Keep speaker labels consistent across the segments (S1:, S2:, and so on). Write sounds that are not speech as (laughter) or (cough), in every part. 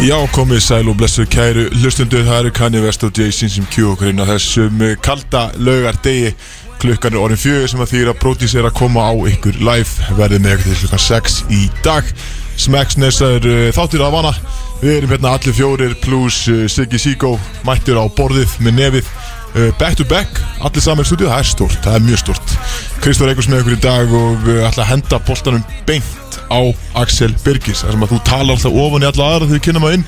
S1: Já, komið sæl og blessuð kæru hlustundur, það eru Kanye West og Jay-Z sem kjú okkur inn á þessum eh, kalda laugar degi klukkan er orðin fjögur sem að þýra brótis er að koma á ykkur live verðið með ykkur til klukkan 6 í dag Smexness er uh, þáttir að vana við erum hérna allir fjórir pluss uh, Siggy Sigó mættur á borðið með nefið uh, back to back, allir saman í stúdíu það er stort, það er mjög stort Kristóð Reykjus með ykkur í dag og uh, ætla að henda boltanum beint á Axel Birgis þar sem að þú talar alltaf ofan í alla aðra þegar við kynum að inn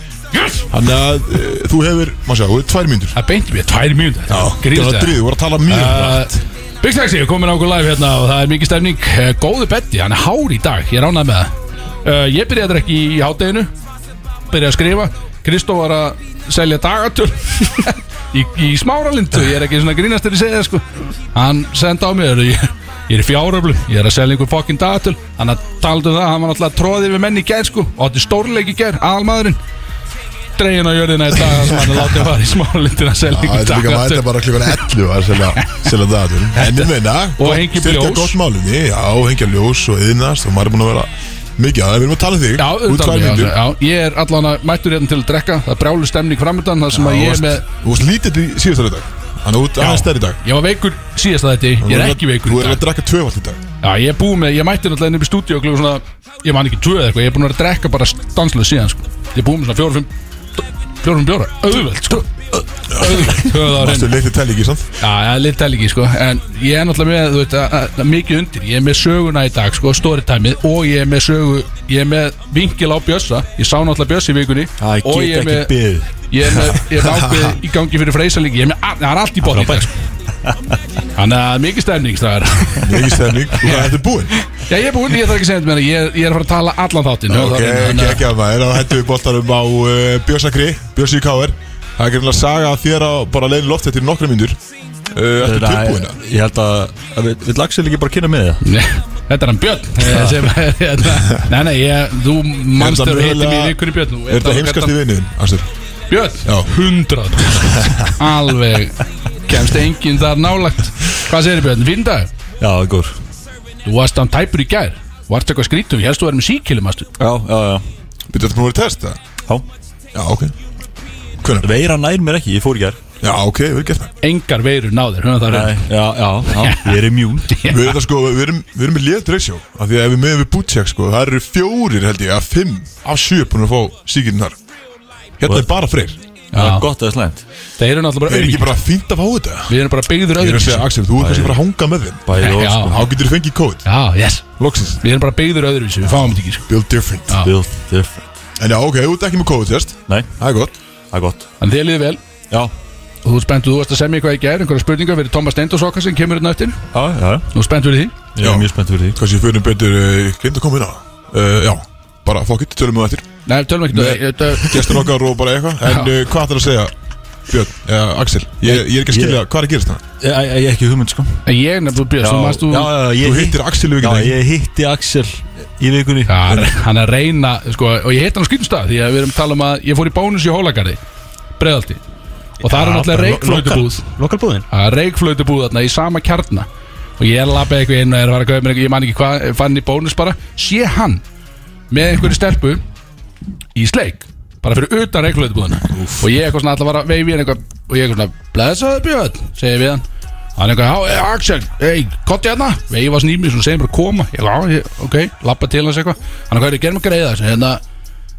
S1: Þannig að uh, þú hefur, maður sjá, þú hefur tvær mínútur
S2: Það beinti mér tvær mínútur
S1: Það var drið, þú voru að tala mjög hratt.
S2: Big Taxi er komin á okkur live hérna og það er mikið stefning Eh, Góður Betty, hann er hár í dag, ég ránaði með það uh, Ég byrjaði að drekka í hátteginu Byrjaði að skrifa Kristó var að selja dagatöl (laughs) í, í smáralindu Ég er ekki svona grínast þegar ég segi það sko Hann senda á mig Ég, ég er í fjáröflum, ég er að selja einhver fokkin dagatöl Hann að talaði um það, hann var náttúrulega tróðið við menn í gær sko Og átti stórleik í gær, aðalmaðurinn Dregin á jörðina í dag þar sem hann látið að fara í smáralindina að selja
S1: Já,
S2: einhver
S1: Þetta er líka
S2: dagatöl
S1: mæta bara klukkan 11 að selja, selja dagatur En ég meina,
S2: Og
S1: gott-
S2: hengja
S1: styrkja
S2: ljós.
S1: gott málunni, já, hengja ljós og yðnast og maður er búin að vera mikið að það Við erum að tala um þig, þú
S2: Já,
S1: er
S2: auðvitað
S1: tvær
S2: alveg, já,
S1: mínútur
S2: já, ég er allan að mættur hérna til að drekka Það er brjálu stemning framöndan Það sem
S1: Þú
S2: að ég er
S1: varst-
S2: með
S1: Þú varst lítill í síðast í dag Þannig að þú ert aðeins stærri í dag
S2: Ég var veikur síðast að þetta Ég er ekki veikur
S1: Þú
S2: í
S1: er að
S2: dag
S1: drakka tvöfald í dag
S2: Já, ég er búið með Ég mætti náttúrulega inn upp í stúdíu og klukkan svona Ég man ekki tvö eða eitthvað Ég er búin að vera að drekka bara stanslega síðan sko. Ég er búið með svona fjórum, fimm Fjórum bjóra Auðveld, sko Auðveld höfðu það á hreinu.
S1: Þú leittir telli ekki, sant?
S2: Já, það er litt ekki, sko En ég er náttúrulega með, þú veit, að, að, að mikið undir Ég er með söguna í dag, sko, storytime-ið Og ég er með sögu, ég er með vinkil á Bjössa Ég sá náttúrulega Bjössa í vikunni Og ég er með
S1: beðið
S2: Ég er með, ég
S1: (laughs)
S2: er með ákveð í gangi fyrir freysalingi Ég er með, all- það er allt í bóði Þannig að mikið stefning stráðar
S1: Mikið stemning, þú er þetta búinn
S2: Já, ég er búinn, ég þarf ekki að segja þetta með hana Ég er, ég er að fara að tala allan þáttinn
S1: Ok, ekki ekki að maður, þá hættum við boltanum á uh, Björsakri, Björsi í Káver Það er greinlega saga að þér á bara leiðin loft þetta er nokkra myndur uh, Ertu tilbúin að?
S3: Ég held að, að við, við lagsum ekki bara að kynna með það
S2: Nei, Þetta er hann Björn eh, sem, (laughs) hérna, Nei, nei, ég, þú
S1: Er
S2: manst
S1: þetta
S2: þegar þú hittir
S1: mögulega-
S2: mér í vikunni Björn Þú
S1: Er þetta heimskast í vinniðin, Astur? Já.
S2: Björn, hundrað Alveg, kemst enginn þar nálagt Hvað segir Björn, fín dag?
S3: Já, góður
S2: Þú varst án tæpur í gær Varst eitthvað skrítum, ég helst þú verið með síkilum astu.
S3: Já, já, já
S1: Byrðu þetta búin að vera test, eða?
S3: Já,
S1: Já, ok Hvernig?
S3: veira nær mér ekki, ég fór í gær
S1: Já, ok, við erum gert það
S2: Engar veirur náðir Nei,
S3: já, já, já (laughs) Ég er immjún
S1: Við erum það sko, við erum, við erum með liðt reysjó Af því að ef við meðum við bútsjæk sko, það eru fjórir held ég, að fimm af sjö búin að fá síkirinn þar Hérna er bara freyr
S3: Það er gott eða slæmt
S2: Þeir eru náttúrulega bara
S1: Er ekki
S2: auðvitað
S1: bara fínt að fá þetta?
S2: Við erum bara
S1: Ég
S2: byggður
S1: er að
S2: öðruvísi
S1: segja, Axel, þú ert kannski bara að hanga með þeim
S3: Bæði og
S2: Já.
S3: sko
S1: Þá getur þú fengið kóð,
S2: Já, yes
S1: loksins
S2: Við erum bara byggður öðruvísi, við fáum þetta ekki sko.
S1: Build different
S2: Já.
S3: Build different
S1: En já, ok, þú ert ekki með COVID-test
S3: Nei,
S1: Það er gott
S3: það er gott
S2: En þið liðið vel
S3: Já,
S2: og Þú ert spenntur, þú varst að semja eitthvað í gær Einhverja spurningar fyrir Thomas Steindors okkar sem kemur hérna eftir
S3: já, já
S2: Þú ert spenntur fyrir því
S3: Ég
S1: Já.
S3: er mjög spennt fyrir því
S1: Kanski við fyrir betur uh, Kind að koma inn á uh, Já, bara fuck it, tölum við það eftir
S2: Nei, tölum ekki um
S1: Nei.
S2: Þetta-
S1: Gestur okkar og bara eitthvað En uh, hvað ætlar að segja Björn, eða Axel Ég, ég er ekki að skilja hvað er að gerast það
S3: Ég ég- ég er ekki hugmynd sko
S2: En Ég nefnir þú bjöðst, þú manst þú
S3: já,
S1: Þú
S3: já, ég
S1: hittir Axel í
S3: Já,
S1: vikunni
S3: ég hitti Axel í vikunni
S2: Já, hann er- hann er að reyna sko, Og ég heit hann á skýnstað Því að við erum að tala um að Ég fór í bónus í Hólagarði Breiðaldi Og það er náttúrulega reikflötubúð
S4: Lokalbúðin
S2: Það er reikflötubúð þarna í sama kjarna og ég er að labba eitthvað inn og er að fara að kaupa mér eitthvað, ég man ekki hvað, fann í bónus bara sé hann með einhverju stelpu í sleik bara fyrir utan reikflötubúðuna og ég eitthvað svona alltaf var að veifi henni eitthvað og ég eitthvað svona, blessaðu björn, segir við hann hann eitthvað, já, eh, Axel, hei, kotti hérna veifa snými, svona segir mér að koma ég, já, ég, ok, labba til hans eitthvað hann eitthvað, gerðum að greiða þessu, hérna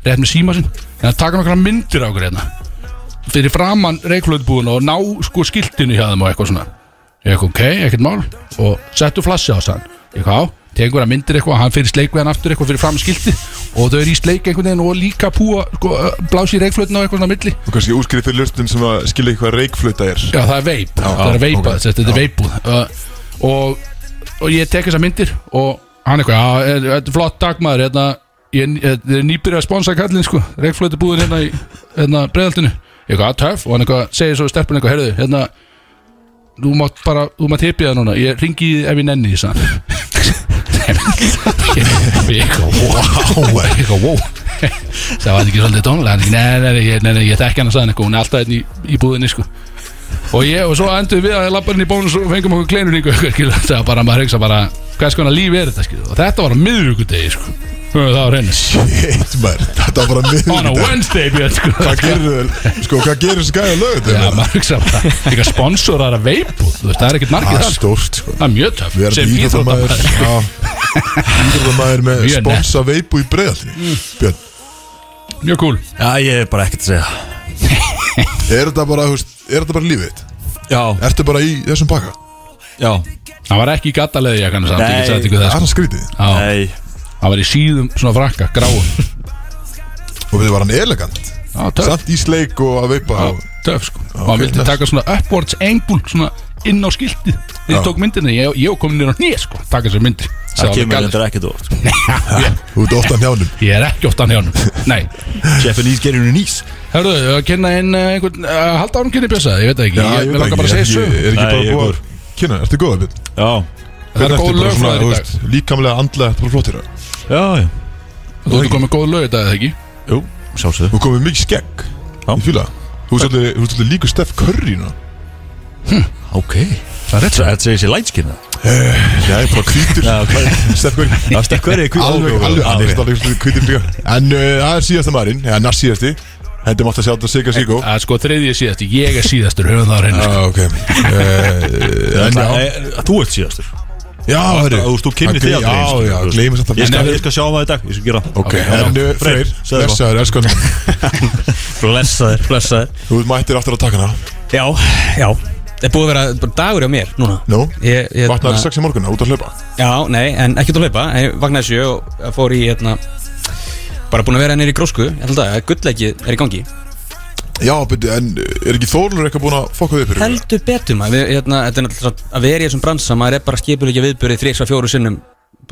S2: rétt með síma sinn, hérna taka nokkra myndir á okkur hérna fyrir framann reiklöðbúðuna og ná sko skiltinu hjá þeim og eitthvað svona ég eitthvað ok, ekkert mál og settu flassi á sann eitthvað á, tegur að myndir eitthvað hann fyrir sleik við hann aftur eitthvað fyrir framann skilti og þau eru í sleik einhvern veginn og líka púa sko, blási í reikflöðinu og eitthvað svona á milli
S1: Þú kannski útskriði fyrir löstum sem að skilja ekki hvað reikflöta er
S2: Já, það er veip, það er
S1: já,
S2: veipað,
S1: ok.
S2: okay. þetta er veipúð uh, og, og ég tek þessar myndir og hann eitthvað, já, er- þetta er flott dag maður hérna, ég þetta er nýbyrjað að sponsa kallinn sko, reikflötu búðin hérna í hérna breyðaltinu, eitthvað töff og hann eitthvað segir svo stelpun eitthvað, heyrðu, hérna þú mátt bara, þú mátt hippið það núna ég ringi í þig ef ég nenni því sann ég eitthvað, wow ég eitthvað, wow það var ekki svolítið tónlega nei, nei, nei, nei, nei, nei, ég þekki hann að sagði hann eitthvað hún er alltaf einn í, í búðinni sko og ég, og svo endur við að labba inn í bónus og fengum okkur kleinur ykkur, ykkur, ykkur, það var bara, maður hugsa bara hvers konar líf er þetta, skil og þetta var á miðvíkudegi, sko Höfum við það á reynu
S1: Shit, maður, þetta
S2: (laughs)
S1: var bara
S2: On a
S1: miður
S2: Wednesday, Björn sko.
S1: Hvað gerir þau, sko, hvað gerir þessi gæja lögut
S2: Já, maður hugsa bara Líka sponsorar að veipu Þú veist, það er ekkert margir
S1: Það er
S2: það sko.
S1: stórt, sko
S2: Það er mjög töf
S1: Við erum
S2: Sem
S1: íþróttamæður
S2: íþróttamæður
S1: Íþróttamæður með
S2: Mjög nett. Mm.
S1: sponsa veipu í breiðaltri Björn,
S2: Mjög cool
S3: Já, ég er bara ekkert að segja
S1: er þetta bara, þú veist, er þetta bara lífið þitt?
S3: Já,
S1: Ertu bara í þessum pakka?
S3: já
S2: Hann var ekki í gattaleði jakkan samt, ég
S3: Nei.
S2: get sagt ykkur það
S1: Það
S2: sko.
S1: er skrítið
S2: Já,
S3: Nei,
S2: Hann var í síðum svona frakka, gráum
S1: Og við var hann elegant
S2: Já, töf
S1: Samt í sleik og að veipa og
S2: Töf sko Og hann vildi
S1: töff.
S2: taka svona upwards angle Svona inn á skiltið Þið
S1: Já.
S2: tók myndinni Ég, ég kom nýra nýja sko Taka sér myndi
S3: það kemur þetta ekkert úr (laughs)
S1: Þú ert ofta njánum
S2: Ég er ekki ofta hann hjá (laughs) hann Nei
S3: Japanese gerinu nýs
S2: Hörðu, að kynna inn eh, einhvern að Halda á hann kynni bjösa, ég veit það ekki
S1: Já,
S2: Ég,
S1: ég
S2: ég
S1: veit
S2: langar
S1: ekki,
S2: bara að segja
S1: er
S2: sög
S1: ekki- Er ekki
S3: Nei, ég er
S1: bara góð
S3: góður.
S1: Kynna, ertu góð, Björn?
S3: Já,
S2: Það er
S1: Ertu
S2: góð
S1: bara
S2: lög frá
S1: svona,
S2: þér í
S1: þú
S2: dag
S1: veist, Líkamlega, andlega, þetta er bara flottir
S3: já, já
S2: Þú ert komið góð lög í dag, eða ekki?
S3: Jú, sjálfsögðu
S1: Þú komið mikið skegg
S3: Já.
S1: Ég fíla það. Þú ert svolítið- þú ert svolítið líku Steff Curry núna
S3: Ok
S2: Það er rétt
S3: Þetta segir sér lætskinn það
S1: Nei, bara (laughs) hvítur
S3: Já, hvað
S1: Steff Curry
S3: Það stekkverði
S1: Alveg, alveg, hann er alveg svolítið hvítur líka En uh, það er síðasta maðurinn, eða næst síðasti Hendum átt að sjá þetta Sigga Siggo
S2: Það er sko þriðið síðast, ég er síðastur, höfum það á reynu
S1: Já, Ah, ok Eh, En já,
S3: Þú ert síðastur
S1: já, hörru
S3: Þú veist, þú kynnir þig aldrei einu
S1: Já,
S3: sinni,
S1: já,
S3: þú veist.
S1: gleymið samt
S3: Ég skal,
S1: að
S3: ég skal sjá maður í dag, ég skal gera það.
S1: Ok,
S2: Ok,
S1: en uh, Freyr,
S3: Freyr, segðu
S1: blessaður, elskan
S3: Blessa þér, blessa þér
S1: Þú mættir aftur að taka hana
S4: Já, já Það er búið að vera bara dagur á mér núna
S1: Nú,
S4: Ég, Hérna. ég,
S1: vatnaður sex í morgunna, út að hlaupa
S4: Já, nei, en ekki út að hlaupa Ég vaknaði sjö og fór í hérna Bara búin að vera nýri í grósku Ég held að gullleiki er í gangi
S1: Já, beti, en uh, er ekki Þórlur eitthvað búin að fokka þig upp fyrir?
S4: Heldur betur maður við, hérna, Þetta er náttúrulega að vera í þessum bransa Maður er bara skipulegja viðbyrði 3-4 sinnum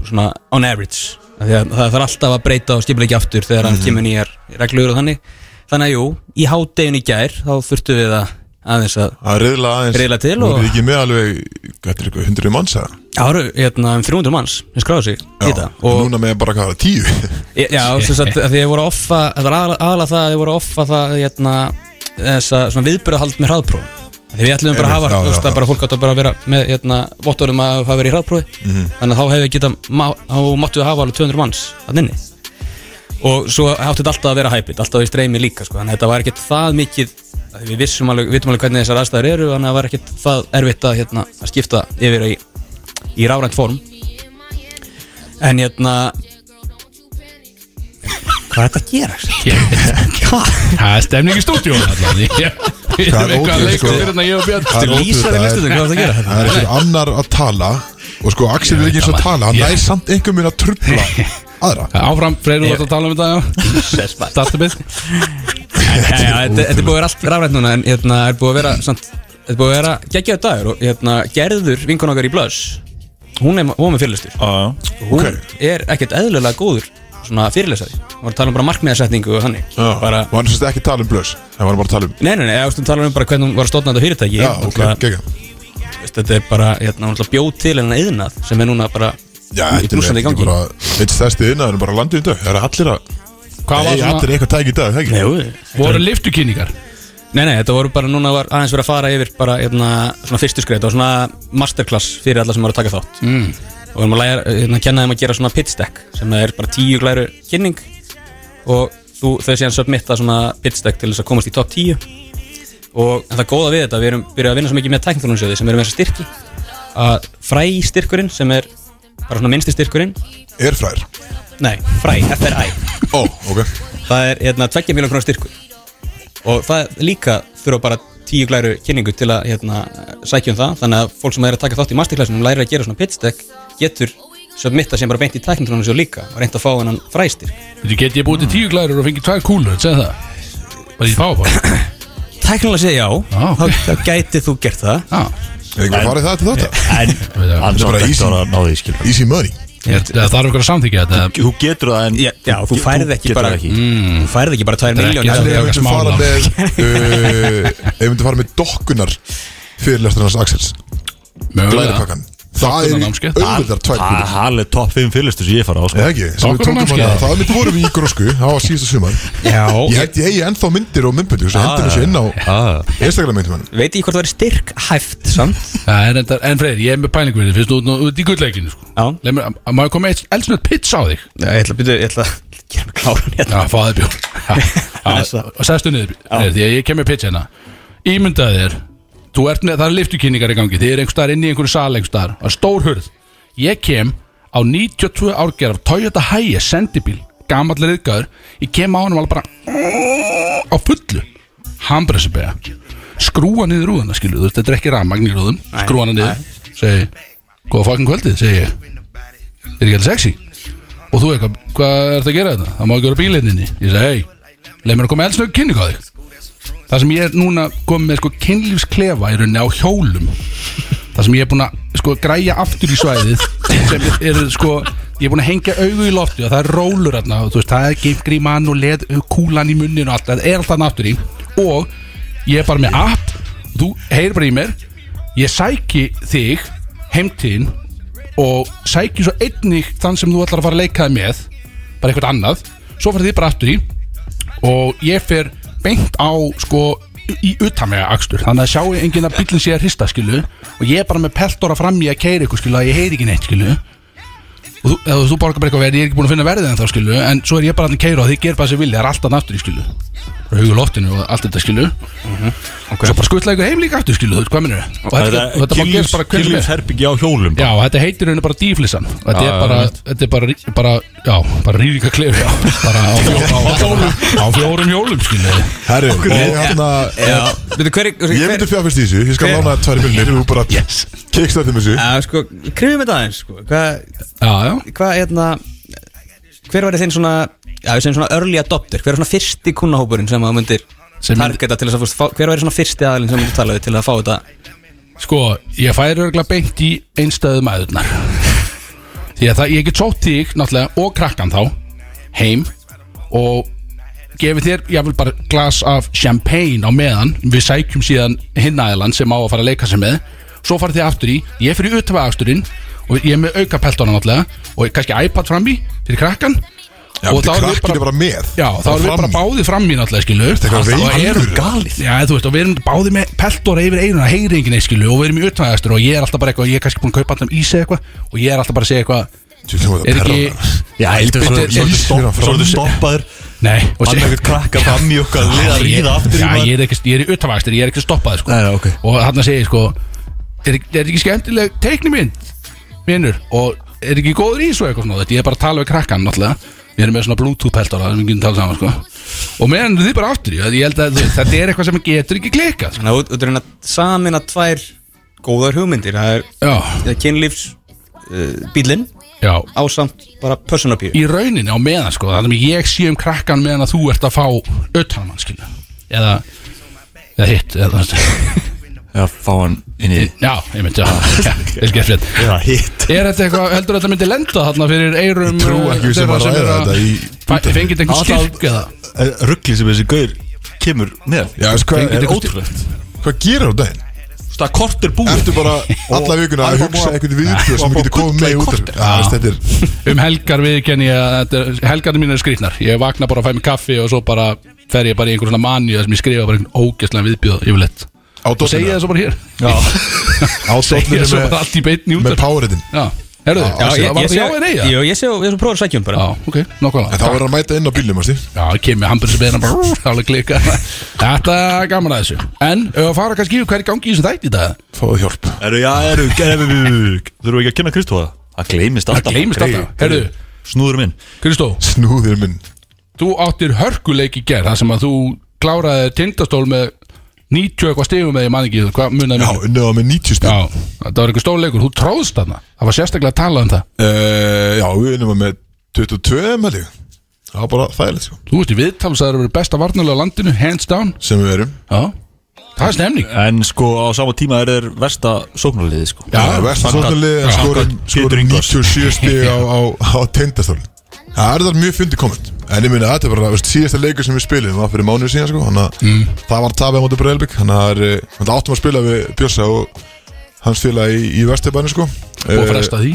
S4: Svona on average Af því að Það þarf alltaf að breyta og skipulegja aftur Þegar hann kemur nýjar reglur og þannig Þannig að jú, í hádeginu í gær Þá þurftu við að aðeins að
S1: Að reyðla aðeins
S4: Riðla til
S1: Nú
S4: og-
S1: er ekki með alveg, þetta er eitthvað hundruð manns að
S4: Það eru hérna um 300 manns sem skráðu sig í þetta og
S1: Núna með bara hvað, tíu
S4: Já,
S1: (laughs)
S4: þess að að því ég voru að offa Það var aðalega aðal það að ég voru að offa það hérna, þess að svona viðbyrðahald með hraðpróf Því við ætlum bara að
S1: Einmitt,
S4: hafa
S1: já,
S4: þú veist
S1: já,
S4: að
S1: já.
S4: bara fólk átt að bara vera með hérna, vottorum að hafa verið í hraðprófi
S1: Mhm.
S4: Þannig að þá hefði geta þá máttu við hafa alveg 200 manns að nynni og svo hátti þetta alltaf að vera hæpið alltaf í streymi líka sko. þannig að þetta var ekkert það mikið af því við vissum alveg, vitum alveg hvernig þessar aðstæður eru þannig að það var ekkert það erfitt að, hérna, að skipta yfir í, í rárænt form en hérna hvað er þetta að gera?
S2: Það er stemning í stúdíu Við
S1: Það er
S2: erum eitthvað að
S1: ótrúlegt,
S2: leika
S1: sko.
S2: fyrir hérna ég og
S1: Það er
S2: Björn
S1: ótrúlegt,
S4: lýsar í
S1: það er-
S4: listunum, hvað er þetta að gera? hérna?
S1: Það er eitthvað annar að tala Og sko, Axel er ekki eins og að tala Hann
S2: Ég-
S1: næði samt einhver mun að trubla
S4: (laughs)
S1: aðra
S2: Áfram, Freyr, þú ætti að tala um þetta já. Startu byrð
S4: Já, já, þetta þetta er búið að vera allt rafrænt núna en hérna er búið að vera samt, þetta er búið að vera geggjaðu dagur og hérna gerður vinkon okkar í blöss hún er, hún er með fyrirlistur
S3: Já,
S4: hún
S1: Ok.
S4: er ekkert eðlilega góður svona fyrirlesari hún var að tala um bara markmiðasetningu og þannig bara,
S1: Og hann sérst ekki að tala um blöss Það var bara að tala um
S4: nei, nei, nei, ástum tala um bara hvernig hún var að stofna þetta fyrirtæki
S1: Já,
S4: Ég
S1: ok,
S4: náttúrulega-
S1: gegga
S4: veist, þetta er bara, hérna, hún ætla bjóð til hennan yðnað sem er núna bara
S1: Já,
S4: í
S1: þetta er
S4: blússandi
S1: ekki
S4: gangi
S1: bara Eitt stærsti innan bara landið í dag Það er allir að
S2: Hvað
S1: Nei,
S2: var
S1: allir
S2: svona,
S1: eitthvað tæk í dag, það ekki
S4: Jú,
S2: voru liftukynningar
S4: nei, nei, þetta voru bara núna var aðeins verið að fara yfir bara, hérna, svona fyrstu skreita og svona masterclass fyrir alla sem eru að taka þátt
S2: mm.
S4: og við erum að læra, hérna, kenna þeim að gera svona pitch deck sem er bara tíu glæru kynning og þú, þau séðan submitta svona pitch deck til þess að komast í top 10 og en það góða við þetta, við erum byrjuð að vinna svo mikið með tæknþjónunsjöði sem erum þess að styrki að fræ styrkurinn sem er bara svona minnsti styrkurinn
S1: Er frær
S4: nei, fræ, FRI
S1: Ó, ok
S4: það er hérna 20 miljón krónar styrkur og það líka þurfa bara tíu glæru kynningu til að hérna, sækja um það þannig að fólk sem er að taka þátt í masterclassinum lærir að gera svona pitch deck getur submitta sem bara beint í tækningtunum svo líka og reynda að fá hennan fræstyrk
S2: Þú get ég búið til tíu glærur og fengið tvær kúlur Segð það Var ég fáið bara
S4: Tæknilega segja já,
S2: Já, ok.
S4: þá, þá gætið þú gert það
S2: Já,
S1: Er ekki að fara í það til þetta?
S3: en Hann
S1: er
S3: er
S1: bara
S3: bara
S1: easy.
S3: ísinn að ná því, skilur
S1: Easy money
S2: Er- það þarf ykkur að samþykja þetta eða?
S3: Þú getur það en
S4: Já, já þú færð ekki
S3: getur
S4: bara
S3: það
S4: Mm.
S3: ekki.
S4: Þú færð ekki bara 2
S2: Þetta er ekki
S4: miljónir
S1: En
S2: það
S1: ef
S2: er
S1: við myndum
S2: smá
S1: fara
S2: lán.
S1: með uh, Ef við myndum fara með dokkunar Fyrirlestarnas Axels
S2: Mögulega.
S1: Glæripakkan Það er í
S2: Sokkunanámskeið.
S1: auðvitað tvær
S3: Það
S1: kúlur
S3: er alveg top 5 fylistu sem ég fara á sko.
S1: Eða ekki, sem við
S2: Sokkunanámskeið.
S1: tókum hana Það var mitt vorum við í grósku, það var síðasta sumar
S2: Já,
S1: Ég held ég eigi ennþá myndir og myndböndur Svo hendur þessu inn á
S3: Ah,
S1: Instagram myndum hann
S4: Veit ég hvort það er styrk hæft samt
S2: það er endar, en Freyr, ég er með pælingu við þig, finnst þú út nú út í gullleikinu sko.
S4: Já
S2: Leif mér, að- að maður koma eitt elsnöð pizza á þig
S4: Já, Ég ætla að byrja, ég ætla að gera mig kláran hérna
S2: Já, fáðið bjór
S1: (laughs)
S2: Já,
S4: Blessa.
S2: Og sæstu niður, Freyr, því að ég kem með pizza hérna Ímyndað þér, þú ert með, það er liftukynningar í gangi Þið er einhvers staðar inn í einhverju sal einhvers staðar Það er stór hurð Ég kem á 92 árgerð af Toyota Hiace sendibíl Gamall reyðgæður Ég kem á hann alveg bara á fullu Hambresibega Skrúa niður rúðuna, skilu, þú veist, þetta er ekki rafmagn í rúðum Skrúa hana niður Segi, góða fokkin kvöldið, segi ég Er ekki alveg sexy? Og þú eitthvað, hvað ertu að gera þetta? Það má ekki vera bílinninni Ég segi, hei, leið mér að koma eldsnögg kynning á þig Það sem ég er núna komið með sko kynlífsklefa í rauninni á hjólum Það sem ég er búin að sko græja aftur í svæðið sem er sko ég er búin að hengja augu í lofti og það er rólur þarna og þú veist það er gimgríman og leð kúlan í munnin og allt það er allt þarna aftur í og ég er bara með app og þú heyrir bara í mér ég sæki þig heimtíðin og sæki svo einnig þann sem þú ætlar að fara að leikaði með bara eitthvað annað svo fyrir þið bara aftur í og ég fer beint á sko í utanvega akstur þannig að sjáu enginn að bílinn sé að hrista skilu og ég er bara með peltora fram í að keira ykkur skilu að ég heyri ekki neitt skilu og þú, eða, þú borgar bara eitthvað verið, ég er ekki búin að finna verðið en þá skilu en svo er ég bara að keira og þið gerir bara sem vilja það er alltaf aftur í skilu og hugur loftinu og allt þetta skilu og svo bara skuttla ykkur heim líka aftur skilu þú veit hvað minnur og þetta, og þetta má gerast bara hvernig með
S3: Kynlífsherbyggi á hjólum
S2: Já, þetta heitir henni bara díflissan Þetta
S3: Já,
S2: er bara,
S3: einmitt.
S2: þetta er bara, rí- bara Já, bara rýrika klef já. Bara á, fjó, á, á, á fjórum hjólum skilni.
S1: Herri, og hérna
S4: Veitu, hver, hver,
S1: Ég myndi fjárfyrst í þessu, ég skal lána þér tvær millir Þú bara
S2: Yes.
S1: kickstartum þessu
S4: Já, sko, krifum þetta aðeins, sko Hvað,
S2: Já, já
S4: hvað, hérna Hver var þinn svona, já, við segjum svona early adopter Hver var svona fyrsti kunnahópurinn sem að þú myndir
S2: Sem myndi-
S4: targeta til þess að, þú veist, fá- hver var svona fyrsti aðalinn sem myndir tala við til að fá þetta
S2: Sko, ég færi örgulega beint í einstæðu maðurnar Því að það, ég get sótt þig Náttúrulega og krakkan þá Heim og gefið þér, ég vil bara glas af champagne á meðan, við sækjum síðan hinn aðelan sem á að fara að leika sig með svo farið þið aftur í, ég fyrir utvega afturinn og ég er með auka peltónan náttúrulega og kannski iPad fram í fyrir krakkan
S1: Já, og
S2: þá
S1: það
S2: erum
S1: er
S2: við bara-
S1: bara með
S2: Já, þá erum við bara báði fram í náttúrulega, skilu
S1: eitthvað veikur?
S2: galið Já, þú veist, og við erum báði með peltora yfir einuna, heyri enginn eitt, skilu Og við erum í utvæðastur og ég er alltaf bara eitthvað, ég er kannski búin að kaupa alltaf ísi eitthvað Og ég er alltaf bara að segja eitthvað,
S1: bara
S2: er ekki
S3: Já, heldur
S2: Bíddu,
S3: svo
S2: er-
S3: Svolítið stoppaður
S2: Nei, og
S3: Hann er ekkert krakka fram í okkar Liða að ríða aftur í
S2: Já,
S3: maður.
S2: ég er ekki, ég er í utvæðastur, ég er ekki stoppað, sko
S3: Nei, nei, ok.
S2: Og hann að segja, sko, er, ekki- er ekki skemmtileg teiknimynd, vinnur Og er ekki góður í svo eitthvað svona Þetta ég er bara að tala við krakkan, náttúrulega Við erum með svona bluetooth peltora sem við getum talað saman, sko Og meðan þið bara aftur, í, ég held að þú veist, þetta er eitthvað sem getur ekki klikað, sko.
S4: Þannig að út- út er hérna samin að tvær góðar hugmyndir Það er
S2: Já,
S4: ja, kynlífs uh, bílinn
S2: Já,
S4: ásamt bara personal bíl
S2: í rauninni á meðan sko Þannig að ég sé um krakkan meðan að þú ert að fá Öttan mann skilu Eða, eða hitt eða, (laughs)
S3: Já, fá hann inn í
S2: Já, (laughs) ég myndi að Vel gert fyrir
S3: Já, hitt
S2: Er þetta eitthvað, heldur þetta myndi lenda þarna fyrir eyrum
S1: Trú
S2: eh,
S1: ekki við sem
S2: þeirra
S1: að ræða
S2: eru
S1: þetta í
S2: Fæ- Fengið einhvern
S3: Alltaf-
S2: styrk eða
S3: Ruggli sem þessi gaur kemur með
S1: Já, veist hvað
S2: Fengið
S1: er
S2: eitthvað
S1: ótrúlegt Hvað gerir á daginn?
S3: Það er kortur búið
S1: Ertu bara alla vikuna að
S3: Alba
S1: hugsa
S3: búa-
S1: eitthvað viðtjóð sem
S3: Alba
S1: getur
S3: búa
S1: komið með í
S3: gulla í
S1: útvarp? Já, veist, Þetta er
S2: (laughs) Um helgar viðkenni Helgarnir mín er skrýtnar Ég vakna bara að fæ mig kaffi og svo bara fer ég bara í einhver svona manju sem ég skrifa bara einhvern ógæslega viðbjóð yfirleitt
S1: á
S2: og segja
S1: dóttinu
S2: það svo bara hér
S1: Á
S2: Segja það svo
S1: dóttinu
S2: bara allt í beinni
S1: með
S2: út
S1: powerheadin
S2: Já, herruðu, var
S4: ég, ég
S2: þetta já eða nei eða?
S4: Jú, ég sé, ég sé prófur að sækja um bara
S2: Já, ok, nokkvæmlega
S1: En þá er að mæta inn á bílum, varstu?
S2: Já, ég kemur hambúrsbeina bara Hálega klika
S1: (laughs)
S2: Þetta er gaman að þessu En ef að fara kannski yfir hverju gangi í þessu þætt í dag
S1: Fáðu hjálp
S3: Eru, já, eru, gerðu Þurfum við ekki að kynna Kristóða? Það gleymist alltaf
S2: Það gleymist alltaf. Heyrðu.
S3: Snúður minn
S2: Kristó,
S1: Snúður minn
S2: þú áttir hörkuleik í gerð þar sem að þú kláraði tindastól með 90 eitthvað stigum eða ég man ekki Hvað munaði
S1: Já,
S2: miklu?
S1: unnið á með 90 spil
S2: Já, þetta var einhver stór leikur Þú tróðst þarna Það var sérstaklega að tala um það
S1: Eh, Já, við unnum á með 22 með þig Það var bara þægilegt, sko
S2: Þú veist í viðtal að það eru verið besta varnalega á landinu Hands down
S1: Sem við erum
S2: Já, það er stemning
S3: En sko á sama tíma er þeir versta sóknarliði sko
S2: Já,
S1: Vestan
S3: samkvæmt-
S1: sóknarlið
S3: já,
S1: skorum
S3: samkvæmt Pétur
S1: skorum
S3: Ingvars.
S1: 97 stig á, á, á tindastólin Það er það mjög fyndi komend En ég minna að þetta er bara veist, síðasta leikur sem við spilum var fyrir mánuð síðan sko Þannig að það var tabið á móti Breilbygg Þannig að það er eh, þannig að áttum að spila við Björsa og hans félagi í, í Vesturbæni sko
S2: og fresta því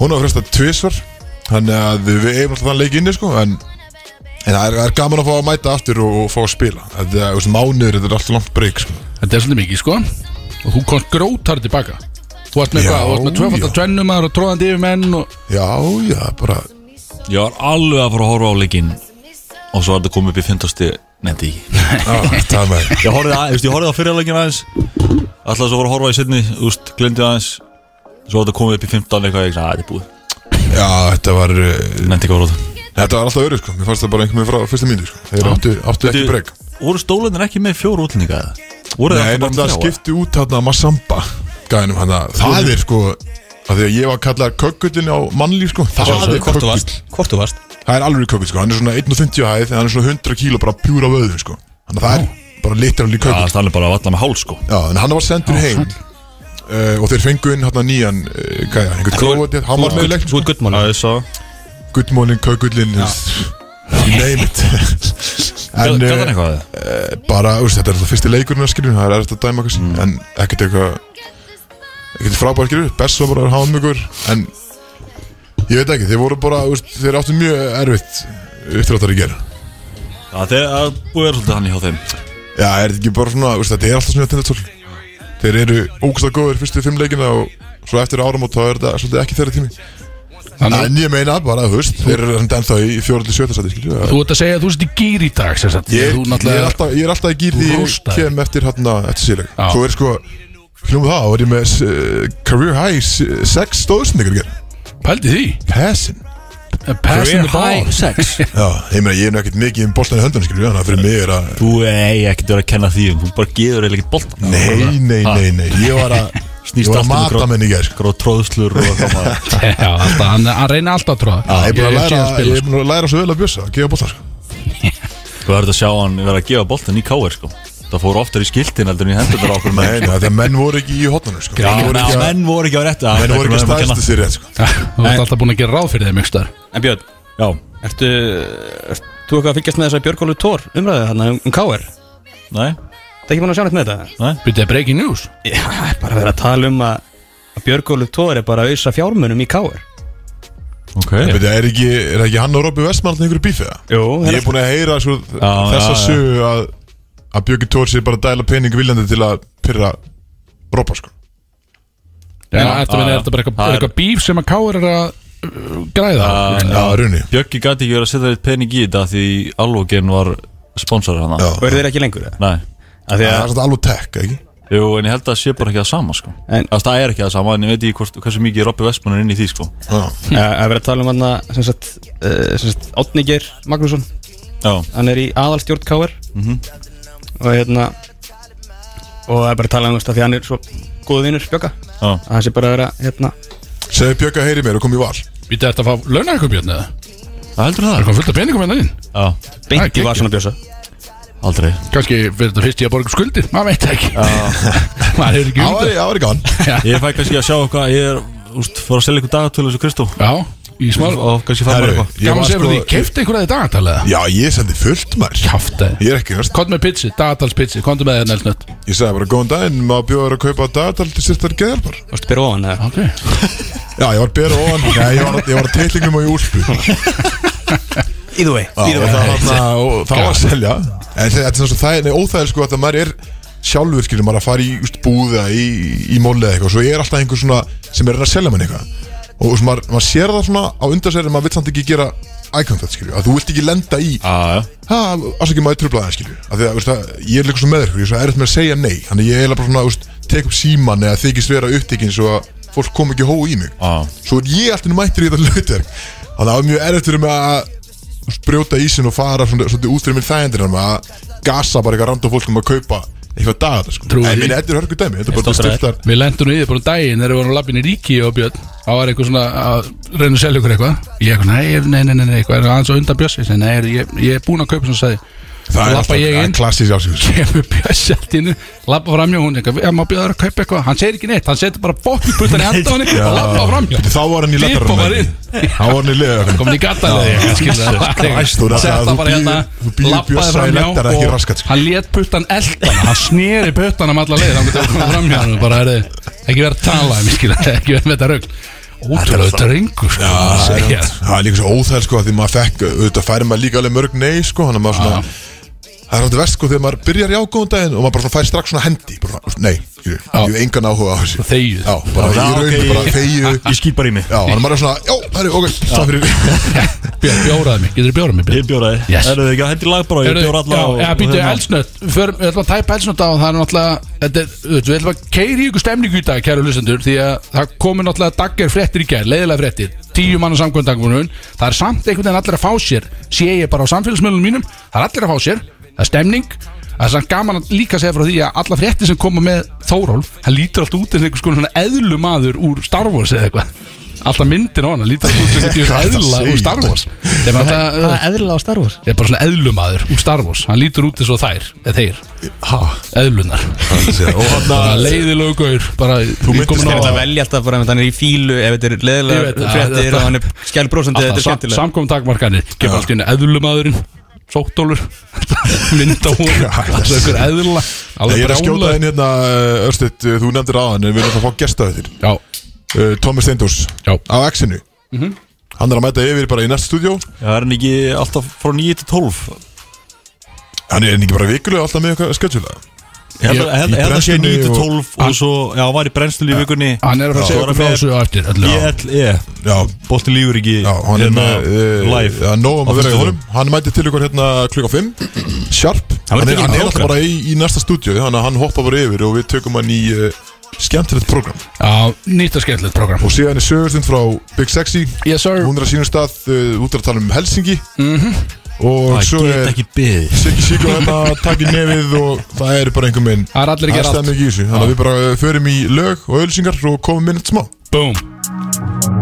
S1: Hún á að fresta tvisvar Þannig að við eigum alltaf þann leik inni sko En, en það er, það er gaman að fá að mæta aftur og, og fá að spila Þetta er þessi mánuður, þetta er alltaf langt breyk sko.
S2: Þetta er svolítið mikið sko Og þú komst grótar tilbaka Þú varst með
S1: Já,
S2: hvað, þú varst með tvöfaldar
S1: já.
S2: tvennumar og tróðandi yfir menn og
S1: Já, já, bara
S3: Ég var alveg að fara að horfa á leikinn Og svo var þetta komið upp í 50 Nefndi ekki
S1: (laughs) á, Það með
S3: Ég horfði, að, ég horfði á fyrra leikinn aðeins Alltaf svo að fara að horfa í setni Úst, glendi aðeins Svo var þetta komið upp í 15 eitthvað Ég sagði, "Æ, þetta er búið
S1: Já, þetta var uh,
S3: Nefndi ekki að horfa á þetta
S1: Þetta var alltaf öru sko Mér fannst það bara einhvern veginn frá fyrsta mínu sko Þeir áttu, áttu ekki breyk
S3: Voru stólanir ekki með fjóru útlendinga eða? Voru
S1: Nei,
S3: þeir alltaf bara
S1: náttúrulega
S3: með þrjá?
S1: skipti út hérna Massamba Gæðinum hérna Það er sko Af því að ég var kallar kökkullin á mannlíf sko Það er
S4: Hvort þú varst
S1: kökkull
S4: Hvort þú varst
S1: Það er alveg kökkull sko Hann er svona 1,50 hæð En hann er svona 100 kíló bara pjúra vöðum sko Þannig að það er bara literally
S3: Já,
S1: kökkull
S3: það er bara að valla með hál sko
S1: Já, en hann var sendur heim uh, Og þeir fengu inn hérna nýjan uh, Gæðan, einhvern króatið Hann var með í leiknum
S4: Þú ert guttmál
S3: Það er svo
S1: Good morning kökullin You name it En,
S3: Gæði hann
S1: eh,
S3: eitthvað að það?
S1: bara, úrst, þetta er alltaf fyrsti leikurinn að skilju það er eftir að dæma kannski, en ekkert eitthvað ekkert frábær skilju, best svo bara að hafa mjögur en ég veit ekki, þeir voru bara úrst, þeir áttu mjög erfitt uppdráttar í gera
S3: Já, þeir það er búið að vera svolítið hann hjá þeim
S1: já, er þetta ekki bara svona, úrst, þetta er alltaf svona tindastól þeir eru ógustlega góður fyrstu fimm leikina og svo eftir áramót þá er þetta svolítið ekki þeirra tími
S2: Þannig að
S1: en ég meina bara, þú veist, þeir eru samt ennþá í fjóraldi sjötasæti, skilju
S2: þú ert að segja að þú sért í gýr í dag sem sagt.
S1: Ég, ég,
S2: Þú
S1: er
S2: náttúrulega
S1: alltaf, ég er alltaf í gýr
S2: Þú
S1: því ég
S2: róstaðir.
S1: kem eftir hérna eftir síðleik
S2: Já.
S1: Svo er sko, hljóma það, var ég með uh, career high s- sex stóðsendingar gerð
S2: pældi því
S1: Passin
S2: Passing the
S3: Career
S2: ball
S3: high sex.
S1: Já, ég meina ég er nú ekkert mikið um boltan í höndunum skilju Þannig að fyrir mig er að
S3: Þú er ekkert verið að kenna því um. Þú bara geður eiginlega ekkert boltan
S1: Nei, nei, nei, nei, ég var
S2: (laughs)
S1: að Ég
S3: Snýst
S1: var
S3: allt
S1: að
S3: um grá-
S1: mata menn í gerð sko
S3: Gróð tróðslur og eitthvað maður.
S2: Já, alltaf, hann, hann reyna alltaf að tróða
S1: Ég er búin að sko. læra, ég
S2: sé að spila sko.
S1: er búin að læra svo vel að bjösa að gefa boltan sko
S3: Þú verður að sjá hann vera að gefa boltan í káir sko Það fór oftar í skiltin heldur en í hendunar á okkur
S1: Nei, nei, þegar menn voru ekki í hotnunum sko
S2: Já,
S1: Menn voru ekki að-
S3: menn voru ekki á rétt
S1: menn voru ekki að
S3: um
S1: staðstu sér rétt sko
S2: sko. Þú ert alltaf búin að gera ráð fyrir þeim yngstar
S4: En Björn
S3: Já,
S4: Ertu ert Þú eitthvað að fylgjast með þess að Björgólu Tór umræðu hann um um KR Það
S3: nei,
S4: er ekki búin að sjá neitt með þetta
S3: nei
S2: Byrjaði breaking news
S4: Já, það er bara verið að tala um að að Björgólu Tór er bara að auðsa fjármunum í KR
S3: Ok
S1: Ég veit, Er ekki, er ekki hann og Robby Vestmann alltaf einhverju bífið það?
S4: Jú, hérna-
S1: Ég er búin að heyra svo,
S3: Já,
S1: þessa
S3: já, já.
S1: sögu að, að Björgi Tór sér bara að dæla pening viljandi til að pyrra Robba sko
S2: Já, ertu að
S3: já,
S2: minna,
S3: já.
S2: er þetta bara eitthvað-
S3: Það
S2: er
S3: er-
S2: eitthvað bíf sem að káir er að uh, græða
S1: Já, raunni
S3: Bjöggi gæti ekki verið að setja þitt pening í þetta Því Alvogen var sponsor hana
S1: Já.
S4: Og eru þeir ekki lengur eða?
S3: Nei
S4: Af því
S1: Það er
S4: að-
S1: svolítið alveg tech, ekki?
S3: Jú, en ég held að það sé bara ekki það sama sko
S4: En-
S3: Þess, Það er ekki það sama En ég veit ekki hvort, hversu mikið Robby Vestman er inn í því sko
S1: Já,
S4: að að vera að tala um hann að sem sagt, eh, sem sagt Átningir Magnússon
S3: Já,
S4: hann er í aðalstjórn KR
S2: Mhm.
S4: og hérna og það er bara að tala um þetta því hann er svo góðu vinnur Björga
S3: já
S4: að hann sé bara að vera hérna
S1: segðu Björgi að heyri mér og kom í val
S2: Býtið ertu að fá launa eitthvað björn eða?
S3: Það heldur
S2: Það
S3: það
S2: kom fullt af peningum hérna inn
S3: Já,
S2: Það er
S4: beint í
S2: geggjað.
S4: vasana Björsa
S3: aldrei
S2: Kanski verður þetta fyrst í að borga upp skuldir Maður veit það ekki (laughs) Maður hefur ekki
S1: Það
S2: hugmynd.
S1: var það var ekki hann
S3: Ég fæ kannski að sjá eitthvað Ég er, úst, fór að selja ykkur dagatölu þessu Kristó
S2: Já, í smá
S3: Og kannski fæ maður
S1: Herru,
S3: eitthvað
S1: sko- ég
S2: Gaman
S1: var
S2: segir
S1: sko-
S2: því, keifti einhverjaði dagatalið
S1: Já, ég sendi fullt maður
S2: Kjáftið
S1: Ég er ekki, veist
S2: Kont með pitsi, dagatalspitsi, kontu með þér nelsnött
S1: Ég sagði bara, góðan daginn, maður bjóður að kaupa dagatal til sérstæðar geðarpar
S4: varstu byrja ofan eða
S2: Ok
S1: Já, ég var bera ofan Nei, ég var, ég var að teitlingum og í úlpu Já,
S4: either way
S1: og
S4: either
S1: það,
S4: way
S1: hana, Hérna, og það var að selja En þetta er svona það, nei, óþægir sko að maður er sjálfur skilur maður að fara í úst, búða í, í mólið eitthvað svo er alltaf einhver svona sem er að reyna að selja mann eitthvað og þú veist, maður, maður sér það svona á undan sér en maður vill samt ekki gera ægum þetta skilju að þú vilt ekki lenda í
S3: Já, já
S1: aðsakið maður trublaði skilju af því að veist, að ég er líka svo með ykkur ég er svo erfitt með að segja nei þannig ég er eiginlega bara svona veist, tek upp síman eða þykist vera upptekinn svo að fólk kom ekki hóu í mig
S2: Ah.
S3: Já.
S1: svo er ég alltaf mættur í þetta (laughs) hlutverk þannig að það var mjög erfitt fyrir mig að veist, brjóta ísinn og fara svona, svona út fyrir minn þægendir að gasa bara eitthvað random fólk um að kaupa eitthvað dagat sko.
S2: Trúi
S1: en
S2: því.
S1: minni, þetta er hörku dæmi þetta er bara
S3: stoltur af
S1: styrtar
S2: Við lendum nú í þið bara um daginn þegar við vorum lappin í ríki og björn þá var eitthvað svona að reyna að selja ykkur eitthvað Ég eitthvað, nei, nei, nei, nei, nei, eitthvað er aðeins á undan bjössi Ég segi, Nei, er- ég, ég er búin að kaupa sem sagði
S1: það er
S2: Lappa ég inn?
S1: alltaf klassís ásíðus
S2: kemur Bjössi allt innu lappa framjá hún, eitthvað, ég má bjóða þér að kaupa eitthvað hann segir ekki neitt, hann setur bara
S1: (laughs)
S2: bókiputtan í handa á henni og lappa framjá
S1: þá var hann í
S2: Fippa
S1: lettarum
S2: var inn.
S1: þá var hann í leðarum
S2: komin í gattalega
S1: Christ, þú er að-
S2: setta
S1: þú
S2: bara
S1: býður-
S2: hérna
S1: þú býður
S2: lappaði
S1: Bjössa í
S2: framjá
S1: lettara, ekki raskat,
S2: og
S1: sko.
S2: hann let puttan eldan hann sneri puttan um alla leið hann bara er þið ekki verið að tala um, skilur, ekki verið með þetta rögl ótrúlega drengur sko,
S1: Já,
S2: að
S1: það
S2: segja.
S1: er- það er líka svo óþæl sko Því maður fekk, auðvitað færi maður líka alveg mörg nei sko Þannig að maður svona Það er hann til verst sko þegar maður byrjar í ágóðum daginn Og maður bara svona fær strax svona hendi bara, svona, Nei, ég, ég hef engan áhuga á þessu
S2: Þegið.
S1: Já, bara
S3: Já,
S1: í
S3: ok,
S1: raun,
S3: ég-
S1: bara þegju
S3: Ég skýt bara (laughs) í mig
S1: Já, þannig að maður er svona, já, herri, ok, það fyrir
S2: Björn, bjóraði mig, getur þið bjórað mig
S3: Ég
S2: Björn?
S3: bjóraði
S2: Yes.
S3: Eruð þið ekki að hendi lag bara Ég
S2: Heyrðu,
S3: bjóra alla
S2: já,
S3: og-
S2: Já,
S3: og
S2: býttu
S3: hérna.
S2: elsnött Förum- Við ætlum að tæpa elsnött á og það er náttúrulega þetta er- þú veist, Við ætlum að keiri ykkur stemningu í dag, kæru lusendur Því að það komur náttúrulega dagger fréttir í gær Leiðilega fréttir, tíu manna samkvöndangunum Það er samt einhvern veginn allir að fá sér Sé ég bara á samfélagsmiðlunum mínum Það er allir að fá sér, það er stemning Það er samt gaman að líka segja frá því að alla fréttir sem koma með Þórólf Hann lítur alltaf út eins og einhvers konar svona eðlumadur úr Star Wars eða eitthvað Alltaf myndin á hana lítur alltaf út eins
S1: Hvað ertu
S2: og einhvers
S1: að
S2: eðla úr
S1: segja?
S2: Star Wars Þeim, það,
S4: er eðla á Star Wars
S2: Ég er bara svona eðlumadur úr Star Wars Hann lítur út eins og þær, eða þeir
S1: Ha,
S2: Eðlunar
S1: það er sér, og hann
S2: Bara leiðilegu gaur Bara Þú
S1: myndist
S4: Það er alltaf að velja alltaf bara ef hann er í fílu ef þetta er
S2: Ég veit
S4: leðilega
S2: það,
S4: fréttir
S2: þetta-
S4: og hann er skælbrósandi þetta er skemmtilega
S2: Samkom takmarkanir Kemur allt í henni eðlumadurinn Sóttólur (laughs) Mynd á hún
S1: Hvað er það?
S2: Alltaf ykkur eðla
S1: Ég
S2: Alveg
S1: er að skjóta
S2: brjála
S1: inn hérna, uh, Örstedt, uh, þú nefndir aðan En við erum að fá gestaðið þér
S2: Já,
S1: uh, Tómi Steindors
S2: Já.
S1: á X-inu Hann er að mæta yfir bara í næsta stúdjó
S3: Já, er hann ekki alltaf frá 9 til 12
S1: Hann er ekki bara vikulega alltaf með eitthvað skjöldjula
S3: Ég held að-
S1: Í
S3: ég held að sé 9 til
S1: brennslunni
S3: 12 og svo, já, hann var í brennslunni í vikunni
S2: hann er að fara að
S3: Svo
S2: segja
S3: var
S2: okkur frá
S3: hann
S2: þessu á eftir öllu. Já.
S3: með BLE
S1: Já,
S3: Bolti lífur ekki
S1: já, hann er
S3: hérna,
S1: með uh,
S3: live
S1: Já, nóg um
S3: Á
S1: að vera í
S3: föstudögum.
S1: honum Hann mæti til ykkur hérna klukka 5 Sharp Hann, er,
S3: verður tekinn
S1: hann
S3: í
S1: er
S3: prógram.
S1: alltaf bara í, í næsta stúdjó Þannig að hann hoppa bara yfir og við tökum hann í uh, skemmtilegt program
S2: Já, nýtt og skemmtilegt program
S1: Og síðan er sögurstund frá Big Sexy
S2: Yes sir
S1: Hún er að sínum stað uh, út er að tala um Helsingi
S2: Mhm.
S1: Og
S3: Það
S1: svo
S3: get
S1: er
S3: ekki
S1: (laughs)
S3: byggð
S1: Siggi Siggi hérna að taka í nefið og það er bara einhver minn
S2: Það er allir að gera
S1: aðstæðan
S2: allt
S1: ekki í þessu Þannig að við bara uh, förum í lög og ölsingar og komum inn eitt smá
S2: Boom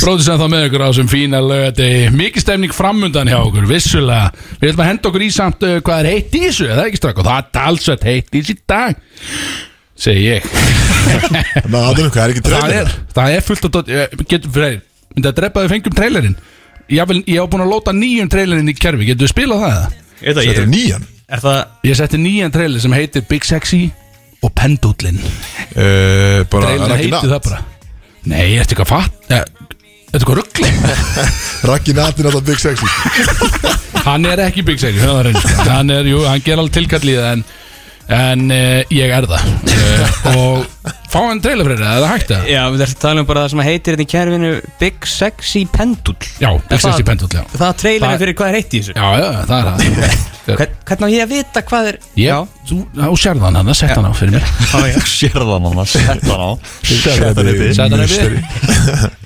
S2: Bróðis en þá með ykkur á þessum fína lögadegi Mikið stemning framundan hjá okkur, vissulega Við ætlum að henda okkur í samt uh, hvað er heitt í þessu Það er ekki strakk og það er talsvett heitt í þessu í dag Segir ég
S1: Þannig að Adam, hvað er ekki
S2: Það
S1: trailer?
S2: er, það er fullt af dot eh, Getum fyrir, myndi að drepa þau fengjum trailerinn Ég vil- ég hef búin að lóta nýjum trailerinn í kerfi Getum við spilað það? eða?
S4: Ég veit það,
S1: Þetta er nýjan
S4: ég- Er það
S2: Ég setti nýjan trailer sem heitir Big Sexy og Pendullin
S3: Eh,
S1: uh, Bara
S2: Trailer
S1: Raggi Nat
S2: heitir það bara Nei, ertu eitthvað fatt? eh, Ertu eitthvað ruggli?
S1: Raggi Nat er alltaf Big Sexy
S2: Hann er ekki Big Sexy það er eins. Hann er, jú, hann ger alveg tilkall í það En, en uh, ég er það uh, Og fá hann trailer fyrir það, er það hægt að?
S4: Já, við ætlum að tala um bara það sem heitir þetta í kerfinu Big Sexy Pendull
S2: Já, Big
S4: Er það-
S2: Sexy Pendull, já
S4: Það er trailerinn
S2: Það-
S4: fyrir hvað er heitt í þessu
S2: Já, já, það er það Þegar-
S4: Hvern, Hvernig á ég að vita hvað er Já,
S2: Ég, þú, þú sérð hann hann, sett hann á fyrir mér
S3: Sérðan hann, sérðan á Sérðan uppi
S2: Sett hann yfir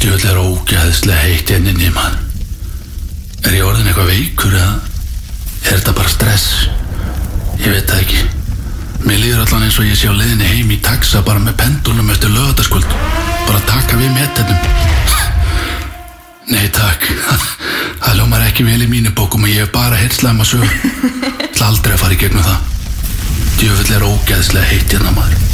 S2: Djöld er ógæðslega heitt enninni, mann Er ég orðin eitthvað veikur eða? Er þetta bara stress? Ég veit það ekki Mér líður allan eins og ég sé á leiðinni heim í taxa bara með pendulum eftir lögataskvöld bara taka við metinum Nei takk (laughs) Það ljómar ekki vel í mínu bókum og ég hef bara heyrslaðum að sög Það aldrei að fara í gegnum það Djöfull er ógæðslega heitt hérna maður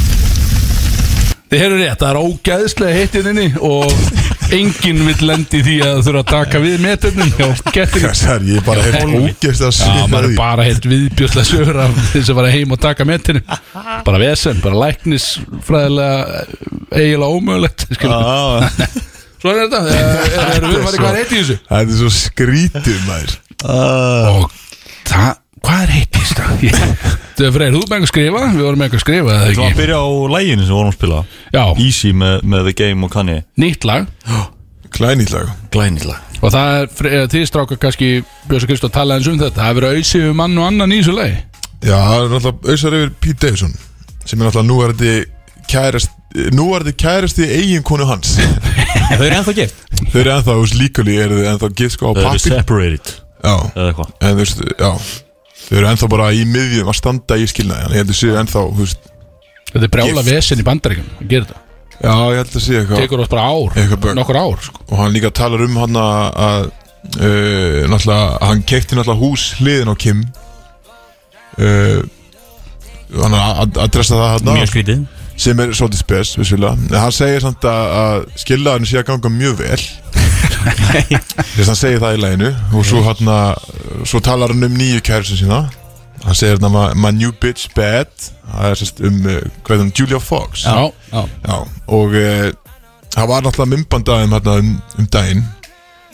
S2: Þið heyrðu rétt, það er ógæðslega heitt hérna inni og enginn vill lendi því að þurfa að taka við metinum hjá gettinum
S1: Hvað er ég er bara hef ógeðst að
S2: Já,
S1: segja
S2: maður er bara heilt viðbjörnslega sögur af þess að fara heim og taka metinu bara vesen, bara læknis fræðilega eiginlega ómögulegt skilur.
S3: Já,
S2: Svo er þetta, eh, er- erum við farið hvað er heitt í þessu?
S1: Það er svo skrítið maður (laughs)
S2: Og það, hvað er heitt í þessu? (laughs) Þú er freyr, þú er með einhver skrifa, við vorum með einhver skrifa eða
S3: Þú var að
S2: ekki?
S3: byrja á læginu sem við vorum að spila
S2: Já,
S3: Easy með, með The Game og Kanye
S2: nýtt lag
S1: Klænýtt lag
S3: Glænilla
S2: og það er, fre- eh, þið strákar kannski Björns og Kristóf talaði eins um þetta, það hefur verið auðsig um mann og annan í þessu lagi
S1: Já, það er alltaf auðsar yfir Pete Davidson sem er alltaf núverði kærasti, núverði kærasti eiginkonu hans
S4: þau eru ennþá gift
S1: Þau eru ennþá, þú veist, líkali eru þau ennþá gift sko á
S3: Þau eru
S1: pappir
S3: separated
S1: Já,
S3: Eða eitthvað
S1: en þú veist, já þau eru ennþá bara í miðjum að standa í skilnaði en ég held að séu ennþá, þú veist
S2: Þetta er brjála
S1: Gift.
S2: vesen í bandaríkjum að gera þetta,
S1: já, ég held að séu eitthvað
S2: tekur oss bara ár
S1: Eitthvað bögg.
S2: nokkur ár, sko
S1: og hann líka talar um hann að að, uh, náttúrulega, hann keipti náttúrulega hús hliðin á Kim uh, hann að- að adressa það hann
S4: Mjög skrítið
S1: sem er svolítið spes, vissulega en hann segir samt að, að skilnaðinu sé að ganga mjög vel þess að hann segir það í læginu og svo hann að svo talar hann um nýju kærusin sína hann segir þarna my- my new bitch bad það er sérst um, uh, hvað er það, um Julia Fox
S2: Já,
S4: já,
S1: Já, og uh, það var náttúrulega mymband aðeim hérna um, um daginn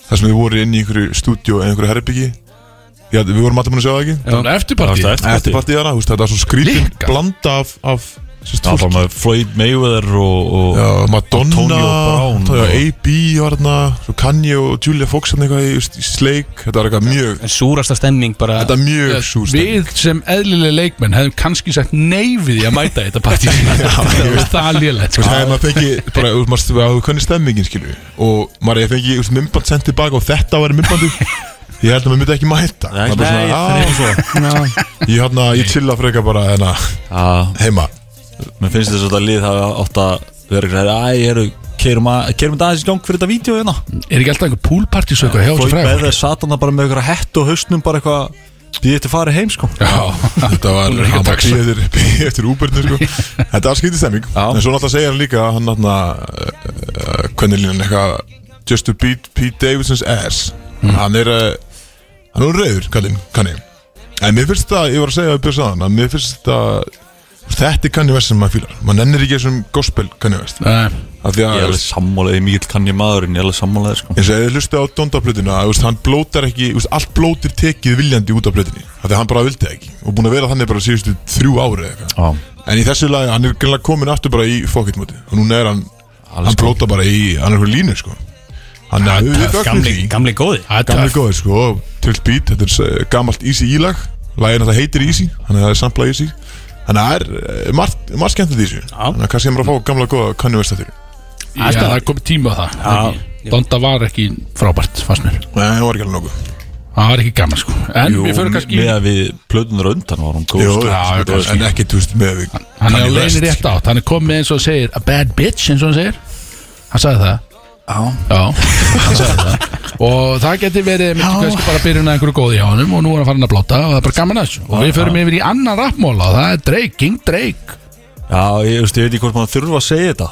S1: þar sem þið voru inn í einhverju stúdíu eða einhverju herbyggi Já, við vorum alltaf búin að sjá það ekki
S2: það var eftirparti
S3: Það var eftir
S1: Eftirpartið hana, þú veist, þetta var svo skrítin
S2: Líka.
S1: blanda af, af sérst,
S3: Það var
S1: fólki
S3: bara með Floyd Mayweather og, og
S1: Já, Madonna,
S3: Antonio Brown
S1: það var
S3: og-
S1: AB var hérna, svo Kanye og Julia Fox hérna eitthvað í, just í sleik, þetta var eitthvað mjög,
S4: en súrasta stemming bara
S1: þetta er mjög
S2: Ég-
S1: súr
S2: Við sem eðlilega leikmenn hefðum kannski sagt nei við því að mæta í þetta partí Það var það lélegt
S1: Þú
S2: sko.
S1: veist, hefði maður fengið, bara, þú veist, maður hefði kunnið stemmingin, skilju Og maður hefði fengið, þú veist, mymband sendt tilbaka og þetta væri mymbandi Ég held að maður myndi ekki mæta
S3: Nei,
S1: Maður bara
S3: nei,
S1: svona,
S3: það er svo
S1: "Á, Ég hérna, ég chilla frekar bara, hérna,
S3: Já,
S1: heima
S3: mér finnst þess að þetta lið hafa átt að vera eitthvað Æ, ég eru, keirum að, keirum þetta aðeins í gang fyrir þetta vídeo hérna
S2: Er ekki alltaf einhver poolpartí svo eitthvað hjá þessu
S3: Floyd
S2: frægur?
S3: Mayweather sat hann bara með eitthvað hett og hausnum bara eitthvað Býði eftir að fara heim sko
S2: Já,
S1: Þetta var,
S2: Hún er ekki
S1: hann
S2: að
S1: bara
S2: taxa.
S1: býði eftir, býði eftir (laughs) úbernu, sko Þetta var skytið stemming
S3: Já.
S1: En svo náttúrulega segir hann líka, hann hérna, uh, uh, hvernig línan eitthvað Just to beat Pete Davidson's ass Hann er, uh, hann er reyður, kallinn, kanni En mér finnst það, ég var að segja að byrja saðan Að mér finnst það, þetta er kanni vest sem maður fílar Maður nennir ekki þessum gospel kanni vest
S2: Nei,
S1: Af því
S3: Ég
S1: að,
S3: er alveg sammálaðið, mikið kann ég maðurinn, ég er alveg sammálaðið sko
S1: eins og eða hlustu á Donda-plötuna þú veist, Hann blótar ekki, þú veist, allt blót er tekið viljandi út af plötunni Af því að hann bara vildi það ekki Og búin að vera þannig bara síðustu þrjú ári eða eitthvað
S3: Já,
S1: En í þessu lagi, hann er greinlega komin aftur bara í fokkittmóti Og núna er hann, hann
S3: sko.
S1: blóta bara í, hann er eitthvað línu sko Hann er við fögnum
S4: gamli,
S1: því
S4: gamli góði
S1: Gamli góður sko, og Trill Beat, þetta er eh, gamalt Easy E-lag Lagin þetta heitir Easy, þannig að það er samplað Easy Þannig að það er eh, margt, margt skemmt í þessu Þannig að kannski ég maður að fá gamla góða kannu veist eftir
S2: Já, það er komið tíma á það
S4: Já.
S2: ekki? Donda var ekki frábært, fannst mér
S1: Nei, það var ekki alveg nokkuð
S2: Það var ekki gaman sko En
S3: Jú,
S2: við förum kannski
S3: með að við plöðunar undan var hún góð
S1: Jú,
S3: sko.
S1: já,
S2: já,
S1: sko,
S2: kannski.
S1: en ekki tússt með við
S2: Hann er á
S1: Kanye
S2: leiðin
S1: West.
S2: rétt átt Hann er komið eins og segir A bad bitch eins og hann segir Hann sagði það Já, hann sagði það Og það geti verið mikið kannski bara byrjun að einhverju góði hjá honum Og nú er hann farin að blóta og það er bara gaman að þessu Og við förum yfir í annan rappmóla og það er Drake, King Drake
S3: Já, ég, veist, ég veit ekki hvort maður þurfa að segja þetta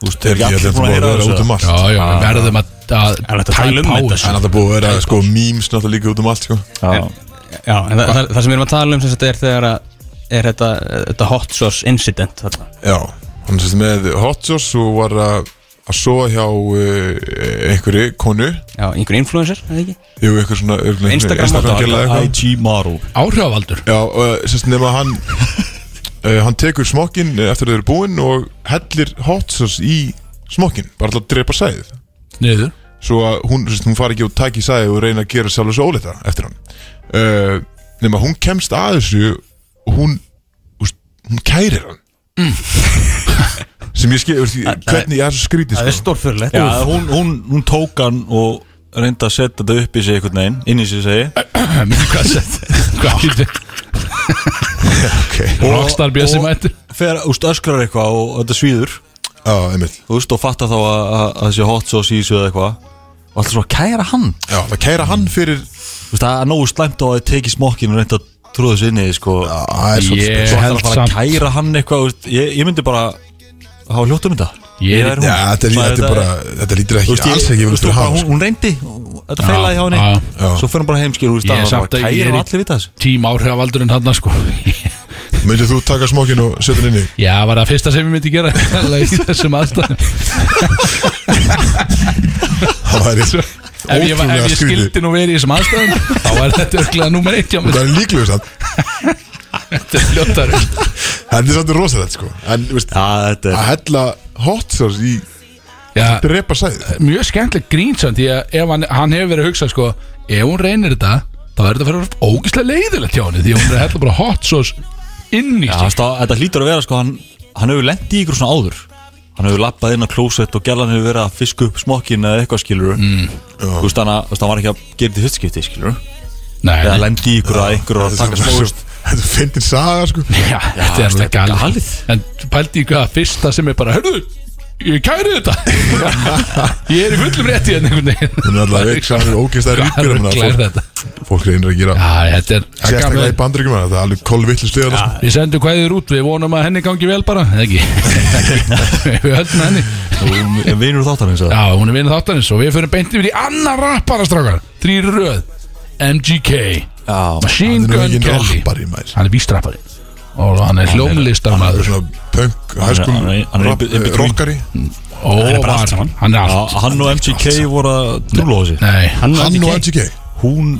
S3: Þú veist,
S1: Ég
S3: er ekki
S1: held
S3: allir
S1: þetta
S3: búin að
S1: bara
S3: heyra
S1: vera út um
S3: þessu
S1: allt
S2: Já,
S1: Það
S2: já, við verðum að, að
S4: Er hægt að tala um
S2: tæpa á
S4: þetta?
S2: þessu.
S1: er alltaf búið að vera sko memes náttúrulega líka út um allt sko
S3: Já,
S4: Já, en það, það, það sem við erum að tala um sem sagt er þegar að er þetta, þetta hot sauce incident þarna.
S1: Já, hann sérst með hot sauce og var að að sofa hjá uh, einhverju konu
S4: Já, einhver influencer, er það ekki?
S1: Jú, eitthvað svona örgulega-
S4: Instagram model.
S1: gæla
S3: Þetta er
S1: eitthvað.
S3: IG Maru
S2: sko? Áhrifavaldur
S1: Já, uh, sérst nema hann uh, Hann tekur smokkin eftir þau eru búin og hellir hot sauce í smokkin bara til að drepa sæðið
S2: Niður
S1: svo að hún, sérst, hún fari ekki og taki í sæði og reyna að gera sjálf þessu óleita eftir hann uh, nema hún kemst að þessu og hún úst, hún kærir hann (laughs) sem ég skil, úst, hvernig ég er svo skrítið sko.
S4: stórfurlegt
S3: Já, hún, hún, hún tók hann og reyndi að setja þetta upp í sig einhvern veginn Inn í sig segi
S2: Hvað sett Hvað getur
S1: okay.
S2: Rockstar BS sem mættir
S3: Fer, úst, öskrar eitthvað og þetta svíður
S1: Já, einmitt
S3: Þú veist, og fattar þá að, að, að þessi hot sauce í sig eða eitthvað Og alltaf svo að kæra hann Þú
S1: Já, það kæra hann fyrir
S3: veist, það er nógu slæmt á að þið tekið smokkin og reyndi að trúða þessu inn í því, sko Já,
S1: Það er
S2: Ég-
S1: svolítið
S3: Svo ætlar
S2: held
S3: að fara að
S2: samt.
S3: kæra hann eitthvað þú veist, ég, ég myndi bara hafa hljótt um þetta
S2: Ég er-
S1: Já, þetta, er,
S3: Svo
S1: þetta er bara, þetta lítur
S3: þú
S1: ekki,
S3: veist, ég-
S1: alls ekki vel
S3: þú veist,
S1: fyrir
S3: bara
S1: hann
S3: hún,
S1: sko.
S3: hún reyndi Þetta feilaði hjá henni
S2: Já,
S1: já.
S3: Svo fyrir hann bara heimskir úr
S2: Ég er
S3: staðan
S2: samt að ég
S3: Kæra
S2: er
S3: og allir vita
S2: í
S3: þessu
S2: tím áhrifavaldurinn hann sko
S1: Myndið þú taka smokkin og setja hann inn í
S2: Já, var það fyrsta sem ég myndi gera (laughs) Í þessum aðstæðum
S1: Það væri
S2: Ef ég, ef
S1: ótrúlega
S2: ég
S1: skrítið
S2: skildi nú verið í þessum aðstæðum Þá er þetta örglega nummer eitt hjá mér
S1: Það er líklega samt
S2: Þetta er fljóttar
S1: Þetta er samt rosalegt sko En þú veist,
S3: Já, þetta
S1: að
S3: er
S1: hella hot sauce í
S2: Já,
S1: drepa sæði
S2: mjög skemmtileg grínsamt Því að ef hann, hann hefur verið að hugsa sko Ef hún reynir þetta Þá er þetta að vera ógislega leiðilegt hjá henni Því að hún er að hella bara hot sauce inn í sig
S3: Já, þú veist, það- Þetta hlýtur að vera sko Hann, hann hefur lent í ykkur svona áður Hann hefur lappað inn á klósett og gælan hefur verið að fiska upp smokkin eða eitthvað skilur mm. Þú veist, hann, að- þú veist, hann var ekki að gera þetta í fyrstskipti skilur
S2: Nei,
S3: Eða
S2: nei.
S3: lendi í ykkur að einhver var að taka smokkin
S1: Þetta finnir saga sko
S2: Já, þetta er
S3: þetta
S2: alltaf
S3: er
S2: galið
S3: galið.
S2: En pældi ykkur að fyrsta sem er bara Hörðu, ég kæri þetta (laughs) Ég er í fullum rétti hérna einhvern veginn
S1: Hún er alltaf veik sem hann er ógeist að
S2: Hvað
S1: ríkur
S2: er
S1: um
S2: glær
S1: hana,
S2: þetta?
S1: fólk, fólk reynir að gera
S2: Já, þetta er það er
S1: Sérstaklega í
S2: gaman.
S1: bandryggum Það er alveg kolvillu sliðan sko.
S2: Við sendum kvæðir út, við vonum að henni gangi vel bara Eða ekki Við höldum henni
S3: En vinur þáttar eins og
S2: Já, hún er vinið þáttanins og við fyrir beint yfir í annar rappara strákar Þrýr röð MGK
S3: Já,
S2: Machine
S1: Hann er nú
S2: Gun
S1: enginn
S2: Kelly
S1: rappari, maður.
S2: Hann er vístrappari Og hann er
S1: Það er
S2: hljómlistarmaður
S1: svona punk, hæskum,
S3: hann er- hann er
S1: rap-
S3: in- in
S1: eh,
S3: between.
S1: rockari
S2: Og
S3: er bara
S2: var-
S3: allt saman.
S2: Hann er
S3: já,
S2: allt
S3: hann og MGK voru að trúla á þessi
S2: Nei
S1: Hann og MGK
S3: Hún,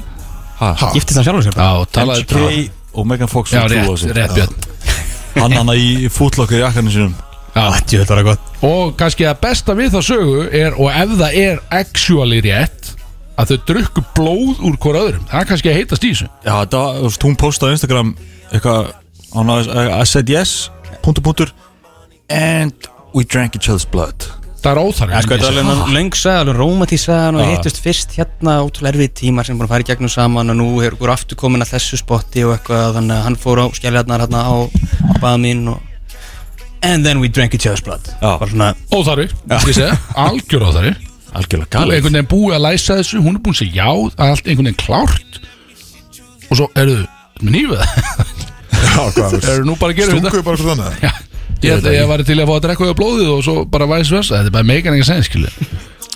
S1: Ha?
S4: Giftist hann sjálfur sér bara?
S2: Já, talaði
S3: MGK og Megan Fox
S2: Já,
S3: voru að trúla á
S2: rétt,
S3: þessi
S2: rétt Björn
S3: Hann hann í fútlokkur í jakkanum sínum
S2: Já.
S4: Djú, þetta var gott
S2: Og kannski að besta við það sögu er Og ef það er actually rétt Að þau drukku blóð úr hvora öðrum Það er kannski að heitast í þessu
S3: Já, þetta var, þú veist, hún postaði á Instagram eitthvað, hann að I said yes, punktur, punktur and we drank each other's blood
S2: Það er óþarf
S3: sko, þetta er alveg-
S4: Lenn löngsaðan og rómatísaðan og
S3: Já.
S4: hittust fyrst hérna ótrúlega erfið tímar sem búin að fara í gegnum saman og nú er úr aftur komin að þessu spotti og eitthvað þannig að hann fór á skelljarnar hérna á baða mín og and then we drank each other's blood
S3: Já.
S4: bara svona
S2: Óþarfi, ég segja, algjör óþarfi
S3: Ah,
S2: Þú er
S3: Algjörlega galið
S2: einhvern veginn búið að læsa þessu Hún er búin að segja já, það er allt einhvern veginn klárt Og svo eru þau Með nýfið
S1: Já,
S2: (laughs)
S1: hvað er
S2: Eru nú bara að gera þetta
S1: Stunguðu bara hvort annað
S2: Já, ég held að ég var til að fá að drekka því á blóðið og svo bara væs versa, þetta er bara megan ekki að segja skilur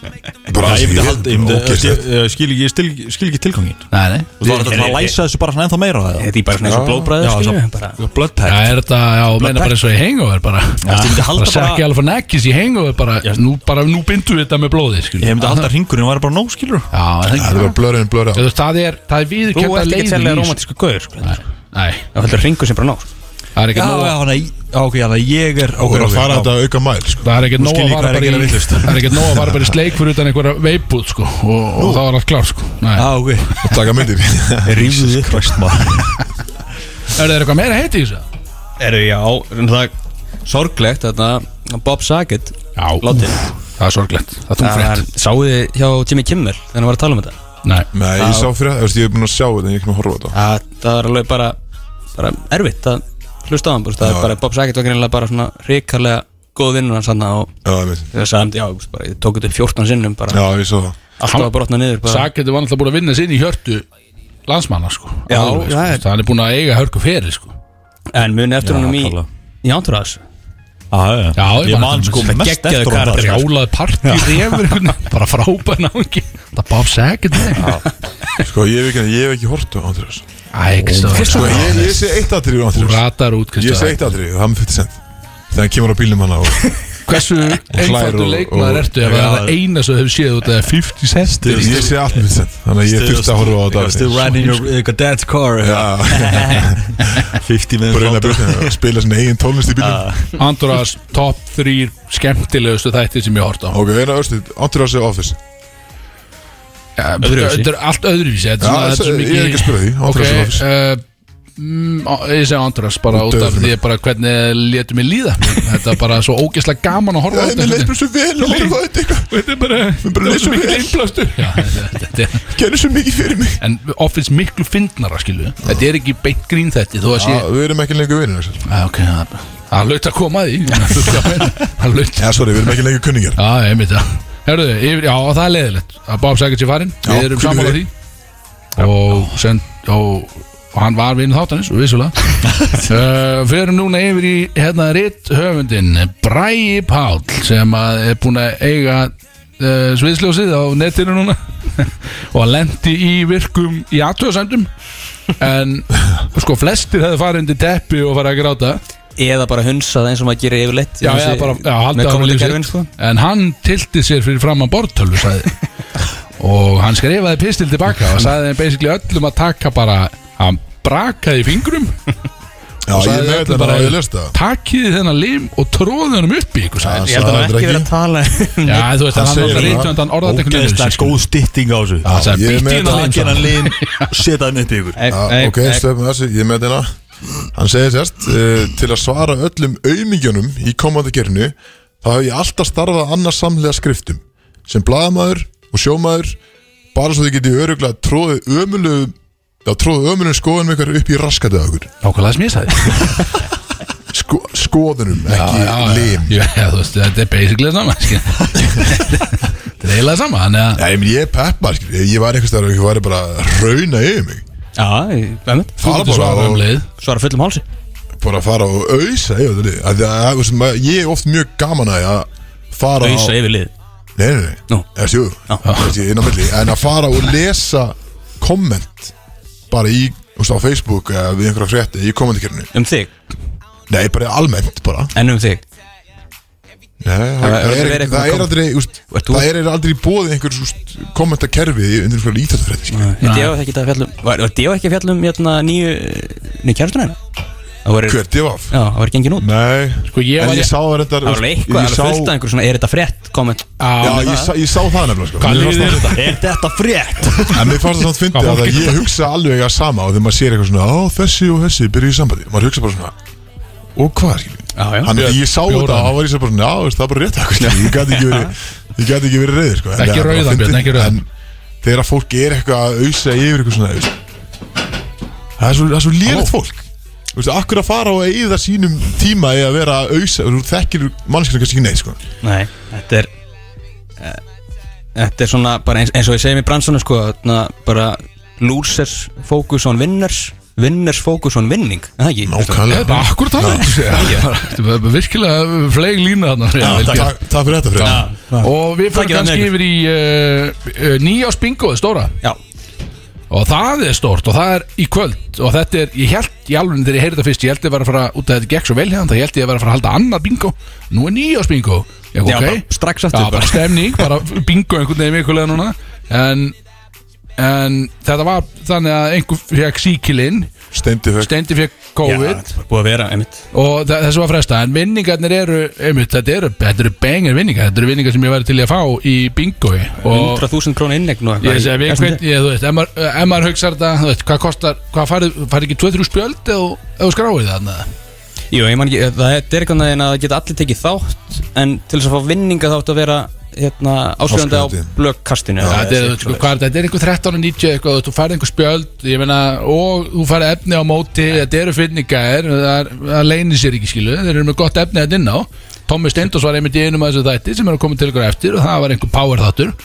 S1: Bara
S3: Já, ég myndi halda, ég myndi,
S1: Ógeðslegt.
S3: ég, ég skil ekki, ég stil, skil ekki tilgangin
S2: Nei, nei
S3: Þú var þetta að læsa þessu bara svona ennþá meira á það
S4: þetta er bara svona eins og blóðbræður
S3: Já,
S4: skilju
S3: svona-
S4: bara
S3: Blood
S2: Já,
S3: pack
S2: er þetta, já, meina bara eins og ég hengu er bara
S3: Ég myndi halda
S2: Það sé ekki
S3: bara-
S2: alveg nekkis, ég hengu er bara Nú bara, nú bindu við þetta með blóðið skilur
S3: Ég myndi alltaf hringurinn var bara nóg, skilur
S2: Já, það er
S1: Það er
S2: ekki
S1: bara blörðin, blörða
S2: Þú veist, Það er, það er
S4: þú
S2: viðurkjönda
S4: ert ekki
S2: leiðin
S4: sérlega
S2: í þessu.
S4: romantísku gaur sko.
S2: Nei, Nei,
S4: þá heldur hringu sem bara nóg sko.
S2: það er ekki
S3: Já,
S2: nóg
S3: já, hann að, já, ok, hann að ég er
S1: Og er að fara
S3: já.
S1: þetta auka mæl sko.
S2: Það er ekki
S3: Nú
S2: nóg að
S3: skil ég
S2: fara
S3: hvað er
S2: bara
S3: að gera sko.
S2: í
S3: vitlaust.
S2: Það er ekki nóg að fara bara í sleik fyrir utan einhverja veipúð sko og, og þá er allt klár sko Nei.
S3: Já, ok,
S1: Taka myndir
S3: rífðu þið Christ, maður.
S2: Er það eitthvað meira heiti í þessu?
S4: eru já en það er sorglegt þetta Bob Saget
S2: Já,
S4: Látið.
S2: úff, það er sorglegt Það er þungfrétt
S4: sáuði hjá Jimmy Kimmel þegar hann var að tala um þetta
S2: Nei,
S1: Nei, ég sá fyrir það Þú veist, Ég hef búin að sjá þetta en Ég er ekki með að horfa á þetta
S4: að það var alveg bara, bara erfitt að hlusta á hann bara, það
S1: Já.
S4: er bara Bob Saget var greinilega bara svona ríkarlega góð vinnur hans hann og
S1: Já, ég veit.
S4: þegar sagði hann, já, þú veist, bara, ég tók þetta upp 14 sinnum bara,
S1: Já, ég sá það
S4: allt var að brotna niður bara,
S2: Saketu var náttúrulega búin að vinna sér inn í hjörtu landsmanna sko
S4: Já,
S2: Alveg, sko.
S4: það er-
S2: Það hann er búin að eiga hörku fyrir sko
S4: en muni eftir
S3: Já,
S4: honum í,
S3: klálega.
S4: í ántrúðas
S3: Já, já,
S2: Já, ég
S3: Ég
S2: man
S3: man
S2: eftir
S3: sko
S2: honum.
S3: mest
S4: Geggjaður
S3: eftir honum
S4: karakter,
S3: þar, sko.
S2: Brjálaði partí reyfur einhvern
S3: (laughs)
S2: veginn, Bara frábær náðingi Það er Bob Saget
S1: Sko, ég hef ekki, ég hef ekki hort á Andrés
S2: Æ,
S1: Sko,
S2: Kristofur
S1: ég, ég sé eitt atrið á
S2: Þú
S1: Andrés
S2: ratar út
S1: Ég sé
S2: Kristofur
S1: eitt atrið, það er með 50 cent Þegar hann kemur á bílnum hana og
S2: Hversu einfaldur
S1: og-
S2: leikmaður
S1: og-
S2: ertu Ef
S3: Já.
S2: það er eina sem þú hefur séð út af 50 cent
S3: Still-
S1: Ég sé allt með 50 cent Þannig að ég þurfti að horfa á þetta
S3: Still riding in your your dad's car
S1: Já,
S3: (laughs) 50 minutes
S1: bara reyna að spila sinna eigin tónlist í bílnum
S2: Andorras top 3 skemmtilegustu þætti sem ég hort á
S1: Ok, eina örstuð, Andrés er Office
S2: Ja,
S4: Öðruvísi.
S2: Þetta er allt öðruvísi Þetta
S1: Já,
S2: er svona- þetta er svo
S1: ég er
S2: mikið
S1: ekki að spyrja því, András er Office.
S2: Ok uh, mm, á- Ég segi Andras bara út af
S1: dauður.
S2: því bara hvernig létu mig líða Þetta er bara svo ógeðslega gaman að
S1: Já,
S2: horfa á
S1: mér leist mér svo vel að horfa á þetta eitthvað
S2: Þetta er bara
S1: bara leið svo vel.
S2: einblastu Já, þetta- þetta er
S1: Gerðu svo mikið fyrir mig
S2: En Office miklu fyndnara skilu Þetta er ekki beint grín þetta Þú að sé
S1: Já, við erum ekki lengur vinir Axel.
S2: Já, ok, það- Það laut að koma að
S1: (laughs)
S2: því Það þurfti að meina, Það laut
S1: Já, sorry, við erum ekki lengur kunningjar
S2: Já, ég myndi það Herðu, yfir, já, það er leiðilegt að Bob Saget sé farinn,
S1: Já,
S2: við erum
S1: hvílum
S2: sammála
S1: við.
S2: því og, send, og, og hann var vinnu þáttanins, vissulega uh, Við erum núna yfir í hérna ritt höfundin Bræi Pál sem að er búin að eiga uh, sviðsljósið á netinu núna (laughs) og lendi í virkum í aðtöðsendum en sko flestir hefði farið undir teppi og farið að gráta
S4: eða bara hunsa það eins og maður gerir yfirleitt
S2: Já, eða bara já, halda
S4: með
S2: áfram líf
S4: komandakerfin
S2: sitt.
S4: sko.
S2: En hann tilti sér fyrir fram að bortölu sagði.
S1: (laughs)
S2: og hann skrifaði pistil tilbaka og sagði þeim basically öllum að taka bara hann brakaði í fingrum
S1: Já, ég
S2: sagði
S1: með
S2: öllum
S1: þetta
S2: bara-
S1: bara að ég lest það
S2: takiði þennan lim og tróði hann upp í ykkur sagði.
S1: Já,
S4: ég held að hann
S1: Sagði
S4: ekki
S1: þetta
S4: verið að (laughs) tala um
S2: Já, þú veist,
S1: Hann
S2: hann var
S1: segir
S2: alltaf
S1: það.
S2: rítjönd hann orðaði ekki
S3: Ógeðslega góð stytting á þessu
S2: Það sagði,
S1: ég er
S2: "Bíddu
S1: með
S2: hérna
S1: þetta.
S2: lim,
S3: Takk hennan
S2: sagði
S3: (laughs) lin Seta hann upp í ykkur
S1: Já, ok, stöfum þessu, ég með þetta Hann segir sérst uh, Til að svara öllum auðmingjónum í komandi gerinu þá hef ég alltaf starfað annars samlega skriftum sem blaðamaður og sjómaður bara svo þið getið öruglega tróðið ömulu Já, tróðu ömulum skoðunum ykkar upp í raskatið á okkur
S2: hann. Nákvæmlega sem ég sagði
S1: Sko, Skoðunum, ekki
S2: Já, já,
S1: lim
S2: Já, já, þú veist, þetta er basically það sama skil.
S1: (laughs)
S2: Þetta er eiginlega sama Þannig að
S1: Já, ég, meni, ég er peppar, skil, ég var einhvers staðar og ég var bara að rauna yfir mig
S4: já, ég- einmitt.
S2: þú
S1: Fara
S2: getur svara
S1: bara
S2: um
S1: og,
S2: leið
S4: svara fullum hálsi
S1: bara að fara og auðsa yfir þetta lið Af því að, að, þú veist, maður- Ég er oft mjög gaman að því að fara á
S4: auðsa yfir lið
S1: Nei, nei, nei,
S4: Nú.
S1: þessi jú
S4: Já.
S1: Þessi inn á milli En að fara og lesa komment bara í, þú veist, á Facebook eða við einhverja frétti í komandikirinu
S4: Um þig,
S1: Nei, bara almennt bara
S4: en um þig
S1: Nei, það,
S4: það
S1: það,
S4: verður
S1: er,
S4: verið
S1: það
S4: eitthvað
S1: er aldrei, úst,
S4: Ert þú-
S1: það er aldrei bóðið einhver úst, kommentakerfi undir einhverja íþjóttfrætti skilur við.
S4: Þetta ég var ekki að fjallum Var var Dio ekki að fjallum hérna nýju Nýju kjærstuna hérna Það var,
S1: Hver, divaf?
S4: já, það var gengin út
S1: Nei,
S2: Sko, ég
S1: en
S2: var-
S1: ég sá það reyndar
S4: Það var alveg eitthvað,
S1: ég
S4: alveg
S1: sá,
S4: fullt af einhver svona Er þetta frétt komment
S1: Já,
S2: Já,
S1: ég sá, ég sá það nefnilega sko.
S2: Hvað
S1: Mér fannst
S2: líður þér
S1: það-
S2: þetta?
S3: Er þetta frétt?
S1: En mér fannst það samt fyndið
S2: Hvað
S1: að
S2: fólk
S1: ég hugsa alveg að sama og þegar maður sér eitthvað svona, á þessi og þessi byrju í sambandi, maður hugsa bara svona og hvað skilur
S2: Já, já.
S1: Þannig að ég sá
S2: Bjór-
S1: þetta og þá var ég sér bara svona, já, veist, það er bara rétt eitthvað, skilur. ég gæti ekki
S2: (laughs)
S1: verið ég gæti ekki verið reyðir sko. En
S2: Ekki
S1: það er bara
S2: rauðan, Björn,
S1: fyndið.
S2: ekki rauðan.
S1: En þegar að fólk er eitthvað að ausa yfir eitthvað svona veist, það er svo, það er svo lélegt fólk Þú veist, akkur að fara og eigið það sínum tíma í að vera að ausa, þú þekkir mannskjörn kannski ekki neitt, sko.
S4: Nei, þetta er eh, Þetta er svona bara eins, eins og ég segi mér bransunum sko þarna Bara losers focus on winners Winners focus on winning er Það ekki
S2: Það er
S1: Nákvæmlega.
S2: bara akkur þannig Þetta er bara virkilega fleig lína þarna
S1: Takk takk fyrir þetta, Freyr.
S2: Og við fyrir
S4: Takk fyrir
S2: kannski
S4: það,
S2: yfir í uh, nýjás bingoði stóra
S4: Já,
S2: Og það er stórt og það er í kvöld Og þetta er, ég held í alveg þegar ég heyrði þetta fyrst Ég held ég var að fara, út að þetta gekk svo vel hérna Það held ég að vera að fara að halda annað bingo Nú er nýjás bingo Já,
S4: Já,
S2: ok.
S4: bara strax aftur
S2: Já, bara
S4: bara.
S2: stemning, bara bingo einhvern veginn vikulega núna En, en þetta var þannig að einhver fekk síkilinn
S1: Steindi fekk
S2: Steindi fekk
S4: já
S2: COVID
S4: þetta er bara búið að vera einmitt
S2: og þa- þessu var fresta en vinningarnir eru, einmitt, þetta eru, þetta eru bengar vinningar, þetta eru vinningar sem ég væri til í að fá í bingoi og
S4: 100.000 krónu innegn og
S2: ég
S4: eitthvað
S2: segi, ég,
S4: Erstu
S2: hvern,
S4: þetta?
S2: ég, þú veist, ef maður- ef maður hugsar þetta, þú veist, hvað kostar hvað farið, farið ekki 2-3 spjöld eða eða þú skráið það þarna?
S4: Jú, ég man ekki, eh, það er eitthvað neginn að það geta allir tekið þátt En til þess að fá vinninga þá áttu að vera hérna, áskrifandi á
S1: Áskrifandi.
S4: blökkastinu
S2: Þetta sko. er, þú veist, hvað er þetta? þetta er einhver 13 og 90 eitthvað, þú veist, þú farið einhver spjöld ég meina, og þú farið efni á móti þetta eru finningar, það, er- það leynir sér ekki skilu, þeir eru með gott efni þetta inn á Tommi Steindos var einmitt í einum að þessu þætti sem er að koma til ykkur eftir og það var einhver power þáttur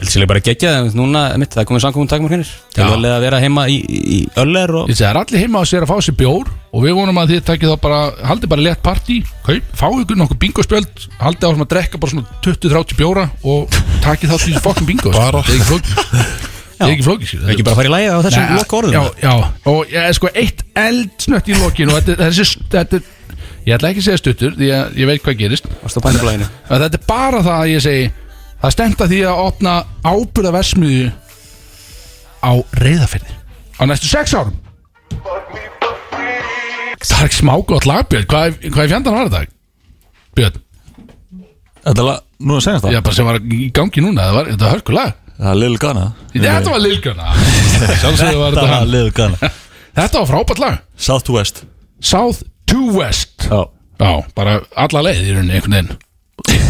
S4: Elsileg bara gegja það, núna, mitt, það er komið samkominn takmur hinnir Til
S2: Já.
S4: að að vera heima í, í, í öller og
S2: Ég segi, það er allir heima á sér að fá sér bjór og við vonum að þið takkið þá bara, haldið bara létt partí, kaup, fá ykkur nokkuð bingospjöld, haldið áfram að drekka bara svona 20-30 bjóra og takkið þá til þessu fokkin bingo. sko.
S1: Bara.
S2: Það er ekki flókið. Það
S4: (laughs)
S2: er ekki flókið, skilur.
S4: Það er ekki bara að fara í lægið á þessum
S2: Nei,
S4: loka orðum
S2: Já, já, og ég er sko eitt eldsnött í lokinu og þetta, þessi, þetta, er- ég ætla ekki að segja stuttur því að ég veit hvað gerist
S4: Varstu á bændablæginu
S2: að þetta er bara það að ég segi það stemta því að opna ábyrða versmiðu á reyðafyrði á næstu sex árum Það er ekki smá gott lag Björn, hvað, hvað er fjandan var þetta? Björn,
S3: Þetta er lag, nú að segja það
S2: ég bara sem var í gangi núna það var, þetta var hörku lag
S3: Það er Lil Gana
S2: Þetta var (laughs) Lilgjörna Sjálfsögðu var þetta hann
S3: Lil Gana
S2: Þetta var frábært lag
S3: Southwest
S2: South to West
S3: Já
S2: Já, bara alla leið í rauninni einhvern veginn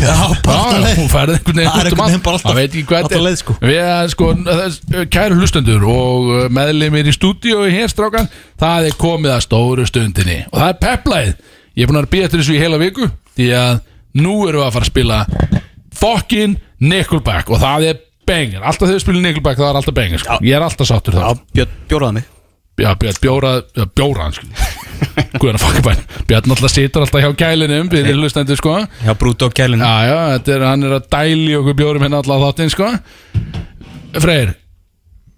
S3: Já, bara
S2: Já, hún færði einhvern veginn
S3: Það
S2: út
S3: er
S2: um allt.
S3: einhvern veginn bara alltaf-
S2: Það veit ekki hvað
S3: alltaf
S2: þetta er.
S3: leið, sko.
S2: Við erum sko, þess- kæru hlustendur og uh, meðlimir í stúdíói hér strákan Það er komið að stóru stundinni Og það er peplæð Ég er búin að býja eftir þessu í heila viku Því að nú erum við að fara að spila Fokkin Nickelback Og það er bengir Alltaf þegar við spilum Nickelback það er alltaf bengir sko. Ég er alltaf sáttur það
S4: Björn bjóraði mig
S2: Já, Björn bjóra, já, bjóra
S3: (laughs)
S2: hann skilur Guðan að fokka bæn Björn alltaf situr alltaf hjá kælinum Byrðir hlustandi sko
S4: Já, brúti á kælinu
S2: Já, já, þetta er, hann er að dæli okkur bjórum hérna alltaf þáttinn sko Freyr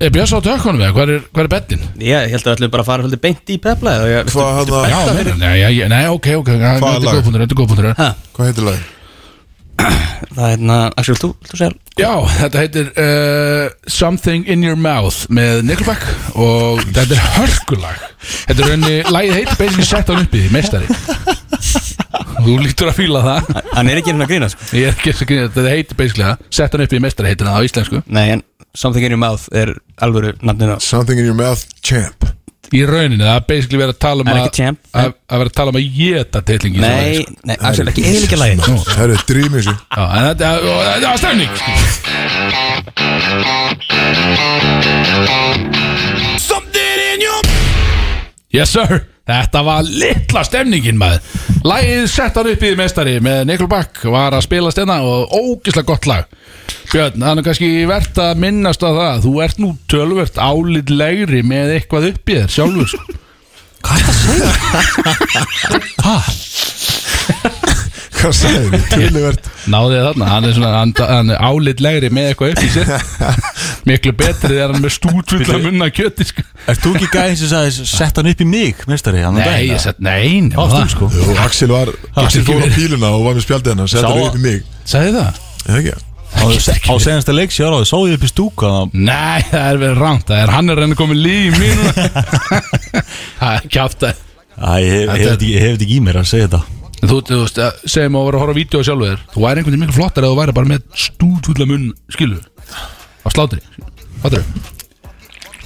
S2: Er Björn svo á tökkunum við? Hvað er, hvað er bettin?
S4: Ég held að við ætlum bara að fara svolítið beint í peflaðið og ég-
S1: Hvað, hérna-
S2: Já, meira, nei, já, já, nei, ok, ok, ok
S1: Hvaða
S2: Þetta
S1: lag?
S2: er góðbundur, þetta er góðbundur
S4: Ha,
S1: hvað heitir lagið?
S4: Það er hérna, Axel, þú, þú segja
S2: Já, þetta heitir uh, Something in your mouth með Nickelback og þetta er hörkulag Þetta er henni, lagið heitir basically sett hann upp í því, meistari Þú lítur að fíla það
S4: Hann er ekki hérna að grína, sko
S2: Ég er ekki að grínast, þetta heitir basically það Sett hann upp í meistari heitir það á íslensku
S4: Nei, en Something in your mouth er alvöru nafninu á
S1: Something in your mouth, champ
S2: Í rauninni, það er basically verið að tala um
S4: Hann er
S2: að
S4: ekki champ.
S2: að að vera að tala um að geta titlingi sko.
S4: Nei, nei, Axel, ekki eðlíkja lægin
S1: Það eru drýmið þessu
S2: Já, en þetta og þetta var sko. stefning Yes sir, þetta var litla stemningin maður Lagið sett hann upp í því mestari með Nikol Bakk var að spila stefna og ógislega gott lag Björn, þannig kannski verðt að minnast á það Þú ert nú tölvert álitlegri með eitthvað upp í þér sjálfur sko.
S3: Hvað er það að segja?
S1: hvað sagði
S2: (laughs)
S1: þið, töluvert
S2: Náði þið þarna, hann er svona hann, hann er álitlegri með eitthvað upp í sér (laughs) Miklu betri þegar hann er með stútfulla munna af kjöti sko.
S3: Er þú ekki gæðin sem sagði sett hann upp í mig, minnstari?
S2: Nei, ég sett, nei, nema
S3: Ástu,
S2: það
S3: sko.
S1: Jú, Axel var, Axel
S2: ekki
S1: fór á
S2: verið.
S1: píluna og var með spjaldið hennar
S3: Sá
S1: Settur
S3: að-
S1: upp í mig,
S2: Sagði það?
S1: eða ekki?
S3: Á, á senasta leik sér áður, sá ég upp í stúka þannig
S2: Nei, það er verið rangt Það er hann er reyna komið líf í mínu (laughs) Það er kjátt að
S3: að ég hef- hef þetta ekki- ég hef þetta ekki í mér að segja þetta
S2: Þú, þú veist, að- segjum að vera að horfa á vídeo sjálfur þér Þú væri einhvern veginn miklu flottar eða þú væri bara með stútfulla munn skilu á slátri Fattar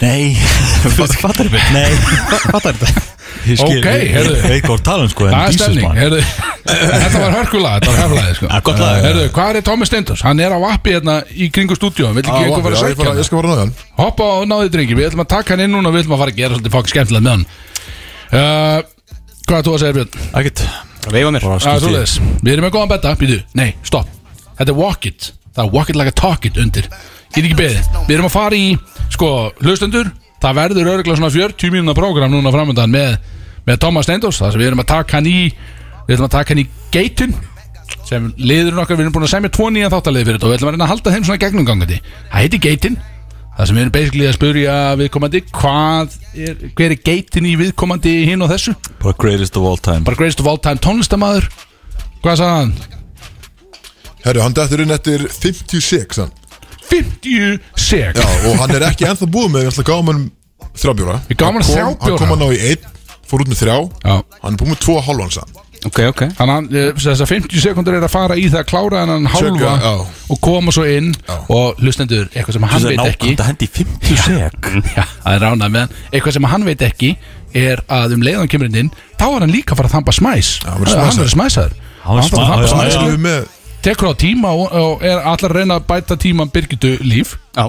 S3: Nei (laughs) Fattar þetta? Nei Fattar þetta?
S2: Ok, heyrðu.
S3: Veit hvað þú tala um sko en
S2: Það er
S3: Jesus,
S2: stemning,
S3: man.
S2: heyrðu (laughs) Þetta var hörkulag, þetta var hörkulag sko.
S3: Ja, gott lag.
S2: Heyrðu, hvað er Tómi Steindors? Hann er á vappi hérna í kringu stúdíum Vill
S1: Á,
S2: ekki
S1: já,
S2: einhver fara að
S1: ég,
S2: sækja
S1: fara, ég
S2: hann?
S1: skal fara að náða hann
S2: Hoppa og náði drengi, við ætlum að taka hann inn núna og við ætlum að fara að gera svolítið fokk skemmtilega með hann uh, Hvað er þú að segja Björn?
S3: Ekkert
S4: Veifa mér
S3: Bara
S2: Já,
S3: skipti-
S2: svoleiðis. Við erum með góðan betta, býtu, nei, stopp Þetta er walk it, það er walk it like a talk it undir Get ekki beðið, við erum að fara í Sko, hlustendur, það verður örgulega svona 40 mínúna prógram núna framöndan með, með Thomas Steindós, það sem við erum að taka hann í Við ætlum að taka hann í geitin sem liðurinn okkar, við erum búin að semja tvo nýjan þáttarlið fyrir þetta og við ætlum að reyna að halda þeim svona gegnumgangandi Það heiti geitin, það sem við erum basically að spurja viðkomandi hvað er, hver er geitin í viðkomandi hinn og þessu
S3: Bara greatest of all time
S2: bara greatest of all time tónlistamæður hvað sagði hann?
S1: Herru, hann dættur inn eftir 56 hann.
S2: 56
S1: Já, og hann er ekki ennþá búið með Þannig að gáum hann þrjábjóra
S2: Ég gáum hann þrjá bjóra.
S1: Hann kom hann á í einn, fór út með þrjá
S2: Já.
S1: Hann er búið með tvo hálfan sann
S4: Ok, ok
S2: þannig hann, eh, þessar 50 sekundur er að fara í það að klára hennan hálfa
S1: Cirka, já.
S2: og koma svo inn og hlustendur eitthvað sem hann veit ekki
S3: Þetta hendi í 50 sek
S2: (laughs) já, það er ránað með hann eitthvað sem hann veit ekki er að um leiðan kemur hann inn þá er hann líka að fara að þamba smæs
S1: hann verður smæsaður.
S2: hann verður smæsaður
S3: Hann verður
S2: Hann þarf að
S3: smæ-
S2: þamba
S3: já,
S2: smæs,
S1: Hann
S3: já.
S2: skilur.
S1: er með
S2: tekur á tíma og, og er allar að reyna að bæta tíman Birgitu líf
S4: Já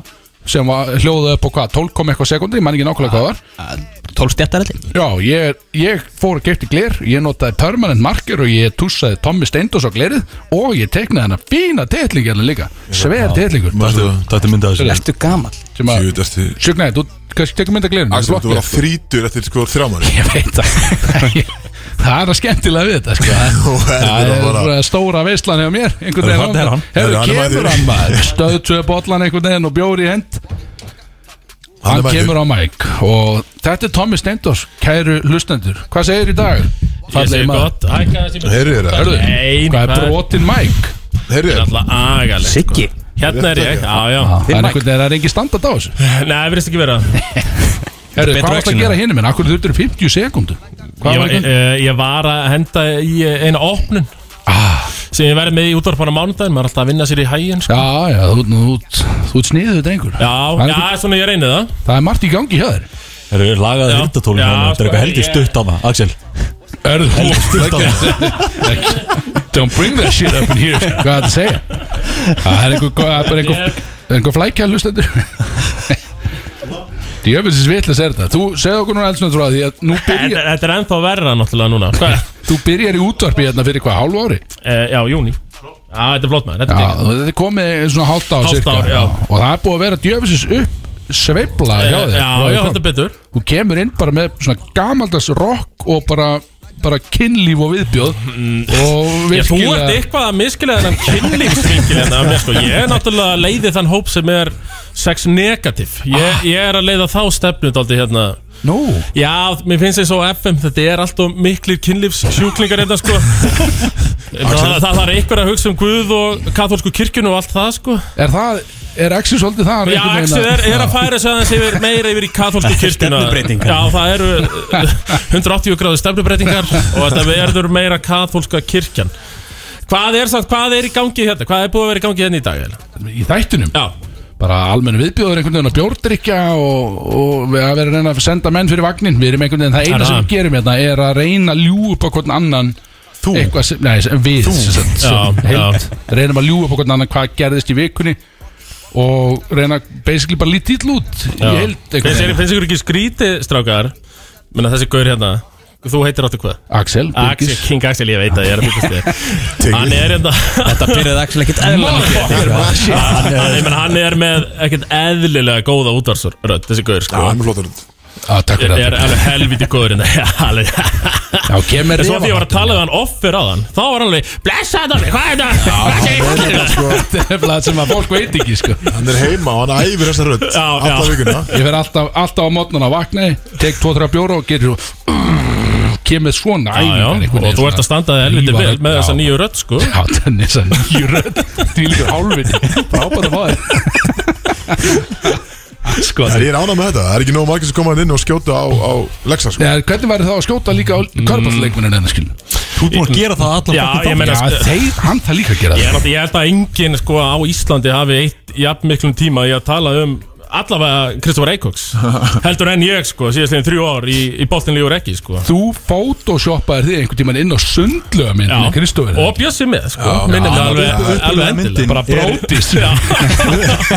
S2: sem var hljóðað upp á hvað 12 kom eitthvað sekundi, ég man ekki nákvæmlega hvað það var
S4: 12 stjættar allir
S2: Já, ég, ég fór að geta gler, ég notaði permanent marker og ég tússaði Tommy Steindós á glerið og ég teknaði hennar fína titlingi hennar líka, sver titlingur
S3: Þetta er myndað þessu
S4: Ertu gamal?
S2: sem að,
S1: Sjúið eftir
S2: sjögnaði, þú kannski tekur mynda glerinu
S1: Axel, þú var að þrítur eftir sko þrjámanni
S2: Ég veit
S1: (laughs)
S2: það Ég- Það er að skemmtilega við þetta sko.
S1: Nú er
S2: Það
S1: þetta bara-
S2: er stóra veislan hjá mér einhvern
S3: Þarna er hann.
S1: Þarna er
S2: veginn Hefur
S1: hann
S2: kemur
S1: mættur.
S2: hann maður Stöðtöð bollan einhvern veginn og bjóri í hend
S1: Hann er
S2: Hann
S1: mættur.
S2: kemur á mæk Og þetta er Tommy Steindors Kæru hlustendur Hvað segir í dag?
S5: Ég
S2: Fallegi
S5: segi
S2: maður.
S5: gott, hækka þessi með
S1: Heyrðu þér það?
S2: Hörðu,
S5: Nei,
S2: hvað er
S5: hvað er-
S2: brotin mæk?
S1: Heyrðu
S5: Það er
S1: þér
S5: alltaf agalegt Siggi Hérna er ég, já já
S2: Það er Ah. einhvern veginn, það er engin standard á þessu
S5: Nei, það verðist ekki vera
S2: Herru,
S3: betra
S2: hvað varst að
S3: action,
S2: gera hérna? hinn minn? Akkur þurftur 50 sekundum Hvað
S5: ég,
S2: var
S5: var-
S2: einhvern?
S5: eh, ég var að henda í eh, eina opnun
S2: Ah.
S5: sem ég verði með í útvarpan á mánudaginn maður er alltaf að vinna sér í hæginn sko.
S2: Já, já, þú, þú, þú, þú ert sniðuð drengur
S5: Já,
S2: Það er
S5: já,
S2: einhvern-
S5: svona ég reyni það
S2: Það er margt í gangi hjá þér
S3: Þeir eru lagaði
S5: Já.
S3: hirdatólum
S5: Já,
S3: Þetta er
S5: sko,
S3: eitthvað heldur
S5: ég-
S3: stutt á það Axel
S2: Erðu (laughs)
S3: Stutt á það
S2: Don't bring that shit up in here Hvað er þetta að segja? Það er einhver, það er bara einhver, einhver flækja hlustendur Djöfelsins vitlis er þetta Þú segðu okkur núna eldsnöð frá því að nú
S5: En
S2: byrjar
S5: Þetta er ennþá verra náttúrulega núna Hvað?
S2: Þú byrjar í útvarpi hérna fyrir hvað, hálfu ári?
S5: Eh, Já, júni Já, þetta er flott maður, þetta
S2: Já,
S5: er tekið
S2: þú- þetta er komið svona hálft ár
S5: Hálft
S2: cirka.
S5: ár, já.
S2: Og það er búið að vera djöfelsins upp sveifla hjá
S5: Eh,
S2: þér
S5: Já,
S2: frá því
S5: já,
S2: kom.
S5: þetta er betur
S2: Þú kemur inn bara með svona gamaldags rock og bara, bara kynlíf og viðbjóð og
S5: Mm, eh, Já, þú
S2: virkilega
S5: ert eitthvað að miskilega þennan kynlífsvinkil en það, sko, ég er náttúrulega að leiði þann hóp sem er sex negativ
S2: Ah.
S5: ég, ég er að leiða þá stefnu daldi hérna
S2: Nú,
S5: Já, mér finnst þess á FM, þetta er alltaf miklir kynlífssjúklingar hérna (laughs) sko það, það þarf einhver að hugsa um Guð og katholsku kirkjun og allt það sko
S2: er það Er Axel svolítið það?
S5: Já,
S2: einhvern veginn
S5: Axel er, er að færa sig aðeins yfir, meira yfir í (laughs) katholsku kirkjuna
S3: Stefnubreytingar.
S5: Já, það eru eh, 180 gráðu stefnubreitingar og þetta verður meira katholska kirkjan Hvað er, samt, hvað er í gangi hérna? Hvað er búið að vera í gangi hérna í dag? eiginlega?
S2: Í þættinum
S5: Já,
S2: Bara almennu viðbjóður einhvern veginn að bjórdrykja og, og við að vera að reyna að senda menn fyrir vagnin Við erum einhvern veginn, það
S5: Er
S2: eina sem
S5: það?
S2: við gerum hérna er að reyna að ljú upp á hvern annan Þú? Eitthvað sem, nei, sem- við sem sagt, sem
S5: Já,
S2: heild. Reynum að ljú upp á hvern annan hvað gerðist í vikunni og reyna basically bara lítið út í
S5: já.
S2: heild einhvern
S5: Finnst
S2: veginn.
S5: finnst ykkur ekki skríti, strákar Menna þessi gaur hérna Þú heitir áttu hvað?
S2: Axel,
S5: Axel,
S2: Birgis
S5: King Axel, ég veit að ég er að byggast þig Hann er hérna
S4: Þetta byrjaði Axel (laughs) ekkert eðlilega
S5: (laughs) Hann- Ég menn, hann er með ekkert eðlilega góða útvarsrödd Þessi gaur,
S1: Já,
S5: sko
S1: hann er flottur
S2: Já, takk fyrir
S5: er
S2: þetta
S5: alveg helviti góður (laughs) en það alveg
S2: Já, kemur
S5: En svo því ég var að
S2: refahátturinn.
S5: tala um- við hann offer á þann Þá var hann alveg, blessa þetta, hvað er þetta? Hvað segir allir þetta?
S2: Þetta er nefnilega (laughs) það sem að fólk veit ekki sko.
S1: Hann er heima og hann æfir þessa rödd
S5: Já,
S1: Alla
S5: já.
S1: vikuna
S2: Ég fer alltaf, alltaf á mótnana vakna Tek 2-3 bjóra og gerir svo (clears throat) Kemur svona
S5: Já, já,
S2: æfingar einhvern
S5: og
S2: veginn
S5: þú ert
S2: svona.
S5: að standaði helviti
S2: Drífa
S5: vel
S2: rödd,
S5: með
S2: já.
S5: þessa nýju rödd sko
S2: Já, þannig að nýju rödd Því líka hálfinni Frábært að fá
S5: (laughs)
S2: þér Sko,
S1: Það er ég er ánað með þetta, það er ekki nóg margir sem koma hann inn og skjóta á, á Lexa sko.
S2: ja, hvernig væri þá að skjóta líka á Körbáttleikmuninu hennar skil
S3: Þú ert búin að gera það allan
S5: Já,
S3: fucking
S5: Mm. ég meina,
S2: Já,
S5: sko,
S2: þeir, hann það líka að gera
S5: ég, er
S2: það
S5: náttúrulega- ég held að enginn sko á Íslandi hafi eitt jafn miklum tíma í að tala um allavega Kristofar Eikoks heldur enn ég sko, síðastlegin þrjú ár í, í boltinlíu og reggi sko
S2: Þú photoshoppaðir þig einhvern tímann inn á sundlöga minn
S5: Já.
S2: Kristofur
S5: og bjössi með sko, minnum
S3: Já,
S5: það alveg,
S3: upprunalegu
S5: alveg
S3: myndin
S5: endilega bara
S3: er-
S5: brótis já,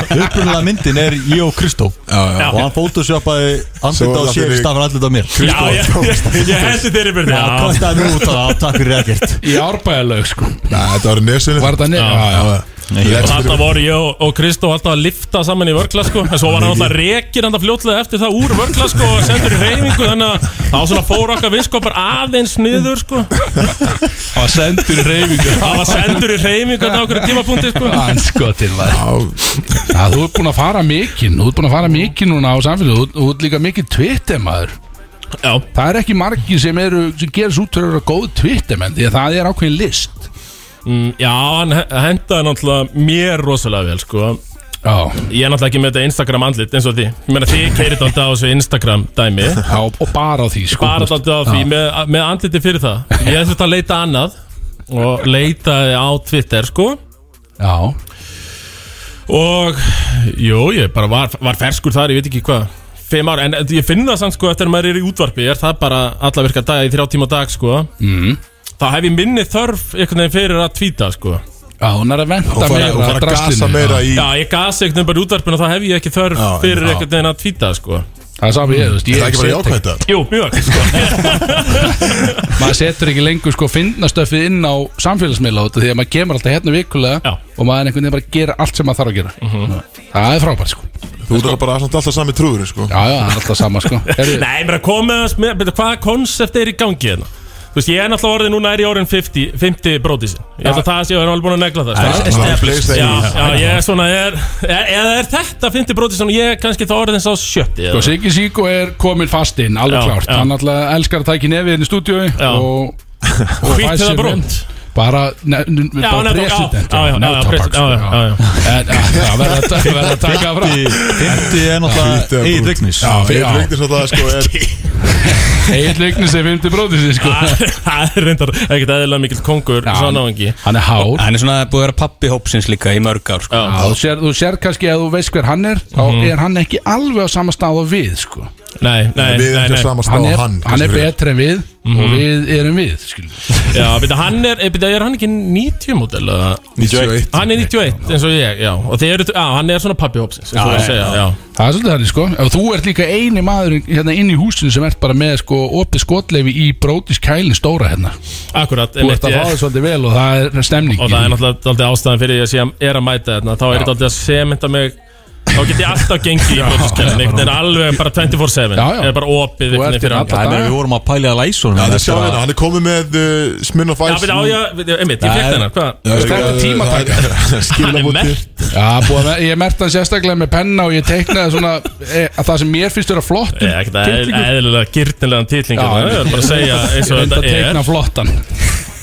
S3: dag Upprunalega myndin er ég og Kristó
S1: já.
S3: Og hann photoshopaði
S1: Svo
S3: andlita á
S1: allt í-
S3: sér í stafan andlita á mér
S5: já, ég, ég hendi þeirri byrði
S3: Já,
S5: já,
S3: kostaði mér út af það, takk fyrir ekkert
S2: Í árbæðalög sko
S1: Nei, þetta var nesinu
S2: Var það nefn? Já, já,
S3: Nei, ég-
S5: Og Alltaf voru ég og, og Kristó alltaf að lifta saman í vörkla sko En svo var hann alltaf rekin hann fljótlega eftir það úr vörkla sko Og sendur í reyningu þannig að það var svona fór okkar vinskopar aðeins niður sko
S2: Það var sendur reyfingu
S5: Það var sendur í reyningu þannig á okkur tímapunkti sko
S2: Anskotin var Já, þú ert búinn að fara mikinn Þú ert búinn að fara mikinn núna á samfélagi Þú, þú ert líka mikinn tvittemaður
S5: Já,
S2: Það er ekki margi sem, eru, sem gerir svo út fyrir að vera góð tvittamenn Því að það er ákveðin list
S5: mm, já hann he- hendaði náttúrulega mér rosalega vel sko
S2: Já,
S5: Ég er náttúrulega ekki með þetta Instagram andlit eins og því Ég meina þið keirir þetta á þessu Instagram
S1: (laughs)
S5: dæmi
S2: já og bara á því sko.
S5: Bara alltaf á því með, með andliti fyrir það Ég þurfti að leita annað Og leitaði á Twitter sko
S2: Já,
S5: Og, jú, ég bara var, var ferskur þar, ég veit ekki hvað Fimm ár, en ég finn það samt sko eftir að maður er í útvarpi Er það bara alla virka dag í þrjá tíma á dag sko
S2: mm.
S5: Þá hef ég minni þörf einhvern veginn fyrir að tvíta sko
S2: já hún er að
S1: Og
S2: venda
S1: fara og fara að gasa meira í
S5: Já, ég gasi einhvern veginn bara í útvarpinu og þá hef ég ekki þörf
S1: Já,
S5: fyrir
S1: já.
S5: einhvern veginn að tvíta sko
S2: Það sá við, þú veist,
S1: Það er
S2: ég
S1: ekki bara
S2: set
S1: jákvæmt það
S5: Jú, mjög sko
S2: maður setur ekki lengur sko fyndnastöfið inn á samfélagsmiðla út af því að maður kemur alltaf hérna vikulega
S5: Já. Mhm.
S2: og maður er einhvern veginn bara að gera allt sem maður þarf að gera það er frábært sko
S1: Þú ert bara samt alltaf sami trúður sko.
S2: já já, það er alltaf sama
S5: (laughs)
S2: sko Heru,
S5: Nei, mér að koma með þess með, betur, hvaða konsept er í gangi hérna? Þú veist, ég er náttúrulega orðið núna er í orðin 50, 50 brótisin Ég held að það sé, ég er alveg búin að negla það sko.
S1: Það er fleist
S5: Já,
S1: einu
S5: já, ég er svona, er, er, eða er þetta 50 brótið sem ég er kannski þá orðin sá sjötti
S2: Sko,
S5: eða?
S2: Siggi Siggo er komin fast inn, alveg
S5: Já,
S2: klárt
S5: já.
S2: Hann alltaf elskar að tækja nefið inn í stúdíu
S5: Já. (laughs)
S2: og, og
S5: Hvítt
S2: fær
S5: eða
S2: sér
S5: brúnt?
S2: vel. Bara, ne, ne,
S5: Já,
S2: bara
S5: nei, já,
S2: president
S5: já, já, já,
S2: no topic,
S5: president,
S2: sko,
S5: já, já, já, já.
S2: En, já, Það verður að ta- verður að taka
S5: (laughs)
S2: það frá
S3: Fymti er
S1: Fínt
S3: náttúrulega
S1: eða
S3: Egil
S1: brúnt.
S3: Vignis
S1: Já,
S2: Já.
S1: ég veitir svo það sko er
S2: Egil Vignis er 50 bróðið sér sko
S5: (laughs) Það það er reyndar ekkert eðlilega mikill kongur
S2: Já,
S5: Svona áhengi
S2: Hann er hár
S4: Hann er svona búið að vera pappi hópsins líka í mörg ár sko.
S5: Ah, Já. Mhm.
S2: Já, þú sér, þú sér kannski að þú veist hver hann er þá er hann ekki alveg á sama stað og við sko.
S5: Nei, nei,
S1: Við
S5: nei,
S1: erum
S5: nei.
S1: ekki saman
S2: hann,
S1: stáð
S2: er,
S1: hann
S2: hann, er betri en við og
S5: Mhm.
S2: við erum við skilur.
S5: Já, byrja, hann er, byrja, er hann ekki 90 mótel? Hann
S1: 91
S5: er 91 eins og ég, já Og þeir eru, já, hann er svona pappi hópsins Já, já, segja, já.
S2: það er svolítið þannig sko og þú ert líka eini maður hérna inn í húsinu sem ert bara með sko opið skotleifi í brótis kælin stóra hérna
S5: Akkurat,
S2: þú ert
S5: einmitt,
S2: að fá
S5: ég-
S2: það svolítið vel og það er stemning
S5: Og það er náttúrulega daldið ástæðan fyrir því að ég er að mæta þarna Þá er þetta daldið að sementa mig Þá get ég alltaf gengið í bóttiskelni Það er alveg bara 24-7
S2: Já, já.
S5: Það er bara opið
S2: Þú ert
S5: einhvern veginn fyrir
S2: hérna
S5: alla
S2: alla
S3: Það er
S2: daga
S3: við vorum að pæla að læsa
S1: Það
S3: honum
S1: er sjá hérna, hann er komið með uh, Sminn of
S5: Já,
S1: Ice sko.
S5: byrja, á, ég, byrja, einmitt, ég
S3: Nei.
S5: fekk þennan, hvað?
S1: Það er tímataka
S5: Hann er merkt.
S2: Já, búið, að- ég merti hann sérstaklega með penna og ég teiknaði svona e, að það sem mér finnst vera flott
S5: Ég er ekkert eðl- eðlilega gyrnilegan titling
S2: Já.
S5: hérna, Ég er bara að segja
S2: ég
S5: eins og
S2: reyndi
S5: þetta
S2: að teikna
S5: er
S2: flottan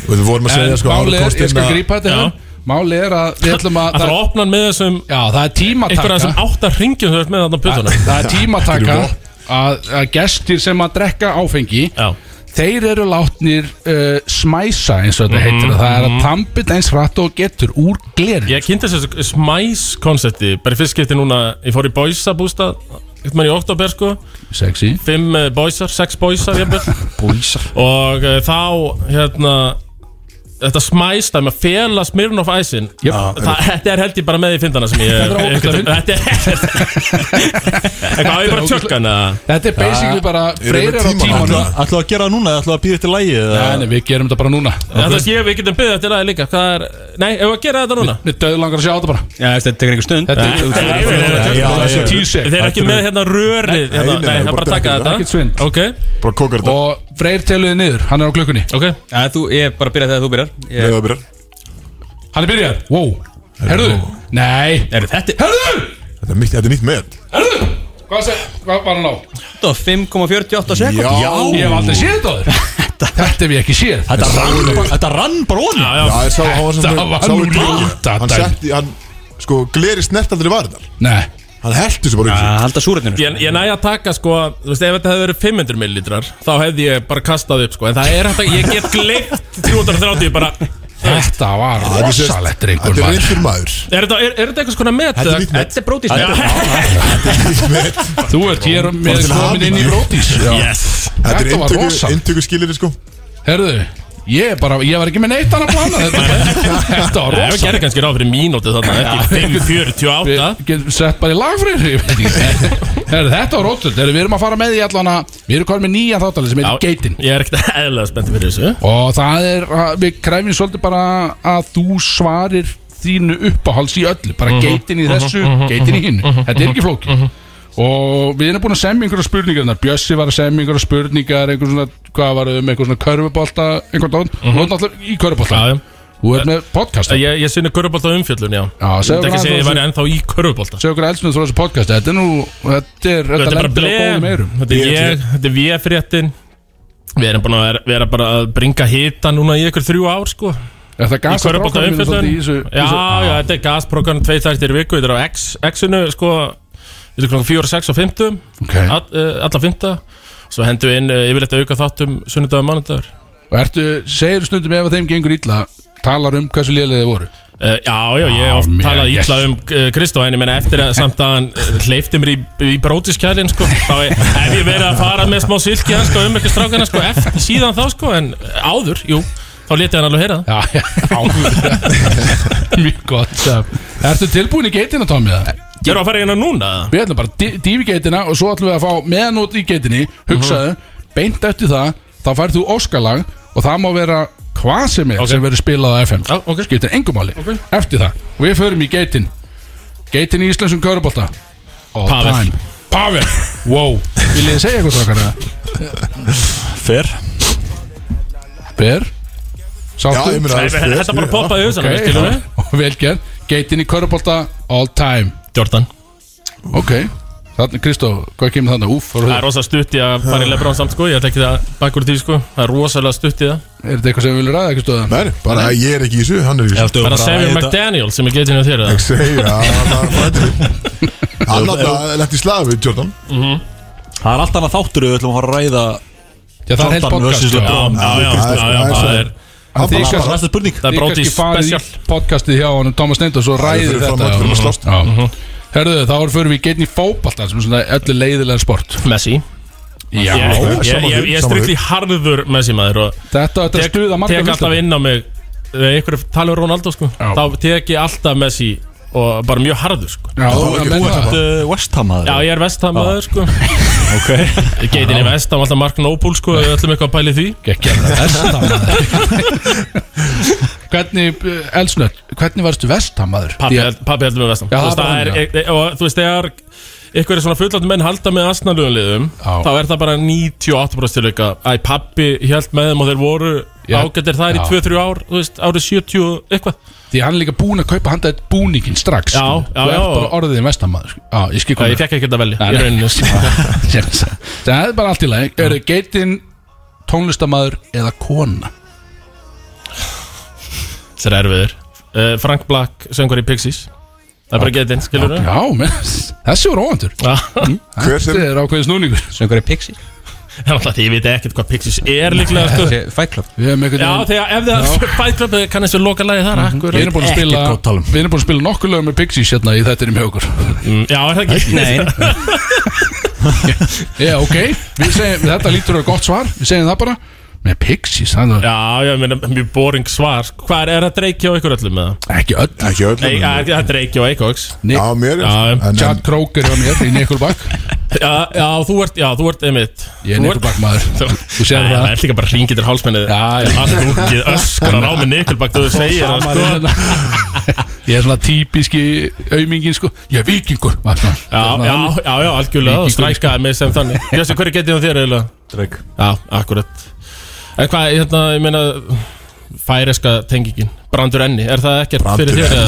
S1: Við vorum að segja sko Ára
S2: Máli er, ég
S1: Kostin
S2: skal grípa þetta
S5: Já.
S2: hérna. Máli er að við ætlum að
S5: Það er opnan með þessum
S2: Já, það er
S5: Einhverja
S2: tímataka
S5: þessum átta ringjum sem er með þarna á
S2: Það
S5: putunum
S2: það er tímataka
S1: Þetta er
S2: að, að gestir sem að drekka áfengi
S5: Já,
S2: Þeir eru látnir uh, smæsa eins og þetta heitir Það er að tampið eins hratt og getur úr glerin
S5: ég kynnti þessu smæs konsepti Bara í fyrst skipti núna, ég fór í boysa bústa Eitthvað í oktober sko
S2: Sexy
S5: Fimm eh, boysar, sex boysar ég byrð
S2: Búlsar
S5: Og eh, þá, hérna þetta smæstæmi að fela smirn of æsin
S2: Jöp.
S5: Þetta er held ég bara með í fyndana sem ég
S2: Þetta er ógeðslega fyndið.
S5: Þetta er
S2: (laughs)
S5: Eitthvað á ég
S2: Þetta
S5: bara
S2: er
S5: tjökkan eða
S2: Þetta er basically bara
S1: Erum
S2: Freyr
S1: við
S2: er á
S1: tímann á
S2: tímanum
S1: þetta?
S3: Ætlaðu að gera það núna eða ætlaðu að býða eftir lægi eða
S2: Nei, nei, við gerum þetta bara núna
S5: Það er ég, við getum byggðið eftir aðeins líka Hvað er, nei, ef við að gera þetta núna
S2: Mér döðu langar að sjá þetta bara
S4: Já, þetta tekur einhver stund
S2: Þetta er-
S5: Nei,
S2: þetta
S5: nei,
S2: er
S5: nei, nei, nei,
S2: þetta
S5: nei,
S2: er tíu sek
S5: Þeir eru ekki með hérna rörið hérna.
S1: nei, nei,
S5: Nei,
S1: bara
S5: það er bara að
S1: taka
S5: taka
S1: þetta.
S5: þetta
S2: Ekkert svind
S5: Ok,
S1: Bara kókar þetta
S2: Og Freyr teluði niður, hann er á klukkunni
S5: ok
S4: Já, þú, ég bara byrja þegar þú byrjar
S1: Nei,
S4: ég,
S1: það byrjar
S2: Hann er byrjar, wow Herðu, nei
S4: Er þetta
S2: Herðu,
S1: Þetta er mitt- þetta er nýtt með
S2: herðu Hvað, seg, hvað var hann á?
S4: þetta var 5,48 sekund?
S1: Já
S2: Ég hef aldrei séð þetta áður Þetta hef ég ekki séð
S3: Þetta rann, þetta rann bara
S5: Já,
S3: ofan
S5: já,
S1: Já, ég sá hann var sem
S2: Þetta var
S1: sá
S2: nú
S1: í glugga.
S2: ljóta
S1: Hann
S2: dæmi.
S1: setti, hann Sko, gleri snert aldrei varðar
S2: Nei,
S1: Hann heldur sér bara upp í sig.
S4: Að halda súrötninu
S5: Ég, ég næja að taka sko, þú veist, ef þetta hefði verið 500 millilitrar Þá hefði ég bara kastað upp sko En það er hægt að, ég get gleitt 330 bara
S2: þetta var
S1: Þetta er sérst-
S2: rosalett drengur
S1: Þetta er
S2: maður.
S1: reyndur maður
S5: Er þetta, er, er þetta eitthvað svona met?
S1: Þetta er nýtt með
S4: Þetta er brótið
S2: Þú ert hér með
S1: til
S2: komin
S1: hamingju.
S2: inn í brótis
S5: Yes
S1: Þetta er
S2: Þetta var
S1: inntöku,
S2: rosalegt.
S1: inntöku skilir sko
S2: Herðu, ég er bara, ég var ekki með neitt annað
S5: (laughs)
S2: plana Þetta, þetta var
S5: Nei, við
S2: rosalegt
S5: gerum kannski ráð fyrir mínúti þarna Ekki 548
S2: Við getum sett bara í lag fyrir
S5: (laughs)
S2: ykkur, ég veit ekki. Herðu, Þetta var rótult, við erum að fara með í allan að Við erum komin með nýja þáttalið sem heitir Geitin
S5: Ég er ekkert (laughs) eðlega spennt fyrir þessu
S2: Og það er, að- við kræfum svolítið bara að þú svarir þínu uppáhals í öllu Bara
S5: Mhm.
S2: geitin í þessu, geitin í hinn Þetta er ekki flóki Og við erum búin að semja einhverja spurningar þarna. Bjössi var að semja einhverja spurningar Einhver svona, hvað var um, einhver svona körfubolta Einhvern dón, þú er náttúrulega í körfubolta
S5: Mhm. Já, já.
S2: Þú ert með podcast
S5: Ég, ég sinni körubólta umfjöllun, já
S2: Já,
S5: Ég
S2: segðu mér
S5: myndi ekki segja
S2: aðeins
S5: ég
S2: frá
S5: væri ennþá í körubólta
S2: Segðu okkur eldsnöð frá þessu podcast Þetta er nú, þetta er
S5: Þetta er bara
S2: lendir á góðum
S5: blem
S2: eyrum.
S5: Þetta er ég, þetta er við fréttin Við erum búin að vera- vera bara að bringa hita núna í ykkur þrjú ár, sko
S2: Er það
S5: Í
S2: gasa
S5: körubólta
S2: strákunum mínum
S5: umfjöllun
S2: svolítið í þessu- Ah.
S5: Já,
S2: í þessu-
S5: já, þetta er gasprogram Tvei þættir í viku, þetta er á X, X-inu, sko Þetta er klokkan 4, 6 og 50
S2: Ok.
S5: all, uh, Alla 50 Svo hendur við inn uh, yfirleitt auka þáttum sunnudag og mánudagur
S2: Og ertu, segir stundum ef að þeim gengur illa Talar um hversu lélega þið voru
S5: Uh, já, já, ég
S2: Já,
S5: hef oft
S2: mér-
S5: talað
S2: yes.
S5: ítla um uh, Kristó en ég menna eftir að samt að hann uh, hleyfti mér í, í brótiskjælin sko, þá er- hef ég verið að fara með smá silki hans sko, um ekki strákana sko, eftir, síðan þá sko, en áður, jú, þá leti hann alveg heyra það.
S2: Já, já, áður. (laughs) Mjög gott ja. Ertu tilbúin í geitina, Tommy? eða?
S5: Ég er að fara hérna núna eða?
S2: Við ætlum bara að dí- dýfa í geitina Og svo ætlum við að fá meðanót í geitinni Hugsaðu,
S5: Mhm.
S2: beint eftir það Þá færð þú óskalag Og það má vera hvað sem er
S5: Ok.
S2: Sem verður spilað á FM
S5: Já, ok.
S2: Skiptir engum máli
S5: Ok.
S2: Eftir það, við förum í geitin Geitin í Íslensum Körubolta All
S5: Pavel.
S2: time Pavel, wow Viljið þið segja eitthvað okkar það?
S3: Fer
S2: Ber
S1: Já,
S2: Sáttu
S1: ég meina
S5: Nei,
S1: það er-
S5: Þetta bara poppaði í hausanum,
S2: Ok,
S5: skilur
S2: já.
S5: við?
S2: (laughs) og velgerð Geitin í körubólta all time
S5: Jordan,
S2: Ok, þarna Kristó, hvað kemur þarna? Úf, er,
S5: það er rosa stutt í að fara í Lebron samt sko, ég ætla ekki það bakur því sko, það er rosalega stutt í það.
S2: er þetta eitthvað sem við viljum ræða, Kristó?
S1: Nei, bara að ég er ekki í þessu, hann er í þessu
S5: Bara Samuel McDaniel sem er getinu þér eða?
S1: Ég segi, já, það er frændið Hann alltaf lett í slag við Jordan
S3: Það er allt annað þáttur ef við ætlum að fara að ræða
S2: Já, það er heilt
S3: Jordan versus
S2: podcast já.
S5: Já,
S3: LeBron.
S5: já, já,
S1: það er- það er
S5: já, já,
S1: svo-
S5: það er,
S1: Hann
S2: þið
S1: bara-
S2: kannski-
S3: Bara næsta spurning
S5: það
S2: Þið
S5: er
S2: kannski
S5: brótið
S2: farið í
S5: spesial.
S2: podcastið hjá honum Thomas Neind og svo
S1: þau
S2: ræðið
S1: fyrir fram
S2: þetta
S1: að þurfum að
S2: já.
S1: slást.
S2: Já.
S5: Mhm.
S2: Herðu, þá erum fyrir við geitin í fótballta sem er svona öllu leiðilega sport
S5: Messi
S2: Já,
S5: Ég- ég-
S1: sama
S5: ég-
S1: þig,
S5: Ég er
S1: sama
S5: strikli harður Messi maður og
S2: þetta þetta er
S5: tek,
S2: stuða marga
S5: tek alltaf
S2: hlustendur.
S5: inn á mig Þegar ykkur tala um Ronaldo sko
S2: Já.
S5: Þá tek ég alltaf Messi Og bara mjög harður sko
S2: Já,
S1: Þú er
S2: já,
S1: ekki
S2: menn
S1: búin að
S2: það.
S1: tapa.
S3: Uh, West Ham
S5: Já
S3: aður
S5: ég er vestamæður sko
S3: (laughs) Ok
S5: Ég geit inn í vestam alltaf Mark Noble sko Við ætlum eitthvað að pæli því
S2: Gekkja, vestam, maður. (laughs) Hvernig, Elsnött, hvernig varstu vestam, maður?
S5: Pappi
S2: Því að-
S5: held- Pappi heldur með vestam
S2: Já,
S5: Þú veist,
S2: það
S5: það
S2: var
S5: er- e- e- Og þú veist þegar Ykkur er svona fullandum menn halda með asnalugum liðum
S2: Já.
S5: Þá er það bara 98% tilvika Æ pappi held með þeim og þeir voru
S2: Já.
S5: Ágættir þær í
S2: Já.
S5: 2-3 ár Þú veist árið 70 og eitthvað
S2: Því hann er líka búinn að kaupa handaðið búningin strax
S5: Já,
S2: skilur.
S5: já,
S2: Þú
S5: já.
S2: ert bara orðið í vestamæður Já, ég skil
S5: Já, Ég
S2: komið
S5: fekk ekkert að velja
S2: Nei,
S5: í
S2: nei.
S5: rauninni,
S2: (laughs)
S5: sko.
S2: Það er bara allt í lagi Er þið geitin tónlistamæður eða kona?
S5: Þetta er erfiður uh, Frank Black söngur í Pixies Það er bara getinn, skilur við
S2: Já, menn, þessi voru óvandur
S1: Hver sem
S2: Þetta er ákveðið snúningur
S4: Söngur er Pixi
S5: Það er alltaf því ég veit ekkert hvað Pixies er líklega sko.
S4: Fight Club
S2: Við erum einhvern
S5: Já,
S2: veginn
S5: þegar ef það (laughs) Fight Club kannast við loka lagið þar akkur
S2: Við erum búin að
S3: Ekkert
S2: spila
S3: gott tal um.
S2: Við erum búin að spila nokkur lögum með Pixies hérna í þetta er mjög okkur (laughs)
S5: Mm, Já, er það ekki?
S4: (laughs) Nei,
S2: Já, ok, við segjum, þetta lítur að vera gott svar Við segjum það bara með Pixies, það er
S5: Já, ég meina, mjög boring svar sko. Hvað er, er það dreikja á ykkur öllum eða?
S2: ekki öll
S1: Ekki öllum
S5: Nei, það er dreikja á Eikoks
S1: Já, mér
S5: Já,
S1: en, en,
S2: Chad Kroger var mér í Nickelback
S5: já, já, þú ert, já, þú ert einmitt
S2: Ég er
S5: Þú ert-
S2: Nickelback maður
S5: Þú
S2: Þú sér
S5: Nei,
S2: það.
S5: Það er líka bara hringið til hálsmennið
S2: Já, já.
S5: Allt úkið öskar á með Nickelback Þú segir það
S2: Samar
S5: sko
S2: er hérna. (laughs) Ég er svona típiski aumingin sko Ég er vikingur maður svona.
S5: Já,
S2: Svona-
S5: já, já, já, algjörlega
S2: Víkingur,
S5: og strækaði mig sem þannig Jössi, hverju getið þú þér eiginlega?
S3: Dreg
S5: Já, akkurat En hvað, hérna, ég meina Færeska tengingin, Brandur Enni Er það ekkert
S1: Brandur
S5: fyrir þér?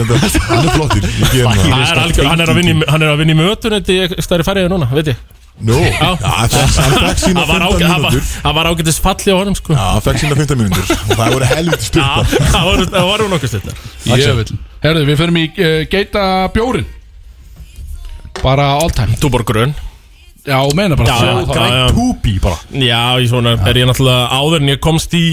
S1: Hann er reyndar- hann er flottir Ég gef hann það.
S5: Það er algjör, hann er að vinna í- hann er að vinna í mötunetti stærri færiði núna, veit ég
S1: Nú, já, þess- hann fekk sína
S5: Það var
S1: 15
S5: ágæ- það
S1: mínútur
S5: var- það var ágætis falli á honum, sko
S1: Já, hann fekk sína 15 mínútur Og það voru helviti
S5: Já,
S1: stuttar
S5: það voru- það voru nokkuð slittar
S2: Jöfull Herðu, við förum í uh, geita bjórin Bara all time
S5: Túborg Grön
S2: Já, meina bara
S5: Já,
S2: sjáðu það.
S5: já, já.
S1: Púpi bara
S5: Já, ég svona er ég náttúrulega áður en ég komst í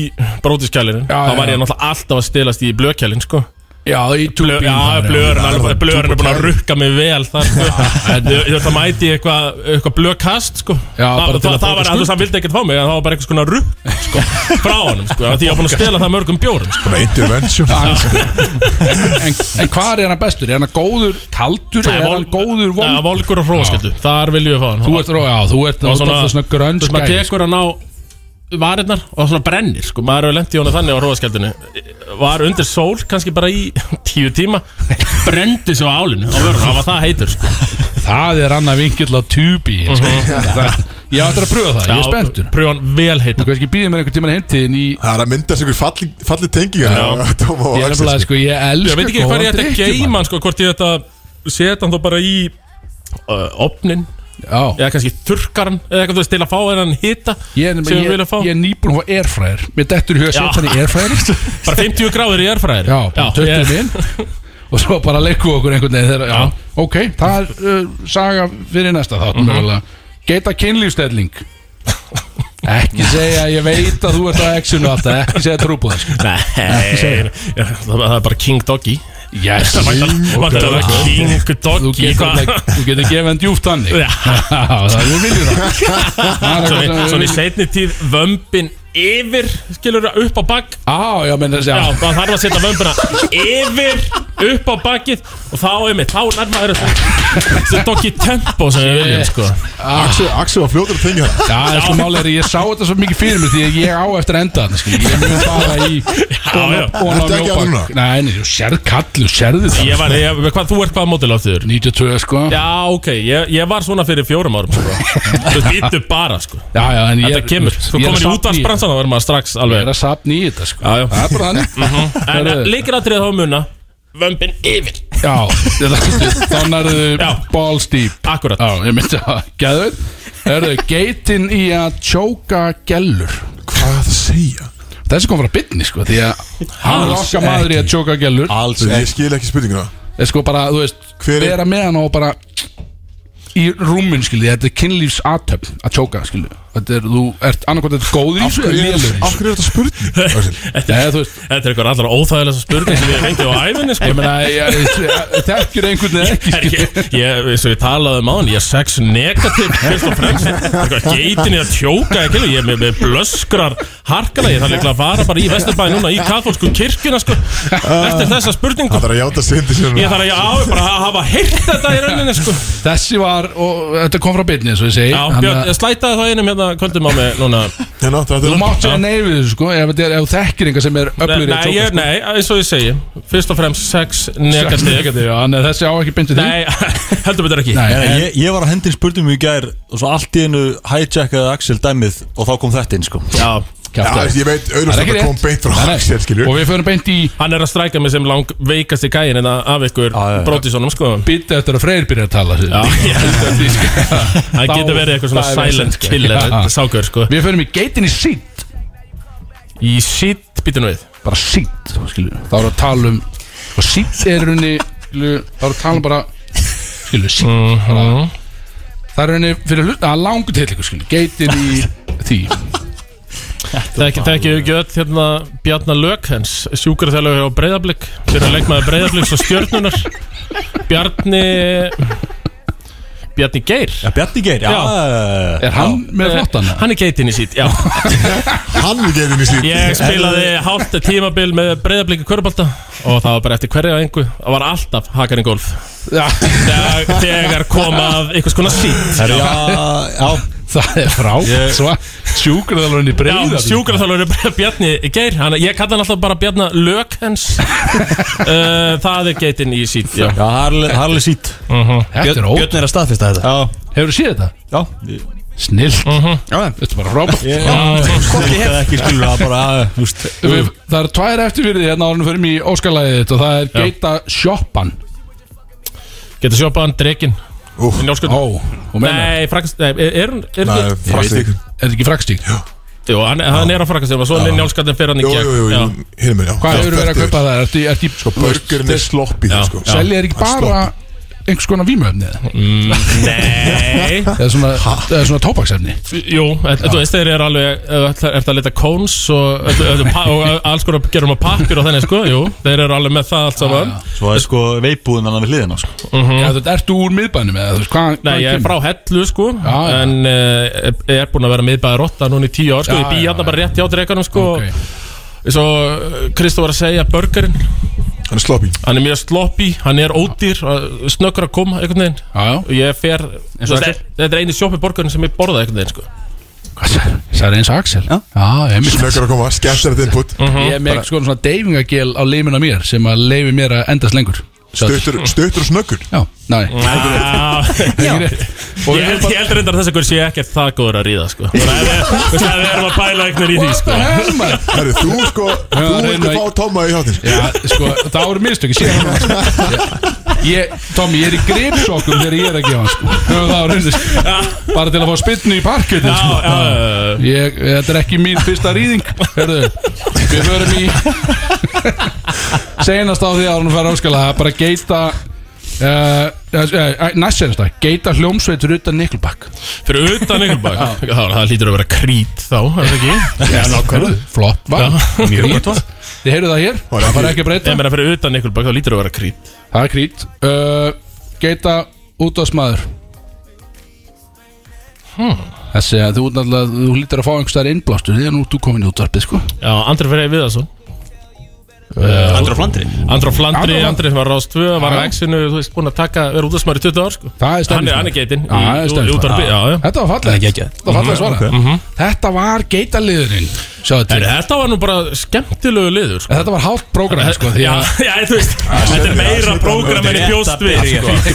S5: brótiskælirinn
S2: Já,
S5: þá
S2: já,
S5: var
S2: já.
S5: ég náttúrulega alltaf að stilast í blökælinn sko.
S2: já í
S5: Blö,
S2: túbín
S5: Já, blöðurinn
S1: já,
S5: alveg-
S1: já,
S5: blöðurinn er búin að
S1: túborg.
S5: rukka mig vel þar sko. En Ég ég þurfti að mæti í eitthvað eitthvað blöðkast sko.
S2: Já, bara
S5: Það
S2: til að
S5: það- það
S2: borga
S5: var
S2: skuld.
S5: alltaf hann vildi ekkert fá mig en það var bara eitthvað svona rukk sko, frá honum sko, af því ég var búin að stela það mörgum bjórum sko.
S1: Bara intervention
S2: En, en hvað er hann bestur? Er hann góður kaldur?
S5: Nei,
S2: Er
S5: vol-
S2: hann góður
S5: Nei,
S2: vond?
S5: volgur og hróskildu, þar viljum við fá hann
S2: Þú ert róið á, þú ert
S5: og
S2: náttúrulega svona grönn
S5: þú veist, maður
S2: skæ
S5: tekur hann á varirnar og svona brennir sko, maður hefur lent í honum þannig á hróðaskeldinu var undir sól, kannski bara í (laughs) tíu tíma, brendi svo álinu og verður, það var það heitur sko.
S2: Það er annað vinkill á túbín sko.
S5: Mhm.
S2: (laughs) Það- Ég ætla að pröfa það, ég er spenntur
S5: pröfa hann vel heitur
S2: Þú kannski býðir mér einhvern tímann heimtíðin í
S1: Það er að mynda sig ykkur falli, falli tengingar (laughs)
S5: Já.
S1: á Tóma og
S2: Ég er
S1: Axel,
S2: nefnilega, sko, ég
S5: ég
S2: elska
S5: veit ekki hvað ég ætti að
S2: drykki,
S5: geima
S2: maður.
S5: hann sko, hvort ég ætti að setja hann þá bara í uh, opnin,
S2: Já,
S5: eða kannski þurkar hann eða eitthvað þú veist til að fá hennan hita
S2: Ég er,
S5: sem við
S2: nefnilega-
S5: vilja fá,
S2: ég, ég er nýbúin að fá airfryer Mér dettur í hug að
S5: Já.
S2: setja hann í
S5: (laughs)
S2: airfryer
S5: bara 50 gráður í erfræðir
S2: Já, bara töttum við inn (laughs) Og svo bara leikum við okkur einhvern veginn þegar, já.
S5: Já. Mhm.
S2: Ok, það er uh, saga fyrir næsta þátt mm Geta kynlífstelling Ekki segja, ég veit að þú ert að exunu alltaf Ekki segja trúbúða sko.
S5: (laughs) Nei, það það er bara king doggy
S2: yes.
S5: Vantar að king
S2: Þú
S5: doggy
S2: getur,
S5: hvað-
S2: alveg- þú getur gefið hann djúft þannig
S5: Já.
S2: (laughs) það er við
S5: (laughs)
S2: viljum það Það er eitthvað sem við
S5: Svona svona í
S2: viljum.
S5: setni tíð vömbin yfir Skilur það upp á bakk
S2: Á, já, menn þess
S5: Já,
S2: að
S5: það þarf að setja vömbina yfir upp á bakkið Og þá er mitt, þá nærmaður Þessi doggy tempo sem við viljum sko
S1: Axel, Axel var fljótur að tengja það
S2: Já, það er sko málega er að ég sá þetta svo mikið fyrir mig því að ég á eftir að enda þannig, skilji, ég mun fara í
S5: já.
S2: Óna
S1: Ertu ekki að núna?
S2: mjóbak Nei, nei, þú sérð kallu, sérðu það
S5: Ég var, ég, hvað, þú ert hvaða mótil á þér?
S2: 92 sko Já,
S5: Já, ok, ég, ég var svona fyrir fjórum árum sko. Þú býttu bara, sko
S2: já, en ég
S5: Þetta kemur, þú
S2: ég er að
S5: komir í
S2: safna
S5: útvarsbransan þá verður maður strax
S2: Ég er
S5: alveg
S2: að sapna í þetta sko
S5: Já, Mhm. já.
S2: Það er bara
S5: (laughs)
S2: þannig
S5: En
S2: Herðu.
S5: líkir aðtrið þá muna Vömbin yfir
S2: Já, þannig er
S5: Já.
S2: þau balls deep
S5: Akkurat
S2: Já, ég myndi að geðu Er þau geitin í að tjóka gellur
S1: Hvað er það að segja?
S2: Þessi kom frá bitni sko því að hann er
S3: Alls
S2: okkar maður í að tjóka gellur
S3: Alls
S1: Ég skil ekki spurninguna
S2: er sko bara, þú veist,
S1: Hver er-
S2: vera með hann og bara í rúmin, skilji, þetta er kynlífs aðtöfn að tjóka, skilji, þetta er, þú ert annarkvæmt þetta er góður í
S1: Af
S2: þessu eða
S1: hverju er
S2: lélur í
S1: af
S2: þessu.
S1: hverju er þetta spurning? Axel?
S2: Nei, þú veist,
S5: Þetta er eitthvað allra óþægilegsta spurning sem ég fengi á æfinni sko.
S2: ég
S5: (laughs)
S2: meina, ég- ég- þekkjur einhvern veginn ekki,
S5: Ég,
S2: skilji.
S5: ég, ég, eins og ég talaði um án, ég er sex negativ fyrst og fremst Eitthvað geitin í að tjóka ekki, ég með, með blöskrar harkana Ég þarf líklega að fara bara í Vesturbæði núna í katholsku kirkjuna sko, Eftir þessa spurningu
S1: Það er að játa sindi sér
S5: Ég þarf að ég á bara að hafa heyrt þetta í rauninni sko.
S2: Þessi var, og þetta kom frá bitni, eins og ég segi,
S5: Já,
S2: hann
S5: Björn,
S2: að
S5: ég slætaði það einum hérna kvöldum á mig núna
S1: Hérna, það
S2: þú
S1: er
S2: mátt
S5: Já.
S2: segja nei við þessu, sko, ef þetta er, ef þú þekkir einhver sem er
S5: Nei,
S2: öflur í að
S5: nei,
S2: tjóka,
S5: ég-
S2: sko.
S5: nei, eins og ég segi Fyrst og fremst sex
S2: Sex
S5: negativ
S2: negativ, já, Þannig að þessi á ekki bindið því.
S5: Nei, (laughs) heldur betur ekki
S2: Nei, en-
S3: Ég, ég var að hendin spurningum í gær og svo allt í einu hijackaði Axel dæmið og þá kom þetta inn sko
S5: Já,
S1: Já,
S2: kjaftaði.
S1: ég veit,
S2: Það
S1: auðvitað
S2: er ekki
S1: þetta kom
S2: rétt.
S1: beint
S2: Nei,
S1: frá
S2: nei.
S1: Axel, skilju
S2: Og við förum beint í
S5: hann er að stræka mig sem lang veikasti gæin en af
S3: Já,
S5: ykkur
S3: já, já.
S5: brótisónum sko
S2: bita eftir að Freyr byrja að tala sér.
S5: Já, (laughs) það
S2: Þá-
S5: getur verið eitthvað svona
S2: það er
S5: silent
S2: vesen, sko.
S5: killer
S2: Já.
S5: sákur sko
S2: (laughs) Við förum í geitin í sítt
S5: í shit býtum við
S2: bara sínt þá skilur við. þá erum við að tala um og sínt er runni skilur, við, þá erum við að tala um bara skilur sínt mm það er runni fyrir hlut að langu til ykkur skilur geitin í því
S5: Þekki- þekkið ekki öll hérna Bjarnar Lökhens sjúkur þegar á Breiðablík fyrir að leggmaði Breiðablíks og stjörnunar Bjarni Bjarni Geir
S3: Já, Bjarni Geir, já,
S2: Er hann með flottan?
S5: Eh, Hann er geitin í sitt, já
S1: Hann er geðin í sín
S5: Ég spilaði hálft tímabil með breyðablíku körpalta og það var bara eftir hverja engu það var alltaf hakarinn golf
S2: Já,
S5: þegar, þegar kom að einhvers konar sínt
S3: Herru, já, já,
S2: (laughs) það er frá
S5: Ég-
S2: Svo sjúkraðalurinn í
S5: Já,
S2: breyða
S5: sjúkraþjálfur er Bjarni Geir hann, Ég kalla hann alltaf bara Bjarni Lökhens uh, Það er geitin í sínt Já,
S3: já, Harli, Harli Sít
S2: Þetta er ótt
S4: Björn er að staðfesta þetta
S3: Já,
S2: Hefur þú séð þetta?
S3: já
S2: Snilt Þetta er bara frábært
S3: Hvort ég hef ekki skilur að bara, (laughs) já, þú veist
S2: Við- Það er tvær eftir fyrir því hérna árum fyrir mig í óskalæðið þitt og það er Geita Sjoppan
S5: Getur sjópaðan drekin
S1: Ú.
S5: Í njálskutu
S2: Ó, hún meina
S5: Nei, frakast, nei, er, er, hún- er
S1: Nei,
S5: ekki
S1: fast ekki
S2: Er þetta ekki frakstík?
S5: Jú, hann, hann er á frakast Svo er njálskatinn fyrir hann í
S1: Jú,
S5: gegn
S1: jú, jú,
S5: Já.
S1: jú, hérna mér, já
S2: Hvað hefur verið
S1: Þetta
S2: að
S1: er-
S2: kaupa það? Er þetta ekki sko
S1: Burgerinn er sloppy,
S5: Já,
S1: sko
S5: já.
S2: Selja er ekki
S1: Hann
S2: bara einhvers konar vímuefni eða?
S5: Nei
S2: eða svona, eða svona tóbaksefni
S5: Jú, en- þú veist þeir eru alveg Er þetta að leta kóns og, ef þú- ef þú pa- og alls konar gerum að pappir og þannig sko Jú, þeir eru alveg með það allt saman
S3: Svo er sko veipúðin hann við hliðina, sko
S1: Mhm.
S2: Já, þú ert þú úr miðbænum eða þú veist hvað
S5: Nei,
S2: hvað
S5: ég er
S2: kemur?
S5: frá hellu sko
S2: Já, já.
S5: En uh, er búin að vera miðbæði rotta núna í tíu ár sko
S2: Já,
S5: Ég bý
S2: já,
S5: hérna
S2: já.
S5: bara rétt hjá dreganum sko
S2: Ok.
S5: Svo eh, Kristó var að segja burgerinn
S1: Hann er sloppy
S5: Hann er mjög sloppy, hann er ódýr eh, Snöggur að koma einhvern veginn
S2: Já, já,
S5: Og ég fer
S4: og
S5: Þetta er- þetta er eini sjoppi borgarinn sem ég borðaði einhvern veginn sko
S2: hvað sagði- sagði eins og Axel
S4: Já.
S2: Já, einmitt
S1: Snöggur að koma, skemmtilegt input
S2: Ég er með einhvers konar svona deyfingagél á leimina mér sem að leifi mér að endast lengur Stöð
S1: Stuttur stuttur og snöggur
S2: Já, næ (laughs)
S5: Ah,
S2: Og við
S5: Ég held
S2: erum
S5: ég held reyndar að þessi hver sé ekkert það góður að ríða sko Þú veist að við erum að bæla einhvern veginn í því sko
S2: bara Hell, maður.
S1: Herru, þú sko,
S2: Já,
S1: þú
S2: reyna
S1: ert að
S2: í-
S1: fá Tóma í hátinn
S2: Já, sko, það voru mistök, ég sé það Ég, Tommy, ég er í gripsokkum þegar ég er að gefa hann, sko Það var reyndis Bara til að fá spytnu í parketin,
S5: Já,
S2: sko
S5: já, já,
S2: Ég, þetta er ekki mín fyrsta rýðing Hörðu, við förum í Seinast á því að hún fær áskala Bara geita Uh, uh, uh, næst senast að geita hljómsveitur utan Niklbakk
S5: já. Fyrir utan einhvern bak Já, Það hlýtur að vera krít þá, er það ekki?
S2: Já, nákvæmlega Flott, var
S5: Mjög gott, va?
S2: Þið heyrðu það hér,
S1: Var
S2: það fara
S1: ekki-
S2: ekki að breyta
S5: Ég meina fyrir utan einhvern bak, þá hlýtur að vera krít
S2: Það er krít uh, Geita útvarsmaður
S5: Hmm.
S2: Þessi að þú náttúrulega Þú lítur að fá einhvers þær innblástur Því að nú ert þú komin í útvarpið sko
S5: Já, Andri Freyja Viðarsson
S4: Andra Flandri
S5: Andri á Flandri,
S2: Andri á-
S5: Andri sem var á Ráðstvö Var
S2: Já.
S5: á Exinu, þú veist, búin að taka Verða út af smári 20 ár sko
S2: Það er
S5: Hann er, hann
S2: stemningsmaður.
S5: er geitinn
S2: Já, það er
S5: útvarpi,
S2: stemningsmaður.
S5: já, já
S2: Þetta var
S4: Það er
S2: fallið
S4: geggjað. Mhm,
S2: Þetta var fallið svarað Þetta var geitaliðurinn Sjáðu til
S5: Herri, Þetta var nú bara skemmtilegu liður sko.
S2: En Þetta var hálft prógram sko Því
S5: Já,
S2: að
S5: (laughs) já, þú veist Þetta er meira prógram en ég bjóst við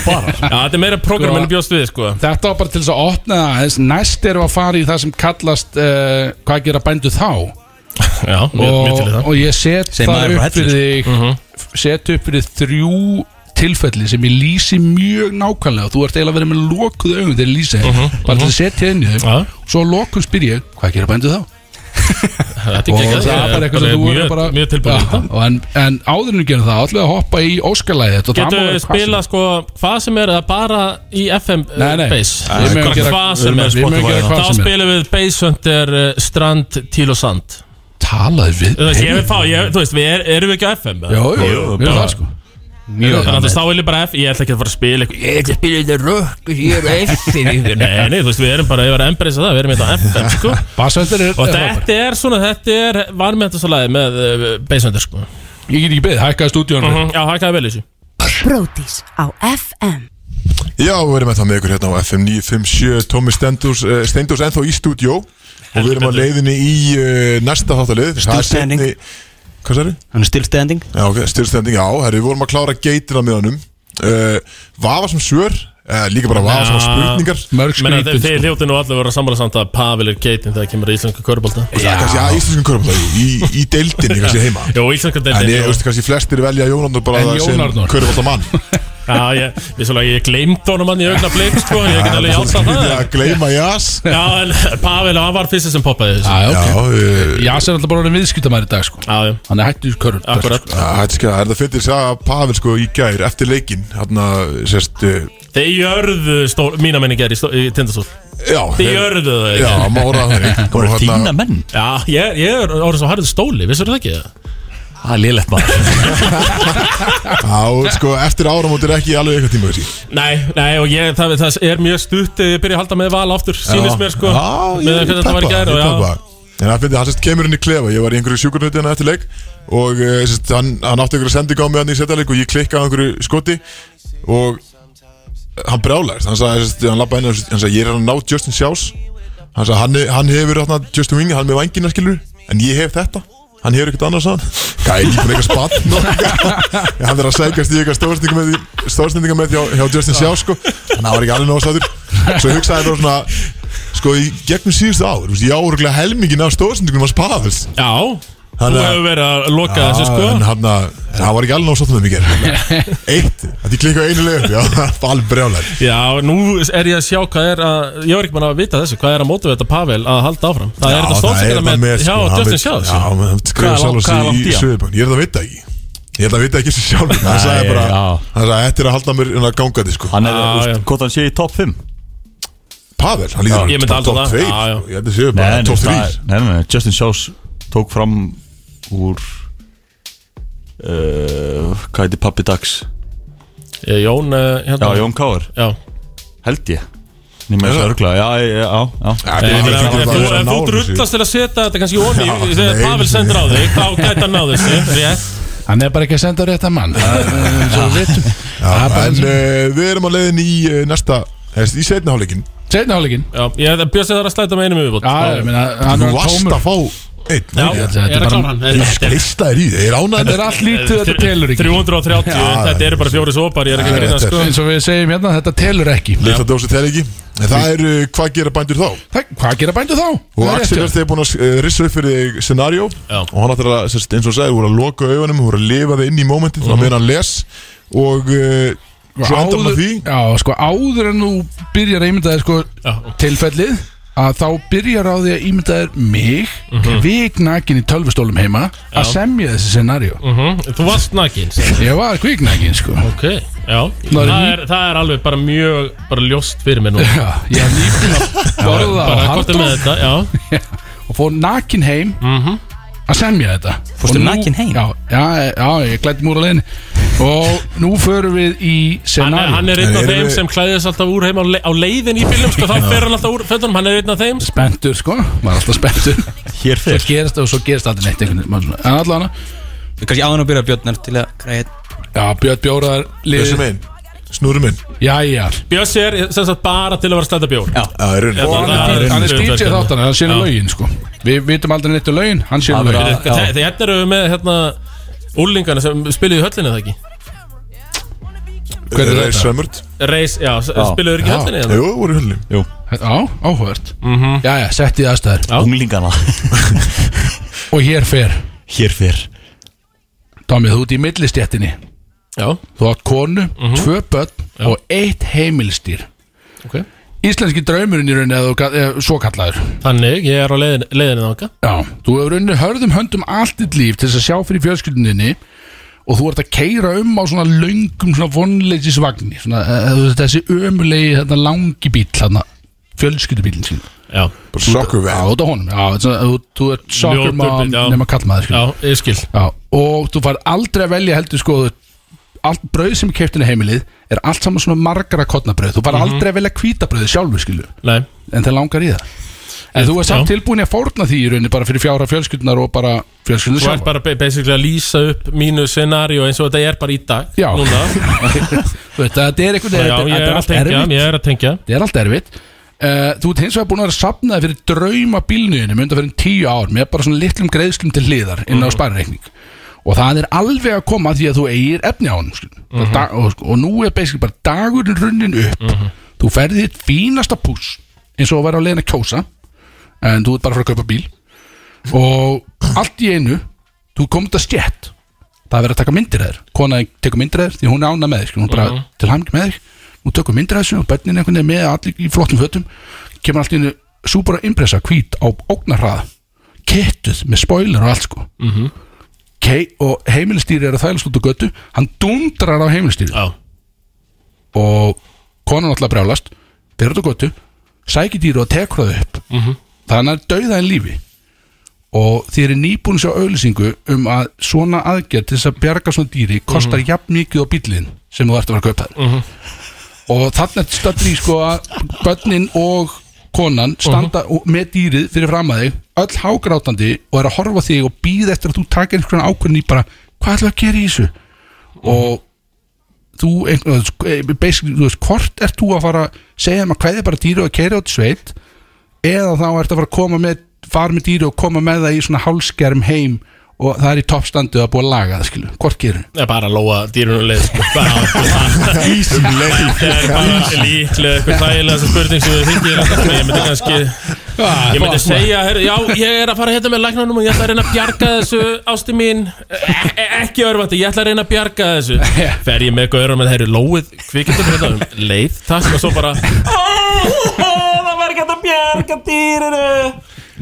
S5: sko. Já, þetta er meira prógram en ég bjóst við sko.
S2: Þetta var bara til þess að opna það aðeins. Næst erum við að fara í það sem kallast uh, Hvað gera bændu þá
S5: Já, mjög, mjög til í
S2: og,
S5: það
S2: og ég set
S4: Sem maður
S2: það
S4: frá
S2: upp fyrir þig
S5: Mhm.
S2: Set upp fyrir þrjú tilfelli sem ég lýsi mjög nákvæmlega og þú ert eiginlega verið með lokuð augum þegar ég lýsi uh
S5: Mhm.
S2: bara til að setja inn í þau
S5: Já.
S2: svo að lokum spyr ég, hvað gera bændu þá?
S5: Þetta
S2: og
S5: er ekki
S2: það er bara eitthvað sem þú
S5: mjög,
S2: verður bara
S5: mjög tilbúin í
S2: Já,
S5: það
S2: og en, en áður en gerum það, allir að hoppa í óskalæði
S5: Getur við spila sko hvað sem er eða bara í FM eh,
S2: Nei, nei.
S5: bass
S2: Nei, við megum
S5: Bara
S2: gera-
S5: hvað
S2: við
S5: sem
S2: megum-
S5: er
S2: við megum
S5: Spotify.
S2: gera hvað
S5: Þá
S2: sem er.
S5: spilum við Bass Hunter eh, Strand, Tíl og Sand
S2: talaði við
S5: Þú veist, ég vil fá, ég, þú veist, við er, erum við ekki á FM eða?
S2: Jú, jú, jú,
S5: Jú,
S2: mjög
S5: bara-
S2: það sko
S5: Þannig að þú veist, þá vil ég bara F Ég ætla ekki að fara að spila eitthvað Ég ætla að spila þetta rökk Ég er á FM Nei, nei, þú veist, við erum bara Ég var að embracea það Við erum þetta á
S2: (laughs)
S5: FM, sko
S2: Bassvöldur er
S5: Og
S2: er frábær.
S5: þetta er svona Þetta er vanmjöndastalæði með uh, Beisvendur, sko
S2: Ég get ekki beðið, hækkaði stúdíónu
S5: Mhm, Já, hækkaði vel í þessu
S6: Brótis á FM
S1: Já, við erum ennþá með ykkur hérna á FM 957 Tómi Stendurs, uh, Stendurs ennþá í stúdjó og við erum á leiðinni í uh, næsta þáttalið Það er
S4: Stillstanding.
S1: seinni- Hvað sérðu?
S4: Hann er stillstanding
S1: Já, ok, styrstending, já, herri, við vorum að klára geitina með honum uh, Vafa sem svör, uh, líka bara vafa sem
S5: Já.
S1: spurningar
S2: Mörg sko.
S5: Menna, þeir,
S2: skrítin
S5: þeir hljóti nú allir vera sammála samt að Pavel er geitin þegar kemur í íslenska körbólta
S1: Já, kannski að íslenskum körfbólta í, í deildinni, kannski heima
S5: Jó, íslenska
S1: En ég,
S5: deildin
S1: veistu, kannski flestir velja Jónarnur bara
S2: En Jón
S1: sem
S2: Arnór.
S1: körfbólta mann
S5: Já, ég, ég, ég, ég gleymd honum hann í augna bleik sko, ég get alveg játt að það
S1: Að gleyma jas
S5: Já, en Pavel, hann var fyrst sem poppaði þessu
S2: Já,
S1: Já,
S2: ok
S1: uh,
S2: Jas er alltaf bara orðin viðskiptamæri í dag sko
S5: Já, já,
S2: Hann er hættur körur
S5: akkurat
S1: Það er skæða, er það fyrir þess að Pavel sko í gær eftir leikinn Þarna, sérst, uh,
S5: Þeir jörðu stór, mína menni gerði í, stó- í tindastól
S1: já
S5: Þeir
S1: þeir-
S5: jörðu það ekki
S1: Já, má orða það þannig Og
S3: Bara
S1: þarna-
S3: þína menn
S5: Já, ég, ég er orðið svo harðið stóli, vissur það ekki það?
S3: Það er lélegt maður
S1: Já, sko, eftir áramót er ekki alveg eitthvað tíma þessi
S5: Nei, nei og ég, það, það er mjög stutt eh, Ég byrja að halda með val aftur, sýnist mér sko
S1: Já,
S5: Með
S1: ég, ég
S5: hvernig þetta var í
S1: peppa,
S5: gær
S1: ég
S5: og já.
S1: peppa En það finnir, hann sérst kemur inn í klefa Ég var í einhverju sjúkurnutina eftir leik Og eh, sérst, hann, hann átti einhverju sendinga á mig hann í setjaleik Og ég klikkaði á einhverju skoti Og hann brjálæðist Hann sagði, sérst, hann labbaði inn og hann sagði Ég er að ná Justin Sjás Hann sagði, hann, hann hefur þarna Justin Wing Hann er með vængina skilur En ég hef þetta Hann hefur ekkert annars hann Gæði, ég fann eitthvað spann
S5: (laughs)
S1: Hann er að sækast í eitthvað stóðsendinga með, stóðsendinga með hjá, hjá Justin Sjá sko. Þannig að hann var ekki alveg náðslæður Svo hugsaði ég bara svona Sko í gegnum síðustu ár, þú veist, ég á örgulega helmingin af stóðsendingum hans Pavels
S5: Já, þú
S1: Þannig að-
S5: hefur verið að loka
S1: Já,
S5: þessu sko
S1: En hann, að- en hann var ekki alveg náttúrulega
S5: (laughs)
S1: með mér Eitt, þetta ég klikkaði einu leið upp Já, það var alveg brjálæð
S5: Já, nú er ég að sjá hvað er að Ég var ekki mann að vita þessu, hvað er að móta þetta Pavel að halda áfram Það er þetta stóðsakana með, já, Justin Sjáðs
S1: sko, Já, hann skrifa
S5: Hvað er
S1: sjálf sig
S5: langt- hvað er langt í
S1: í
S5: hann?
S1: Suðubæn Ég er það að vita ekki Ég held að vita ekki þessu sjálf Hann
S3: Nei,
S1: sagði bara,
S3: já.
S1: hann sagði, þetta er að halda mér en að ganga því sko
S3: Hann er,
S5: Já,
S3: þú
S5: já.
S3: veist, hvort hann sé í top 5
S1: Pavel, hann líður
S5: ég myndi halda það.
S1: tveir,
S5: Já, já.
S1: sko. Ég held að séu bara top 3
S3: nei, nei, nei, Justin Sjós tók fram úr uh, Hvað heitir pappi dags?
S5: Jón, eh,
S3: Já,
S5: hérna
S3: Jón Káur,
S5: Já.
S3: held ég Nýmur
S1: Er
S3: þessu
S1: það?
S3: örgla, já, já, já, já.
S1: Já,
S2: Eh,
S5: Ég
S1: hann hlýtur
S5: meina, Eh, Ef
S1: bara að
S5: þú-
S1: vera
S5: ef þú
S1: nálægur þessu.
S5: drullast til að setja þetta kannski ofan
S1: Já,
S5: í Þegar
S1: nei,
S5: Pavel
S1: nei.
S5: sendur á þig, þá gæti hann náðu þessu Rétt
S2: sko. Hann er bara ekki að senda á rétta mann Það er eins og við vitum Það er bara
S1: En
S2: eins og-
S1: uh, við erum á leiðin í uh, næsta eða, Í setna hálfleikin
S2: Seinni hálfleikin
S5: Já, ég bjóst þér að slæta með einum yfirbót sko.
S2: Já, ég meina, hann
S1: Þú
S2: var
S1: varst
S2: tómur
S1: að fá einn
S5: Já,
S1: ekki?
S5: ég
S2: þetta er
S5: er að
S2: bara-
S5: klára hann Þetta er-
S1: Lista er í þig, er ánægð
S2: Þetta er allt lítið, þetta telur ekki
S5: 330, þetta eru bara fjóri sopar Ég er ekki að grina
S1: Þetta er-
S5: sko
S2: Eins og við segjum hérna, þetta telur ekki
S1: Lilla dósi þegar ekki En það er uh, hvað gera bændur þá
S2: Það- Hvað gera bændu þá?
S1: Og
S2: Það er
S1: Axel
S2: rétt
S1: er þegar búin að uh, rissa upp fyrir þig scenario
S5: Já.
S1: Og hann ætlar að, sérst, eins og sagði, voru að loka augunum Voru að lifa þig inn í mómentin
S2: Mhm.
S1: Þannig að vera hann les Og uh,
S2: hjá-
S1: svo endar maður því
S2: Já, sko áður en þú byrjar að ímynda þér sko tilfellið að þá byrjar á því að ímynda þér mig
S5: Mhm.
S2: mm kviknakin í tölvustólum heima að semja þessi scenario
S5: Mhm, Þú varst nakin
S2: Ég var kviknakin sko
S5: Ok, já
S2: Ná,
S5: Það
S2: ný-
S5: er, það er alveg bara mjög bara ljóst fyrir mig nú
S2: Já, ég var nýpinn að borða á
S5: Bara gott með Mhm.
S2: hardrock
S5: þetta, já
S2: og fór nakin heim að semja þetta
S4: Fórstu
S2: Og nú-
S4: nakinn heim?
S2: Já, já, já ég glætti múr á leiðinni og nú förum við í
S5: Hann er,
S2: scenario
S5: hann er einn
S1: En
S5: af
S1: erum
S5: þeim
S1: við-
S5: sem klæðist alltaf úr heim á, le á leiðin í bílum sko, þá fer hann alltaf úr fötunum, hann er einn af þeim
S2: Spentur sko, maður er alltaf
S5: (laughs)
S2: spentur
S3: Hér
S2: Svo
S3: fyrr
S2: gerist og svo gerist aldrei neitt einhvern veginn maður svona- En allan
S4: Kannski áðan að byrja Björnar til að græða
S2: Já, Björn Bjóraðar
S1: Þessi minn, snúru minn
S2: Jæja
S5: Bjössi er sem sagt bara til að vera að slæta bjór
S1: Það er
S5: Já,
S1: raunin
S2: Og
S5: það
S2: hann er,
S5: er-
S2: hann er
S5: það er-
S2: DJ þáttan, hann sér
S5: Já.
S2: lögin sko Við vitum aldrei neitt um lögin, hann sér
S3: Hann er-
S2: lögin
S3: Já.
S5: Þegar hérna eru við með hérna Úlingana sem spiluðu í höllinni eða ekki
S2: Hvernig er
S1: Reis
S2: þetta?
S1: Svemmert
S5: Reis, já, s- spiluðu þeir ekki í höllinni eða?
S1: Eh, Jú, voru í höllinni
S3: Jú,
S2: Já, áhugavert Jæja, sett í aðstæður
S5: Mhm. Já.
S3: unglingana (laughs)
S2: Og hér fer,
S3: Hér fyrr
S2: Tommy, þú ert í millistjættinni
S5: Já,
S2: Þú átt konu,
S5: Mhm.
S2: tvö börn og eitt heimilstýr
S5: ok
S2: Íslenski draumurinn í rauninni eða, þú ka- eða svo kallaður
S5: Þannig, ég er á leiðin, leiðinni þáka
S2: Já, þú hefur unni hörðum höndum allt þitt líf til þess að sjá fyrir fjölskylduninni og þú ert að keira um á svona löngum svona vonleysisvagnir svona, eh, þú veist, þessi ömulegi þetta langi bíl þarna fjölskyldubílinn sín
S5: Já,
S1: Bara sokkur
S2: Já,
S1: vel
S2: út á honum, já, þetta er svona, þú, þú ert soccer
S5: Ljótur
S2: mom
S5: bíll, já.
S2: nema kallmaður
S5: já,
S2: já.
S5: ég skil
S2: já, og þú far aldrei að velja heldur sko þú- allt brauð sem er keypt inn í heimilið er allt saman svona margara kotnabrauð þú far
S5: Mhm.
S2: aldrei að velja hvítabrauði sjálfur skilu
S5: Nei,
S2: en það langar í það en þú er samt
S5: Já.
S2: tilbúin í að fórna því í rauninni bara fyrir fjára fjölskyldunar og bara fjölskyldunar
S5: þú ert
S2: sjálf
S5: bara ba- basically að lýsa upp mínu scenario eins og þetta er bara í dag
S2: Já.
S5: Núna,
S2: (laughs) Þú veit, þetta er einhvern
S5: já,
S2: veginn,
S5: ég
S2: þetta
S5: er
S2: er
S5: að
S2: allt
S5: tengja,
S2: erfitt
S5: ég er að tengja
S2: þetta er allt erfitt uh, þú ert hins vegar búin að vera sapnaði fyrir drauma bílnuðinu mynda fyrir tíu ár með bara svona litlum greiðslum til hliðar inn á sparireikning og það er alveg að koma að því að þú eigir efni á hann mm -hmm. og, og nú er basically bara dagurinn runnin upp þú ferði þitt fínasta pús eins og að vera á leiðin að kjósa en þú ert bara að fara að kaupa bíl og allt í einu þú komið þetta stjætt það er verið að taka myndir af þér kona þín tekur myndir af þér því hún er ána með þér skilur, hún er bara til hamngi með þér hún tekur myndir af þessu og börnin einhvern veginn með allir í flottum fötum kemur allt í einu súbara impressa hvít á ógnarhraða kettuð með spoiler og allt sko mm og heimilistýri er að þælast út á götu hann dundrar á heimilistýri
S5: Já,
S2: og konan alltaf brjálast fyrir þetta gotu, sækir dýru og tekur það upp þannig að dauða en lífi og þið eru nýbúin að sjá auðlýsingu um að svona aðgerð til þess að bjarga svona dýri kostar jafn mikið á bílinn sem þú ert að vera að kaupa þér og þarna er stöttur í sko að börnin og konan standa uh með dýrið fyrir fram að þig öll hágrátandi og er að horfa á þig og býð eftir að þú takir einhvern ákvörðin í bara hvað ætlum við að gera í þessu og þú einhvern veginn, sko, eh, basically, þú veist, hvort ert þú að fara að segja þeim að hvað er bara dýru og keira út í sveit eða þá ert að fara að koma með fara með dýru og koma með það í svona hálskerm heim og það er í toppstandu að búa að laga það, skilu, hvort gerir
S5: Það er bara að lóa dýrunum leið sko. Bara-
S1: Ísum leið
S5: Það er bara líklega eitthvað þægilega spurning sem við þykir Ég myndi kannski Ég myndi segja, herr, já, ég er að fara hérna með læknunum og ég ætla að reyna að bjarga þessu ástu mín, e e ekki örvandi ég ætla að reyna að bjarga þessu fer ég með gaurum með herri lóið kvikindur hérna um leið, takk og svo bara "Ó, ó, (laughs) það var ekki hægt að bjarga dýrinu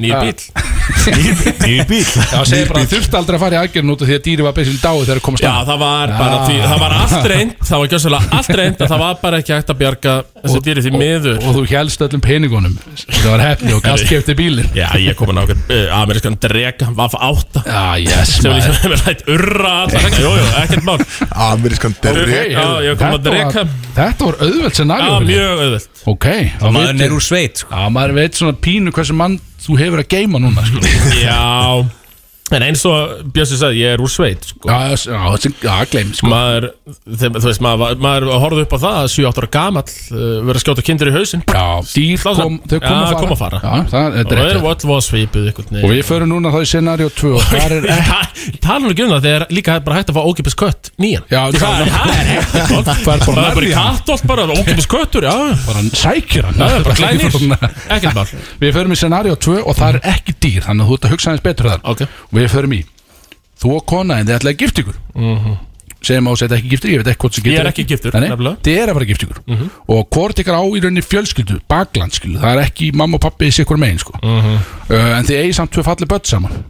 S5: nýr bíl,
S3: Nýr bíl
S2: Já, segja bara að þurfti aldrei að fara í aðgerðin út af því að dýri var basically dáið þegar það komast
S5: já það var bara því, það var allt reynd, það var gjössalega allt reynd að það var bara ekki hægt að bjarga þessu dýri því miður
S2: og þú helst öllum peningunum það var hefni og gast kefti bílin
S5: Já, ég kom að nákvæm uh, amerískan drega, vaff átta
S2: Já, Ah, yes,
S5: sem
S2: maður
S5: (laughs) líka hefur lætt urra allar Jú, jú, ekkert mál Já,
S1: Amerískan
S5: Ok.
S1: derri
S5: Já, ég
S2: Þetta
S5: kom að
S2: var-
S5: dreka.
S2: Þetta var auðvelt scenario
S5: mjög auðvöld
S2: Ok, þá
S4: Maður
S2: veitum-
S4: er úr sveit sko.
S2: Já, maður veit svona pínu hversu mann þú hefur að geima núna sko.
S5: (laughs) Já, en eins og Bjössi sagði, ég er úr sveit sko.
S2: Já, já, já, sem- já gleym sko.
S5: maður, þeim, þú veist, maður, maður horfði upp á það að 7-8 ára gamall uh, verið að skjóta kindur í hausinn
S2: Já, dýr
S5: Slá
S2: kom,
S5: saman.
S2: þau kom
S5: Já,
S2: að fara,
S5: kom að fara.
S2: Já, það,
S5: og
S2: þetta er
S5: það er
S2: rétt
S5: vall var svipið einhvern
S2: Og
S5: veginn.
S2: við förum núna þá í scenario 2 og það
S5: (laughs)
S2: er ekki
S5: Ég tala nú ekki um það þegar líka bara hægt að fá ókipis kött nýjan
S2: Já,
S5: það,
S2: (laughs) það-
S5: það, er ekki gott.
S2: Það er bara
S5: Það er bara
S2: nærri
S5: í
S2: hann.
S5: kattolt bara ókipis köttur, já
S2: bara sækir hann
S5: Það er bara glænýr.
S2: Svona-
S5: Ekkert mál.
S2: Við förum í scenario 2 og það er ekki dýr Þannig að þú ert að hugsa aðeins betur þar
S5: Mhm. Ok.
S2: Og við förum í Þú og kona en þið ætlaði að gifta ykkur mm -hmm. Segjum á að setja ekki giftur Ég veit ekki hvort sem
S5: Mhm. Ég
S2: giftur
S5: er ekki giftur, nefnilega. Mhm.
S2: Þið er að fara að gifta ykkur Og hvort ykkar á í rauninni fjölskyldu Bakland skilur Það er ekki mamma og pappi Sikkur megin sko
S5: Mhm.
S2: uh, En þið eigi samt tvö falli börn saman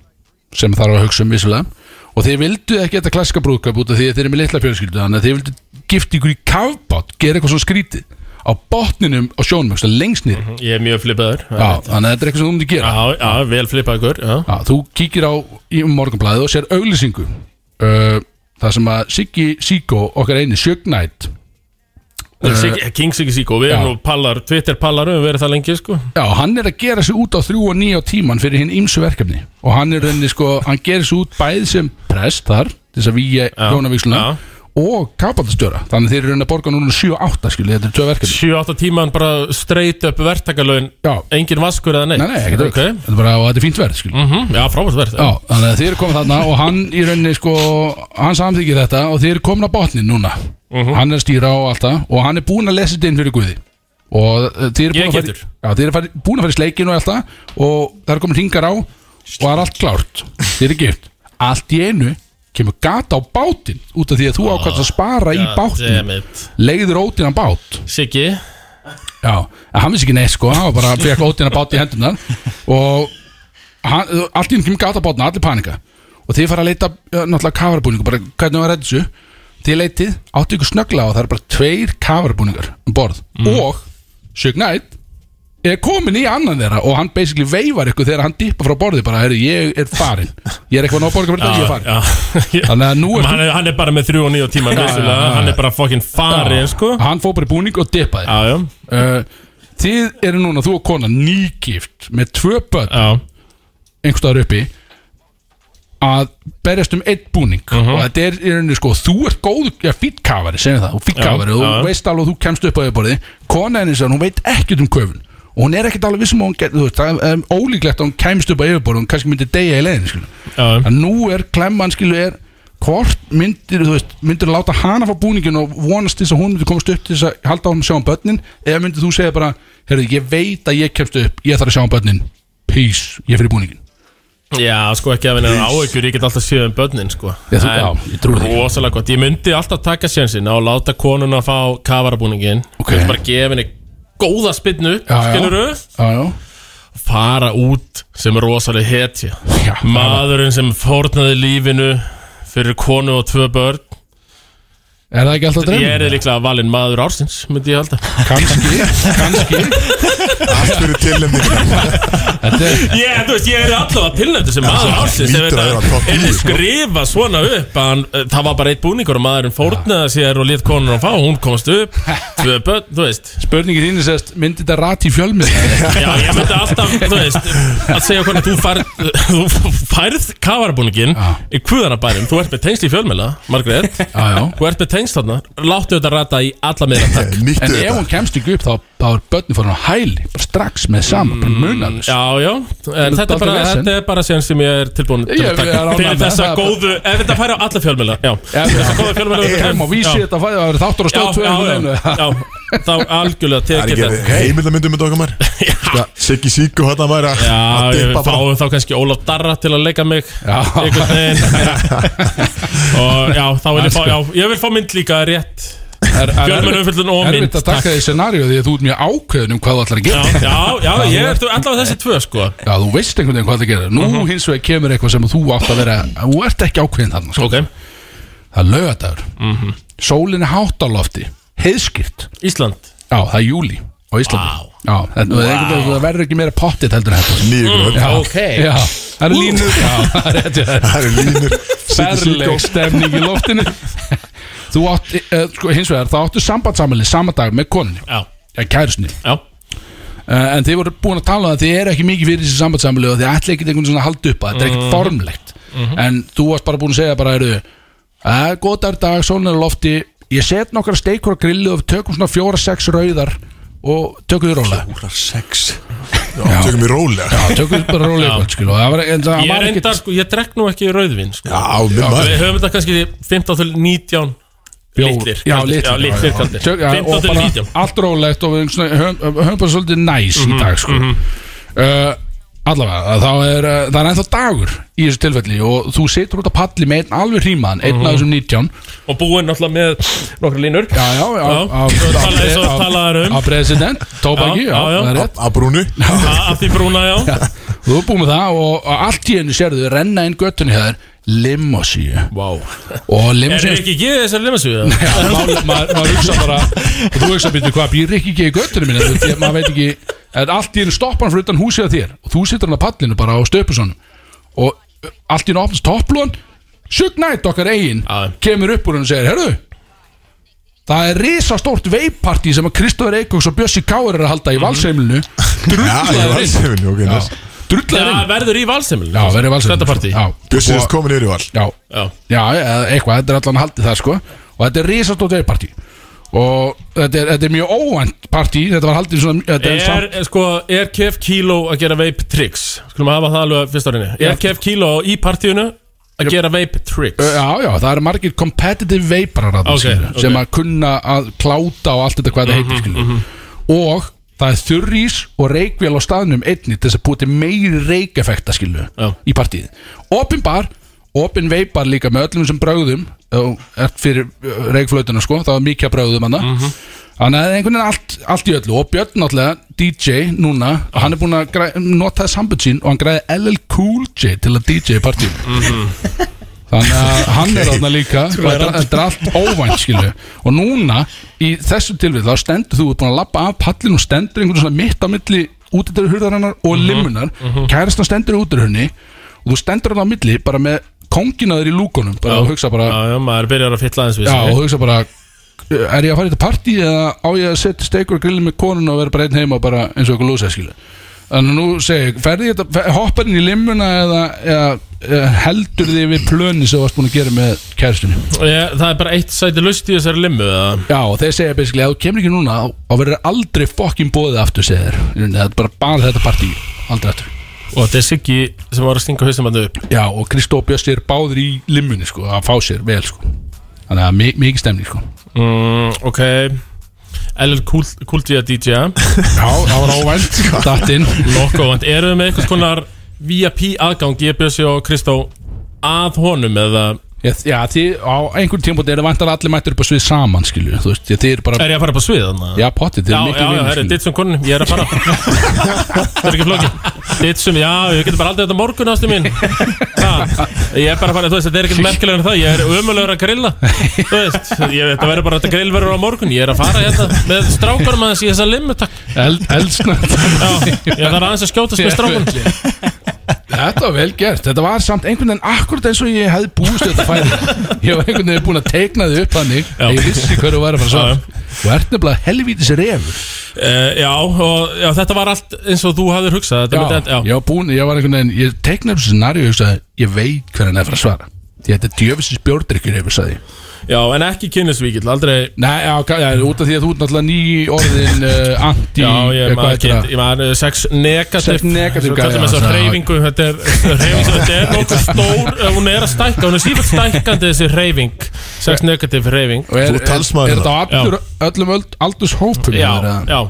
S2: Sem þarf að hugsa um vissulega Og þið vildu ekki þetta klassika brúðkap út af því að þið eru með litla fjölskyldu Þannig að þið vildu gifta ykkur í kafbát Gera eitthvað svo skrítið Á botninum á sjónmöxta lengst niður
S5: Ég er mjög flippaður
S2: Já, þannig að þetta er eitthvað sem þú myndir gera
S5: Já, já, vel flippaður, já
S2: Já, þú kíkir á í morgunblæði og sér auglýsingu uh, Það sem að Siggi Siggo, okkar eini sjögnætt
S5: Siggi- King Siggy Siggo, við
S2: já.
S5: erum nú pallar Twitter pallar, við erum verið það lengi sko
S2: Já, hann er að gera sig út á þrjú og nýja tíman fyrir hinn ímsu verkefni og hann er henni sko, hann gerir sig út bæð sem prest þar, til þess að víja hjónavísluna
S5: já.
S2: og kapatastjóra þannig að þeir eru henni að borga núna 7 og 8 skilja, þetta er tvö verkefni
S5: 7-8 tíman bara straight up verktakalögin
S2: Já,
S5: Engin vaskur eða neitt
S2: nei, nei, ekkert
S5: Ok.
S2: okay. þetta er bara, og þetta er fínt verð skilja
S5: Mhm, Já, frábært verð
S2: Já, þannig að þeir eru komin þarna og hann í rauninni sko, hann samþykir þetta og þeir eru komin á botnin núna
S5: Mhm.
S2: hann er að stýra á allt það og hann er búin að lesa þetta inn fyrir Guði og eh, þeir eru búin
S5: Ég
S2: að fara,
S5: getur.
S2: já, þeir eru fari- búin að fara í sleikinu og allt það og það eru komin hringar á og það er allt klárt, þeir eru gift allt í einu kemur gata á bátinn út af því að þú ákvæmst að spara í bátinn
S5: Dammit.
S2: leiðir ótinan bát
S5: Siggi
S2: Já, en hann vissi ekki neitt sko hann var bara fekk ótina bát í hendunar og hann, allt í hann kemur gata bátna, allir panika og þið fara að leita eh, náttúrulega kafarabúningu bara hvernig var þetta þessu þið leitið, áttu ykkur snögglega og það eru bara tveir kafarabúningar um borð
S5: Mhm.
S2: og Suge Knight er komin í annan þeirra og hann basically veifar ykkur þegar hann dippa frá borði bara, heyrðu, ég er farin ég er eitthvað nóg að borga fyrir þetta, ég er farin
S5: Ah, Já, (laughs) já.
S2: Þannig að nú er-
S5: hann, er, hann er bara með 3 og 9 tíman vissulega. Hann er bara fucking farið sko
S2: hann fór bara í búning og dippaði
S5: Já, já,
S2: uh, þið eru núna, þú og kona nýgift með tvö börn
S5: já
S2: einhverstaðar uppi að berjast um einn búning
S5: Mhm.
S2: og þetta er í rauninni sko þú ert góð, já fýtkafari, segjum við það og fýtkafari,
S5: Já,
S2: þú
S5: já.
S2: veist alveg að þú kemst upp á yfirborði, kona henni sér, hún veit ekkert um köfun og hún er ekkert alveg vissum að hún get, þú veist, það er um, ólíklegt að hún kemst upp á yfirborði hún kannski myndi deyja í leiðin, skilu
S5: Já.
S2: en nú er klemman, skilu, er hvort myndir, þú veist, myndir láta hana fá búningin og vonast til þess að hún myndi komast upp til þess að halda á hún að sjá um börnin eða myndir þú segja bara, heyrðu, ég veit að ég kemst upp, ég þarf að sjá um börnin peace, ég fyrir búningin
S5: Já, sko ekki að vinna áhyggjur, ég get alltaf séð um börnin sko
S2: Já, þú- já, ég trúi því.
S5: Rósalega gott, ég myndi alltaf taka sjensin á að láta konuna fá kafarabúningin
S2: Ok.
S5: Ég myndi bara gefa henni góða spynnu,
S2: Já, já.
S5: skilurðu
S2: Já, já,
S5: Fara út sem er rosalega hetja
S2: Já,
S5: Maðurinn sem fórnaði lífinu fyrir konu og tvö börn
S2: Er það ekki alltaf
S5: Ég er
S2: draumur?
S5: líklega valinn maður ársins, myndi ég halda (laughs)
S2: Kanski, kanski
S1: Allt fyrir tilnefningar
S2: Þetta er
S5: Ég, þú veist, ég er allavega tilnættu sem maður ársins
S1: hlýtur að vera topp
S5: En
S1: tíu, sko.
S5: skrifa svona upp að hann, eh, Það var bara eitt búningur og maðurinn fórnaði sér og lét konur að fá Hún komst upp, tvö börn, þú veist
S2: spurningin þín er sérst Myndi þetta rati í fjölmið?
S5: (laughs) Já, ég myndi alltaf, þú veist Að segja hvernig þú færð Þú færð kafarabúningin
S2: Já.
S5: Í kvöðanabærum, þú ert með tengsl í fjölmela Margrét,
S2: Já, já
S5: þú ert með tengsl þarna Láttu þetta rata í alla meðra takk
S1: Nýttu
S2: En ef
S1: þetta
S2: hún kemst ekki upp þá, þá er börnin fór hún á hæli bara strax með sama, bara munanus
S5: Mm, Já, já, en
S2: er
S5: þetta er, bara,
S2: dálítið vesen.
S5: þetta er bara sen sem ég er tilbúin til
S2: Ég-
S5: að
S2: ég
S5: taka
S2: er ánægð
S5: fyrir
S2: með
S5: þessa
S2: það.
S5: góðu, ef þetta færi á alla fjölmjöla já,
S2: Já,
S5: þessa
S2: já.
S5: góðu fjölmjöla
S2: Ég kom og vísi þetta fæði að vera þáttur og
S5: Já,
S2: stöð
S5: já, (laughs) já,
S2: tvö
S5: já, þá algjörlega
S1: Það er
S5: tekið
S1: ekki
S5: þetta
S1: heimildamindum með okkar
S5: (laughs)
S1: maður Siggi Siggu hann að maður að-
S5: Já,
S1: að
S5: ég
S1: dippa bara
S5: fáum þá kannski Ólaf Darra til að leika mig
S2: Já.
S5: einhvern
S2: (laughs)
S5: veginn og já, þá vil ég fá, já, ég vil fá mynd líka rétt fjölmjöla umfyllun og mynd
S2: Erfitt að taka því scenaríu því að þú ert mjög ákveðin um hvað þú ætlar að
S5: Já,
S2: gera
S5: já, já, ég er allavega þessi tvö sko
S2: Já, þú veist einhvern veginn hvað það gerir Nú
S5: Mhm.
S2: hins vegar kemur eitthvað sem þú átt að vera Þú ert ekki ákveðin þarna sko.
S5: Ok, Mhm.
S2: Það er lögadagur Sólin er hátt á lofti, heiðskýrt
S5: Ísland
S2: Já, það er júli á Íslandi
S5: Vá.
S2: Já, en wow. það verður ekki meira pottið heldur en þetta
S1: Nýður
S2: Já,
S5: Ok.
S2: (laughs) Já, það er línur Já, það er rétt, já.
S1: Það eru línur Siggi Siggu
S2: ferleg stemning í
S5: (laughs)
S2: loftinu Þú átt, uh, sko, hins vegar þá áttu sambandsamæli sama dag með konunni
S5: Já,
S2: eða kærusni,
S5: já,
S2: uh, en þið voru búin að tala um það þið eru ekki mikið fyrir þessi sambandsamæli og þið ætla ekkert einhvern svona að halda upp að þetta er
S5: Mhm.
S2: ekkert formlegt en þú varst bara búin að segja bara, eru það er góð dagur í dag, sólun er á lofti ég set nokkra steikur á grillu og við tökum svona fjóra, sex rauðar og tökum þið rólega
S3: Úrar sex
S2: (laughs)
S1: Já, Tökum við rólega
S2: Já, tökum þið bara rólega kvöld, skil, og það var, en það
S5: ég
S2: var
S5: er
S2: ekkert
S5: enda sko, ég drekk nú ekki rauðvin sko
S1: Já, minn
S5: Við
S1: maður
S5: höfum þetta kannski 15 til 19
S2: Bjór.
S5: Litlir
S2: Já,
S5: kaldir.
S2: litlir,
S5: Já, litlir
S2: já.
S5: kaldir
S2: Tök- já,
S5: 15
S2: og
S5: til
S2: bara
S5: 19
S2: allt rólegt og við svona- höfum höfum bara svolítið næs
S5: Mhm,
S2: í dag sko. uh, allavega að þá er, uh, það er ennþá dagur í þessu tilfelli og þú situr út á palli með einn alveg hrímaðan, einn
S5: Mhm.
S2: af þessum 19
S5: Og búinn náttúrulega með nokkra línur
S2: já, já, já,
S5: Já, svo talaði- svo talaðir um.
S2: á president, tóbaki,
S5: Já,
S2: já,
S5: já, já.
S2: það er rétt
S1: Að
S5: (laughs)
S1: brúnu
S5: A- Af því brúna, já
S2: Já, Þú er búin með það og, og allt í hennu sérðu renna inn göttunni hér limosíu wow. og
S5: Er
S2: limosíu
S5: ekki ekki þessari limasögu?
S2: Já, maður, maður, maður hugsa bara og þú hugsa býttu hvað býr ekki ekki í göttunum minni þú, ég, maður veit ekki en allt í hennu stoppar hann fyrir utan húsið að þér og þú situr hann á pallinu bara á stöpusonum og uh, allt í hennu opnast topplúan Sug Knight okkar eigin
S5: Já.
S2: kemur upp úr hann og segir herru það er risastórt veippartí sem að Kristóður Eikóks og Bjössi Káur er að
S5: Mhm.
S2: halda í valsheimilinu
S1: Já, ég var
S2: drullaður inn
S1: sefinu Ok, næs
S5: Já,
S2: drullaður inn
S5: verður í valsemil
S2: já, verið valsheimilinu
S5: Þetta partí
S2: já,
S1: Bjössi
S2: Og-
S1: er sko- komin yfir í val
S2: já,
S5: Já.
S2: Já, eða eitthvað, þetta er allan haldið það sko Og þetta er risastótt veipartí Og þetta er, þetta er mjög óvænt partí Þetta var haldið svona þetta er
S5: Er,
S2: samt,
S5: er, sko, er Kef Kilo að gera vape tricks? Skulum hafa það alveg fyrst árinni Er Kef Kilo í partíinu að gera vape tricks?
S2: Já, já, það eru margir competitive veiparar
S5: Ok,
S2: okay, skilur,
S5: ok. Mhm,
S2: Sem að kunna að kláta og allt þetta hvað þetta heitir skilur Og það er þurrís og reykvél á staðnum einni Til þess að búið til meiri reykeffekta skilur
S5: Já.
S2: Í partíð Opin bar, opin veipar líka með öllum sem brögðum og ert fyrir uh, reykflötuna sko Það var mikið að brögðum hann
S5: Mhm.
S2: Þannig að það er einhvern veginn allt, allt í öllu og Björn náttúrulega DJ núna hann er búin að græ- nota sambund sín og hann græði LL Cool J til að DJ partíum þannig að hann er þarna líka og þetta þetta er allt óvænt skilu og núna í þessu tilvíð þá stendur þú ert búin að labba af pallin og stendur einhvern svona mitt á milli útidur hurðarinnar og limunar kærastan stendur út í hurðinni og þú stendur hann á milli bara með konginaður í lúkunum bara og hugsa bara
S5: Já, já, maður byrjar að fylla aðeins við
S2: Já,
S5: sig.
S2: og hugsa bara Er ég að fara í þetta partí eða á ég að setja steikur og grillin með konun og vera bara einn heima og bara eins og okkur lúsa skilu Þannig að nú segi ég, ferði ég þetta, hoppar inn í limmuna eða, eða, eða heldur þið við plöni sem þú varst búin að gera með kæristunni
S5: Ég, Eh, Það er bara eitt sæti lust í þessari limu eða?
S2: Já, og þeir segja basically að þú kemur ekki núna og verður þér aldrei fokkin bóðið aftur segir þér Það er bara bara þetta partí, aldrei aftur
S5: Og þetta er Siggi sem var að stinga haustum hann upp
S2: Já, og Kristó og Bjössi er báðir í limmunni sko, að fá sér vel sko Þannig að mi- mikið stemning sko
S5: mm, Ok LL Cool, cool G að DJ -a.
S2: Já, það var óvænt, sko. datt inn
S5: Lokkóvand, eru þið með eitthvað konar VIP aðgang, ég bjössi og Kristó að honum eða
S2: Ég, já, þið, á einhvern tímpúti er það vantar allir mættur upp á svið saman, skilju Þú veist, ég, þið eru bara
S5: Er ég að fara upp á svið þannig?
S2: Já, potið, þið
S5: Já,
S2: eru
S5: já,
S2: miklu
S5: já, það er
S2: vinir,
S5: ditt sem konunum, ég er að
S2: (laughs)
S5: fara Það er ekki flóki Ditt sem, já, ég getur bara aldrei þetta morgun ástu mín ha, Ég er bara að fara, þú veist, þetta er ekkert merkilegur en það Ég er umöluður að grilla Þú veist, ég veit að verður bara að þetta grill verður á morgun Ég er að fara hérna með strákarum aðeins í þessa limmu, takk
S2: skilju Eld, Eldsnönd
S5: (laughs) Já, ég þarf aðeins að skjótast með strákunum
S2: (laughs) Þetta var vel gert, þetta var samt einhvern veginn akkurat eins og ég hefði búist þetta færi Ég var einhvern veginn búin að teikna þið upp þannig
S5: Já.
S2: að Ég vissi hverju var að fara
S5: Já, já.
S2: svo Þú ert nefnilega helvítis refur
S5: Uh, já, og já, þetta var allt eins og þú hafðir hugsað Þetta
S2: Já,
S5: myndi enda-
S2: ég var búin, ég var einhvern veginn Ég teiknaði þessu scenarió, ég hugsaði Ég veit hver hann er að fara að svara Því þetta er djöfisins bjórdrykkur hefur sagði ég.
S5: já, já, en ekki kynlisvíkil, aldrei
S2: Nei, já, ka- já, út af því að þú ert náttúrulega ný orðin
S5: (laughs)
S2: uh, anti
S5: Já, ég
S2: eh, hvað
S5: maður
S2: heitir
S5: ekki,
S2: það?
S5: ég maður sex negativ
S2: Sex negative
S5: Svo kallum
S2: gæja,
S5: þess að
S2: já,
S5: hreyfingu, þetta er hreyfing sem þetta er nokkuð stór eh, Hún er að stækka, hún er sífælt stækkandi þessi hreyfing Sex negativ hreyfing
S2: Og er,
S1: Þú ert talsmaður
S2: Er
S3: hérna.
S2: þetta á allur, öllum öld, aldurshópum
S5: Já,
S2: eða?
S5: já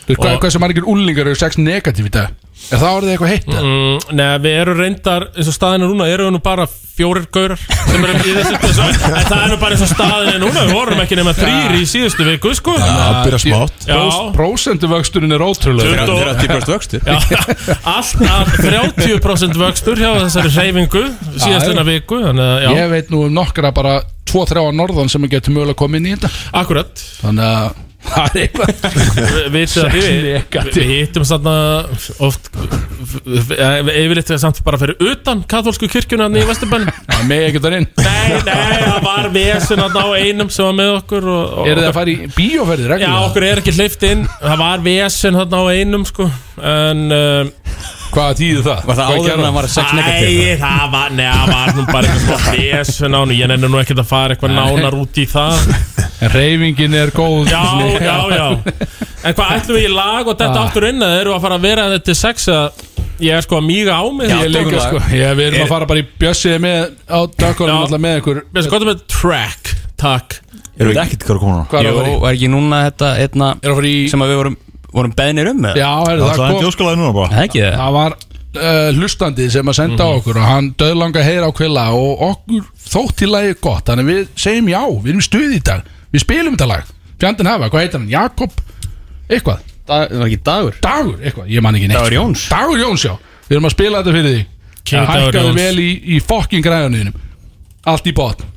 S2: Þú veist, hvað,
S5: Og-
S2: hvað sem margir úlingar eru sex negativ í dag Er það orðið eitthvað heitt? eða?
S5: mm, Nei, við erum reyndar, eins og staðin er núna, erum við nú bara fjórir gaurar sem erum í þessu þessu- En það er nú bara eins og staðin er núna, við vorum ekki nema þrýr í síðustu viku, sko
S1: Það byrja smátt
S5: Já.
S2: Prósenduvöxturinn er ótrúlega
S5: Þeir-
S3: Það er að típast vöxtur
S5: Já, (laughs) allt að 30% vöxtur hjá þessari hreyfingu síðastunna viku, þannig að, já,
S2: Ég veit nú um nokkra bara 2-3 á norðan sem getur mögulega að koma inn í þetta
S5: akkurat
S2: Þannig að (laughs) það er eitthvað
S5: Vi- vitið að við,
S2: Sexnekati.
S5: við hittum þarna oft eh, yfirleitt samt bara fyrir utan katholsku kirkjuna þarna í Vesturbann
S2: Það með ekki þar inn
S5: Nei, nei, það var vesen þarna á einum sem var með okkur og, og,
S2: Er það að fara í bíóferðir
S5: Já,
S2: reglulega?
S5: okkur er ekki hleyft inn Það var vesen þarna á einum sko En um,
S2: Hvað þýðir það?
S3: Var
S2: Hvað
S3: það áður
S2: gerði
S3: en hann
S2: hann?
S3: var sex negativ
S5: Æ, það var, nei, það var nú bara eitthvað smá vesen á hann Ég nenni nú ekkert að fara eitthvað nánar út í það
S2: En reyfingin er góð
S5: (laughs) Já, já, já En hvað ætlum við í lag og þetta áttur inn eða eru að fara að vera þetta sex eða ég er sko að míga á
S2: Ég
S5: mig Ég er
S2: líka
S5: líka,
S2: sko Ég við erum að fara bara í bjössið með Á dökkunum
S5: Já.
S2: alltaf með ykkur
S5: Mér sko gott með track Takk
S3: Erum við ekkert hvað að koma núna?
S2: Hvað er
S4: Jú,
S2: að fara í?
S4: er ekki núna þetta einna
S2: Er að fara í
S4: sem að við vorum, vorum beðnir um með?
S2: Já, er
S3: Það
S2: það
S3: er
S2: kom
S3: djóskalaði núna bara
S4: Það ekki það?
S2: Það var uh, hlustandi sem að senda á okkur og hann döðlanga heyra á kvilla og okkur þótt í lagi gott þannig við segjum já, við erum í stuði í dag við spilum þetta lag, fjandinn hafa, hvað heitir hann Jakob, eitthvað,
S4: Það var ekki dagur?
S2: Dagur eitthvað, ég man ekki neitt sko.
S4: Dagur Jóns.
S2: Dagur Jóns, já, við erum að spila þetta fyrir þig
S5: King Dagur
S2: hækkaðu
S5: Jóns.
S2: vel í, í fokking græðanuðinum allt í botn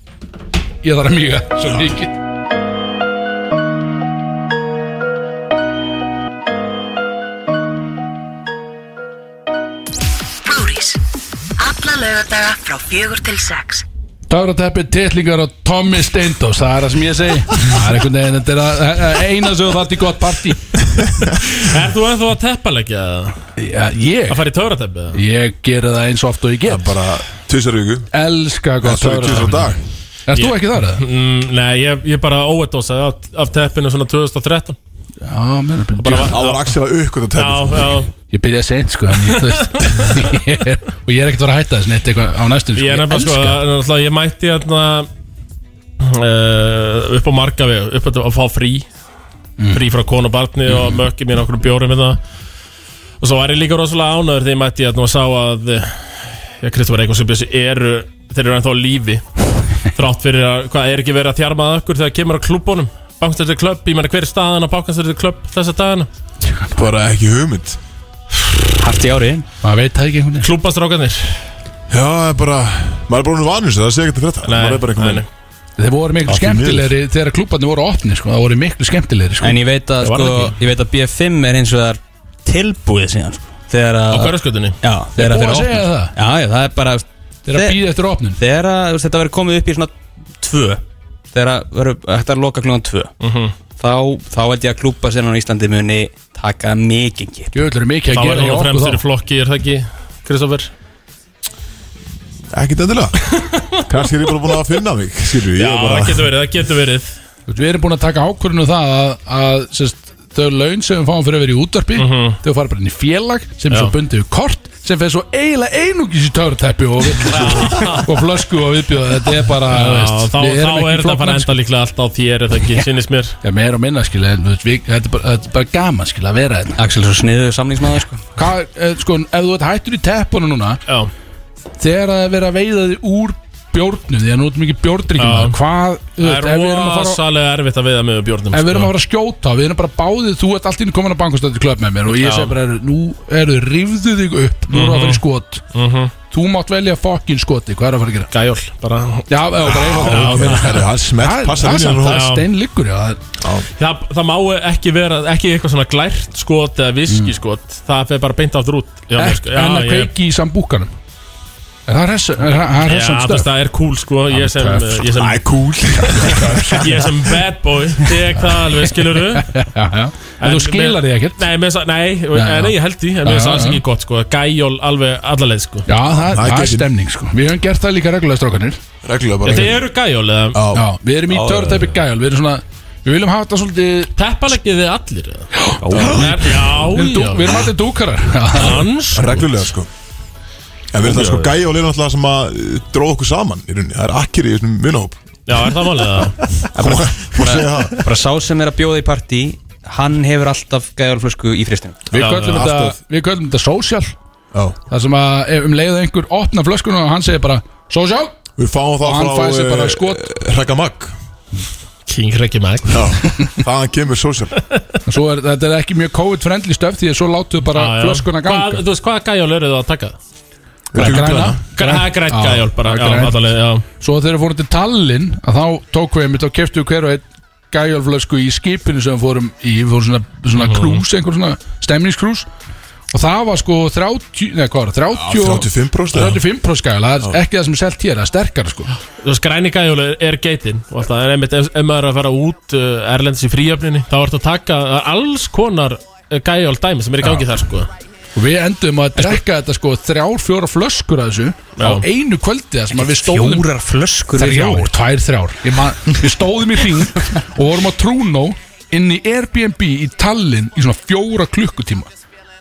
S2: ég þarf að mýga svo mikið
S6: Brúris. Alla lögadaga frá fjögur til sex.
S2: Töfrateppi, titlingar og Tommy Steindós Það er það sem ég segi Það er einhvern veginn, þetta er að- að- að eina sem þú þátt í gott partí
S5: Er þú ennþá að teppalegja eða?
S2: Já, ég
S5: Að fara í töfrateppi eða?
S2: Ég geri það eins og oft og ég get
S1: Bara tvisar viku
S2: Elska
S1: Það
S2: gott
S1: er tvisar
S2: töfrateppi
S1: dag
S2: Er þú ekki þar? eða?
S5: Mm, nei, ég, ég bara óedósaði af, af teppinu svona 2013
S2: Já, meina
S5: bara
S2: byrja
S5: var,
S1: Þá var Axel að aukvitað
S5: Já,
S1: teppi
S5: já,
S2: Ég byrja seint sko en ég, þú veist,
S5: (laughs)
S2: ég er, Og ég er ekkert að fara að hætta þess neitt eitthvað á næstum
S5: ég er nefnilega sko en náttúrulega Ég mætti hérna uh, upp á marga við upp að, að fá frí frí frá konu og barni og mökki mín okkur bjórum hérna og svo var ég líka rosalega ánöður þegar ég mætti hérna og sá að eh, já, Kristofar Eikon sem bjössi eru þeir eru ennþá á lífi þrátt fyrir að hvað er ekki verið að þjarma að okkur þegar kemur á klubbónum Bankstættir klubb, ég menna hver er staðan á Bankstættir klubb þessa dagana
S1: Bara ekki hugmynd
S4: Hart í ári
S2: Maður veit það ekki einhvern veginn
S5: Klubbastrákanir
S1: Já, það er bara Maður er bara hún vanur þessu, Það sé ekki að frétta Maður er bara einhvern veginn
S2: Þeir voru miklu
S1: Allt í
S2: skemmtilegri Þegar klúbarnir voru opni sko Það voru miklu skemmtilegri sko
S4: En ég veit að,
S5: Það var
S4: sko,
S5: það
S4: ég veit að BF5 er eins og það er tilbúið síðan sko. Þegar
S5: á
S4: að
S5: hverjaskötunni
S4: Já,
S2: Þeir
S4: þegar að
S2: búið að
S4: þeir
S2: segja
S4: opna
S2: það
S4: Já, já, það er bara
S2: Þeir að býða eftir opnun
S4: Þegar að þú veist, þetta verður komið upp í svona tvö Þegar að verður- þetta er að loka klungan tvö
S2: Mhm.
S4: þá, þá held ég að klúpa sér á Íslandi muni taka mikið kipp
S2: Jöfnlega er mikið
S5: Þá
S2: að
S5: er
S2: gera hjá
S5: það
S2: okkur
S5: fremstur í
S2: þá
S5: flokki, er það ekki, Kristoffer?
S1: Ekkert
S5: (laughs)
S1: endilega Kannski er ég bara búin að finna mig Skilju, ég
S5: Já,
S1: er
S5: það
S1: bara
S5: getur verið, það getur verið
S2: Þú veist, Við erum búin að taka ákvörðinu það að, að sérst, þau laun sem við fáum fyrir að vera í útvarpi þau fara bara inn í félag sem er svo
S5: Mhm. Já.
S2: bundið við kort sem fer svo eiginlega einungis í törutæppi
S5: (laughs)
S2: og, vitleysu og flösku og viðbjóð þetta er bara þú
S5: Já,
S2: veist,
S5: þá,
S2: við erum ekki
S5: þá er þetta bara
S2: flokkmennsku.
S5: enda líklega allt á þér, er það ekki, sínist mér
S2: Já, meira og minna skilja, en, þú veist, við, þetta, er bara, þetta er bara gaman skilja að vera hérna. þetta
S4: Axel er svo sniðu samlingsmaður sko.
S2: Hvað, eh, sko, ef þú ert hættur í teppuna núna
S5: Já,
S2: þegar það er verið að veiða þig úr bjórnum því að nú erum mikið bjórdryggjum
S5: Já.
S2: maður. hvað, þú
S5: Það
S2: veist, ef við erum að
S5: er
S2: fara
S5: rosalega erfitt að veiða með bjórnum sko.
S2: Ef við erum að fara að skjóta, við erum bara báðið Þú ert allt í einu komin að bankastöldu klöp með mér Og ég
S5: Já. Mhm.
S2: segi bara, nú eru, rífðu þig upp Nú eru að fara í skot Þú mátt velja fokkin skoti, hvað er að fara að gera?
S5: Gæjól, bara
S2: Já, já, bara
S5: Já,
S2: eiginlega
S1: Herru, hann smelt
S2: Það
S1: passa
S2: er
S1: vinjar
S2: samt, það
S1: og
S2: er
S5: Já.
S2: steinliggur, já það er-
S5: það, það má ekki vera, ekki eitthvað svona glært skot eða viski skot Það fer bara beint aftur út Já,
S2: Ek-
S5: sko, já,
S2: Mm. Eh, En að
S5: ég-
S2: kveiki í sambúkanum Er það hress- er það- það er
S5: Já,
S2: hressum
S5: þú veist,
S2: stöf?
S5: það er cool sko Ég sem,
S2: töff.
S5: ég sem,
S1: Það er cool
S5: ég sem bad boy Tek það alveg, skilur
S2: Já, já (laughs) En þú skilar því ekkert
S5: Nei, með, þess að- nei, eh,
S2: já.
S5: nei, nei, ég held því En
S2: Já,
S5: mér finnst það
S2: já,
S5: alls
S2: já.
S5: ekki gott sko Gæjól alveg allarleið sko
S2: Já, það,
S1: Það er
S2: það er
S1: geggjuð.
S2: stemning sko Við höfum gert það líka reglulega strákanir
S1: Reglulega
S5: Já,
S1: bara
S5: Þið eru gæjól eða
S1: Já.
S2: Já, við erum í törtæpi gæjál Við erum svona, við viljum hafa þetta svolítið
S5: Teppaleggið þið allir eða? Er- Já,
S2: Við erum,
S5: já
S2: dú- við erum allir dúkarar Já,
S5: Dans
S1: Reglulega sko En við erum það sko gæja og leina alltaf sem að eh, dróða okkur saman í rauninni Það er akkir í þessum vinahóp
S5: Já, er það málið það?
S1: Má má segja það
S4: bara sá sem er að bjóða í partí hann hefur alltaf gæðalflösku í fristinu
S2: Við
S5: Já,
S2: köllum
S1: já,
S2: þetta,
S1: alltaf.
S2: við köllum þetta social
S1: Já.
S2: Það sem að ef um leiðu einhver opna flöskuna og hann segir bara Social
S1: Við fáum
S2: Og
S1: það
S2: hann fær sér bara
S1: frá
S2: skot.
S1: Rekka Magg
S5: King Rikki Mac
S1: Þaðan kemur social
S2: En Svo er, þetta er ekki mjög COVID-friendly stöf Því að svo látum við bara flöskuna
S5: Hvað-
S2: ganga
S5: Þú veist, hvaða gæjól eru það að taka?
S1: Við tökum
S2: Græna.
S1: græna.
S5: Græ- Það er grænt
S2: Já,
S5: gæjól bara
S2: það
S5: Já,
S2: er grænt.
S5: allarleið, já
S2: Svo þegar við fórum til Tallinn að þá tók við einmitt og keftum við hver og einn gæjálflösku í skipinu sem við fórum í, við fórum svona, svona
S5: Mhm.
S2: krús, einhver svona stemningskrús og það var sko 30, neða hvað var, það, 30 og-
S1: 35% eða?
S2: 35% gæjál, það er ekki það sem er selt hér, það er sterkara sko
S5: Þú veist, græni gæjól er, er geitin og alltaf, en einmitt, ef, ef maður er að fara út uh, Erlendis í fríöfninni, þá ertu að taka það er alls konar uh, gæjól dæmi sem er í gangi þar, sko
S2: og við endum að drekka þetta sko þrjár, fjóra flöskur að þessu á
S5: Já.
S2: einu kvöldi það sem að við stóðum
S4: flöskur
S2: þrjár, tvær, þrjár Ég man, (laughs) við stóðum í hring og vorum á Trúnó inn í Airbnb í Tallinn í svona fjóra klukkutíma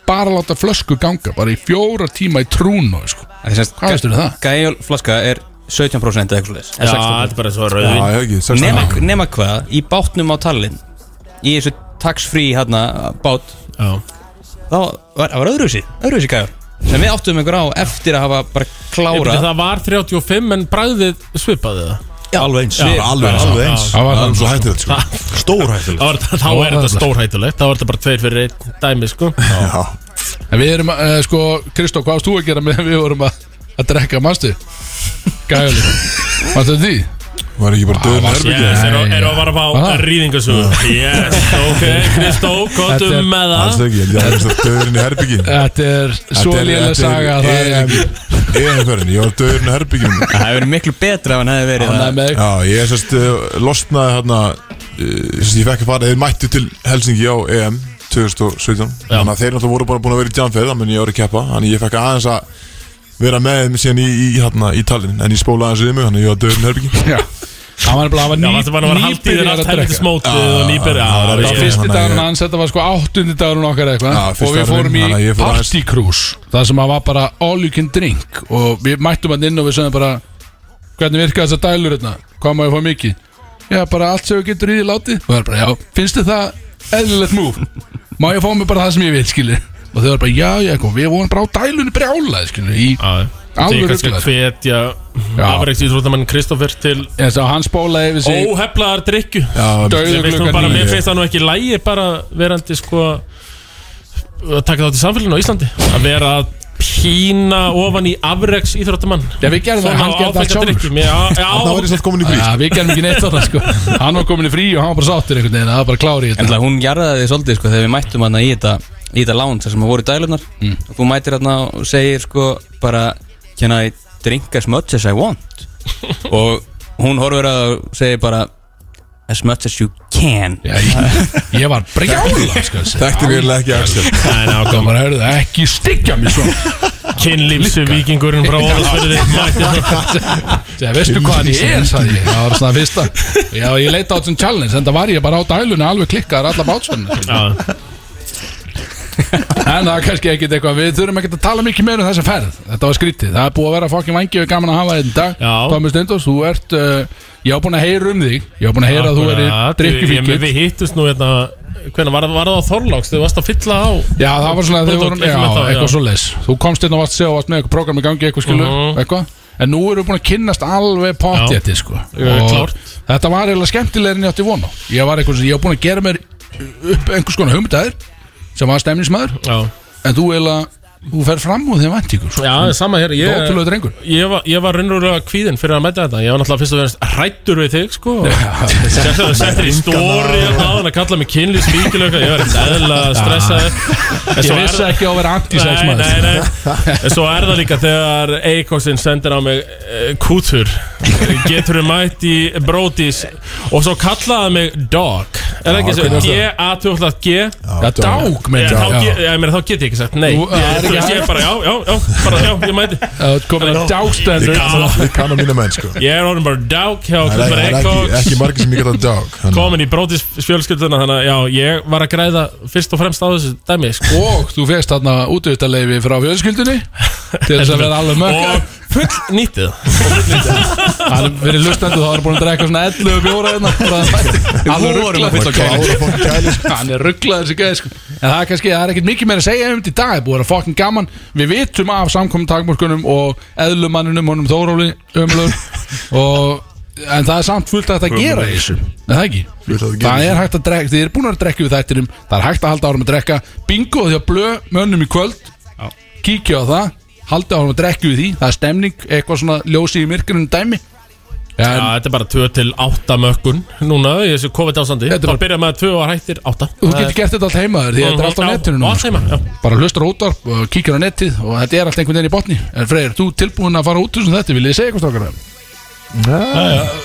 S2: bara að láta flösku ganga bara í fjóra tíma í Trúnó sko. Hvað veistu um það?
S4: gæðalflaska er 17% eða eitthvað svoleiðis,
S5: Já,
S4: eða
S5: þetta er bara svo
S1: Já,
S5: rauðin
S1: ég hef ekki
S4: Já, nema,
S1: 16.
S4: nema hvað, í bátnum á tallinn í þessu tax-free hérna bát
S5: Já,
S4: þá var, það var öðruvísi, öðruvísi gæðal sem við áttum einhver á eftir að hafa bara
S5: Ég byrja,
S4: klárað
S5: það var 35 en bragðið svipaði það
S3: Alveg eins
S5: Já,
S1: Alveg eins
S5: Já,
S1: Alveg eins
S5: já.
S2: Það var
S1: Það
S2: það
S1: er svo hættilegt sko Stór hættilegt
S5: Þá er, þá er þetta stórhættulegt, þá er þetta bara tveir fyrir einn dæmi, sko
S1: Já
S2: En við erum, uh, sko, Kristó, hvað varst þú að gera með við vorum að, að drekka, manstu? Gæli Manstu því?
S1: Var ekki bara döðum herbyggja
S5: Yes, er
S2: já.
S5: er að fara að
S2: Ah.
S5: fá rýðingasögu Yes, ok, Kristó,
S2: Þetta
S5: kontum
S2: er-
S5: með
S1: Alls
S5: það
S1: ekki Ég held að döðurinn í herbyggin
S2: Þetta er svo lélega saga að það er ekki
S1: EM-ferðin Ég var döðurinn í herbyggin
S4: það hefur verið miklu betra ef hann hefði verið
S2: Þannig
S4: það
S2: að með þig
S1: Já, ég sérst uh, losnaði hérna uh, sérst, ég fekk að fara, þeir mættu til Helsingi á EM 2017 þannig að þeir náttúrulega voru bara búin að vera í Jamfeð þannig að ég voru að keppa, þannig að ég fekk aðeins að vera með þeim síðan í, í, hérna, í talin en ég spólaði aðeins um mig, þannig að ég var döðurinn herbyggi
S2: Já Það var nefnilega,
S5: Já,
S2: það
S5: varstu bara
S2: var
S5: að fara að
S2: ný-
S5: haldi þér
S2: nýbyrjar
S5: allt
S2: að
S5: helviti
S2: drekka
S5: smótið og nýbyrja
S1: Já, það var
S2: Það
S5: Já,
S1: ekki-
S2: var
S5: ég-
S2: fyrsti
S1: Þannig að
S2: dagur
S1: ég-
S2: hans, þetta var sko áttundi dagur okkar eitthvað
S1: Já, fyrsti
S2: Og við
S1: dagurinn
S2: fórum
S1: minn,
S2: í
S1: þannig að ég fór aðeins-
S2: partycruise Það sem að var bara all you can drink Og við mættum hann inn og við sögum bara Hvernig virka þessar dælur hérna? Hvað má ég fá mikið? Já, bara allt sem við getur í því láti Og það er bara, já, finnst þið það eðlilegt move? Má ég fá mig bara það sem ég vil, skilur Og þau var bara, já, já, kom, við vorum bara á dælunni brjálaði, skilur Í,
S5: Já,
S2: Alveg
S5: Alveg rugglað
S2: ruglaður.
S5: Því kannski að hvetja afreiksítrúttamann Kristoffer til
S2: eins og hann spólaði yfir sig
S5: óheflaðar drikju
S1: Já,
S2: Dauður
S5: Sem veist nú
S2: klukkan
S5: bara,
S2: níu.
S5: mér finnst það nú ekki lægi bara verandi sko að taka þátt í samfélaginu á Íslandi að vera að pína ofan í afreks íþróttamann
S2: Já, við gerðum það, hann gerði það sjálfur
S1: það var ég
S5: sjálfur
S1: sérst komin í frís
S2: Já, við gerum ekki neitt þarna sko Hann var komin í frí og hann var bara sáttur einhvern veginn Það var bara klári í
S4: En
S2: þetta
S4: það hún jarðaði því svolítið sko þegar við mættum hann í þetta í þetta lán þar sem voru dælunar og þú mætir hann og segir sko bara can I drink as much as I (laughs) want og hún horfir að það og segir bara as much as you can
S2: Já, ég, ég var brjála sko
S1: Þekkti virðilega ekki Axel
S2: Það var að höfðu ekki styggja mig svona
S5: Kinnlýfsu vikingurinn frá Ólasfjörði
S2: Þegar veistu hvað ég er, sagði ég Það var svona fyrsta Já, ég leita át sem challenge En það var ég bara á dælunni alveg klikkaðar alla bátsvönni sko. En það er kannski ekkit eitthvað Við þurfum ekkit að tala mikið meira um þessa ferð Þetta var skrítið Það er búið að vera fokkin vangi og gaman að hafa þetta í dag
S5: Já.
S2: Thomas Stendos, þú ert uh, Ég á búin að heyra um þig Ég á búin að heyra að þú erir drikkjufíkil
S5: Við hittumst nú hérna Hvernig var, var það á Þorláks Þau varst að fylla á
S2: Já, það var svona að þau
S5: Brúðkaup,
S2: vorum,
S5: ekki
S2: já,
S5: með það,
S2: eitthvað
S5: já.
S2: svo leis Þú komst inn og varst að segja og varst með eitthvað program í gangi, eitthvað skilu,
S5: Mhm.
S2: eitthvað En nú erum við búin að kynnast alveg potjætti sko.
S5: Já,
S2: Og
S5: klárt.
S2: Þetta var eiginlega skemmtilegur en ég átti vona Ég var eitthvað sem ég var búin að gera mér upp einhvers konar hugmyndaðir sem var stemningsmaður
S5: Já,
S2: en þú eiginlega, þú fer fram úr þeim væntingur
S5: já sama hér
S2: Ég...
S5: Ég,
S2: Dóttulega drengur
S5: ég var, ég var raunverulega kvíðinn fyrir að mæta þetta Ég var náttúrulega fyrst og fremst hrættur við þig sko Sérstaklega (laughs) þú settir í stóri að hann að kalla mig kynlýs fíkilega Ég var eitthvað eðla stressaði En svo
S2: Ég
S5: er
S2: vissi
S5: það-
S2: ekki á að vera
S5: Nei,
S2: anti-sexmaður
S5: nei, nei En Svo er það líka þegar Eikosinn sendir á mig eh, kútur Getur þið mætt í brótis Og svo kallaði hann mig dog Er það ekki
S1: Já,
S5: svo?
S1: hvernig
S5: G, A, 2, G
S2: Já, dák með
S5: Ég, þá,
S2: þetta
S5: get, ég, meina, þá get ég ekki sagt nei
S2: Þú- það
S5: Ég-
S2: er
S5: Þú
S2: ekki
S5: veist, ég er bara, já, já, já, bara, já, ég mæti
S2: Það er komin að dástendur
S5: Já.
S1: Ég kann á mína menn sko
S5: Ég er orðin bara dog hjá
S1: Það er
S5: Kristmar
S1: ekki, ekki,
S5: Eikos
S1: ekki margir sem ég geta dog Þannig
S5: Komin í brótis fjölskylduna Þannig að já, ég var að græða fyrst og fremst á þessu dæmi sko.
S2: Og þú fegst þarna útvitaleifi frá fjölskyldunni til þess að vera alveg mökka
S5: Og full nýttið
S2: Það er verið lustendur, þá er búin að drekka svona 11 bjóra hérna bara að mæti. Alveg
S1: að
S2: rugglaður
S1: klára fokkin kæli sko.
S2: (laughs) Hann er rugglaður þessi gæði sko En það er kannski, það er ekkert mikið meira að segja um þetta í dag Búið að vera fokkin gaman Við vitum af samkominn takmörkunum og eðlumanninum honum Þóróli (laughs) umlur og En það er samt fullt hægt að gera í þessu Er það ekki?
S1: Fullt hægt að gera
S2: Það
S1: í
S2: er hægt að drekka, þið eru búin að drekka við þættinum Það er hægt að halda árum að drekka Bingo því að blö mönnum í kvöld Kíkja á það, halda árum að drekka við því Það er stemning, eitthvað svona ljósi í myrkurinn dæmi
S5: Já,
S2: En
S5: þetta er bara 2 til 8 mökkun núna í þessu COVID-ásandi
S2: Þetta er
S5: Þá
S2: bara-
S5: byrja með 2 og hættir 8
S2: þú getur gert þetta allt heimaður Því þetta er allt á netinu núna,
S5: Og allt
S2: sko.
S5: heima, já
S2: bara hlustar á útvarp og kíkir á netið og þetta er allt einhvern veginn í botni en Freyr, þú tilbúin að fara út úr sem þetta viljið þið segja eitthvað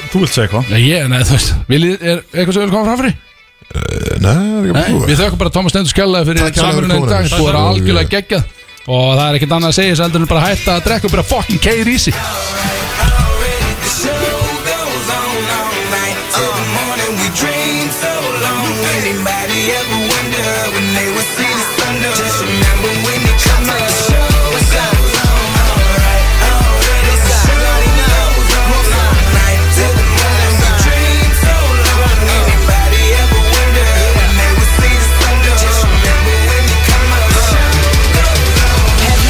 S2: stokkar
S3: Þú vilt segja eitthvað
S2: Nei, ég, nei, þú veist viljið, er eitthvað sem vil koma framfyrir?
S1: Nei, það er ekki
S2: Nei,
S1: að
S2: við
S1: búa
S2: þökkum bara Thomas Stendur
S1: Takk
S2: Skjallaði fyrir
S1: kærlega fyrir
S2: samverðinu í dag
S1: komuna.
S2: þú er
S1: Takk.
S2: algjörlega geggjað og það er ekkert annað að segja þess að heldur en bara hætta að drekka og bara fucking keir í sig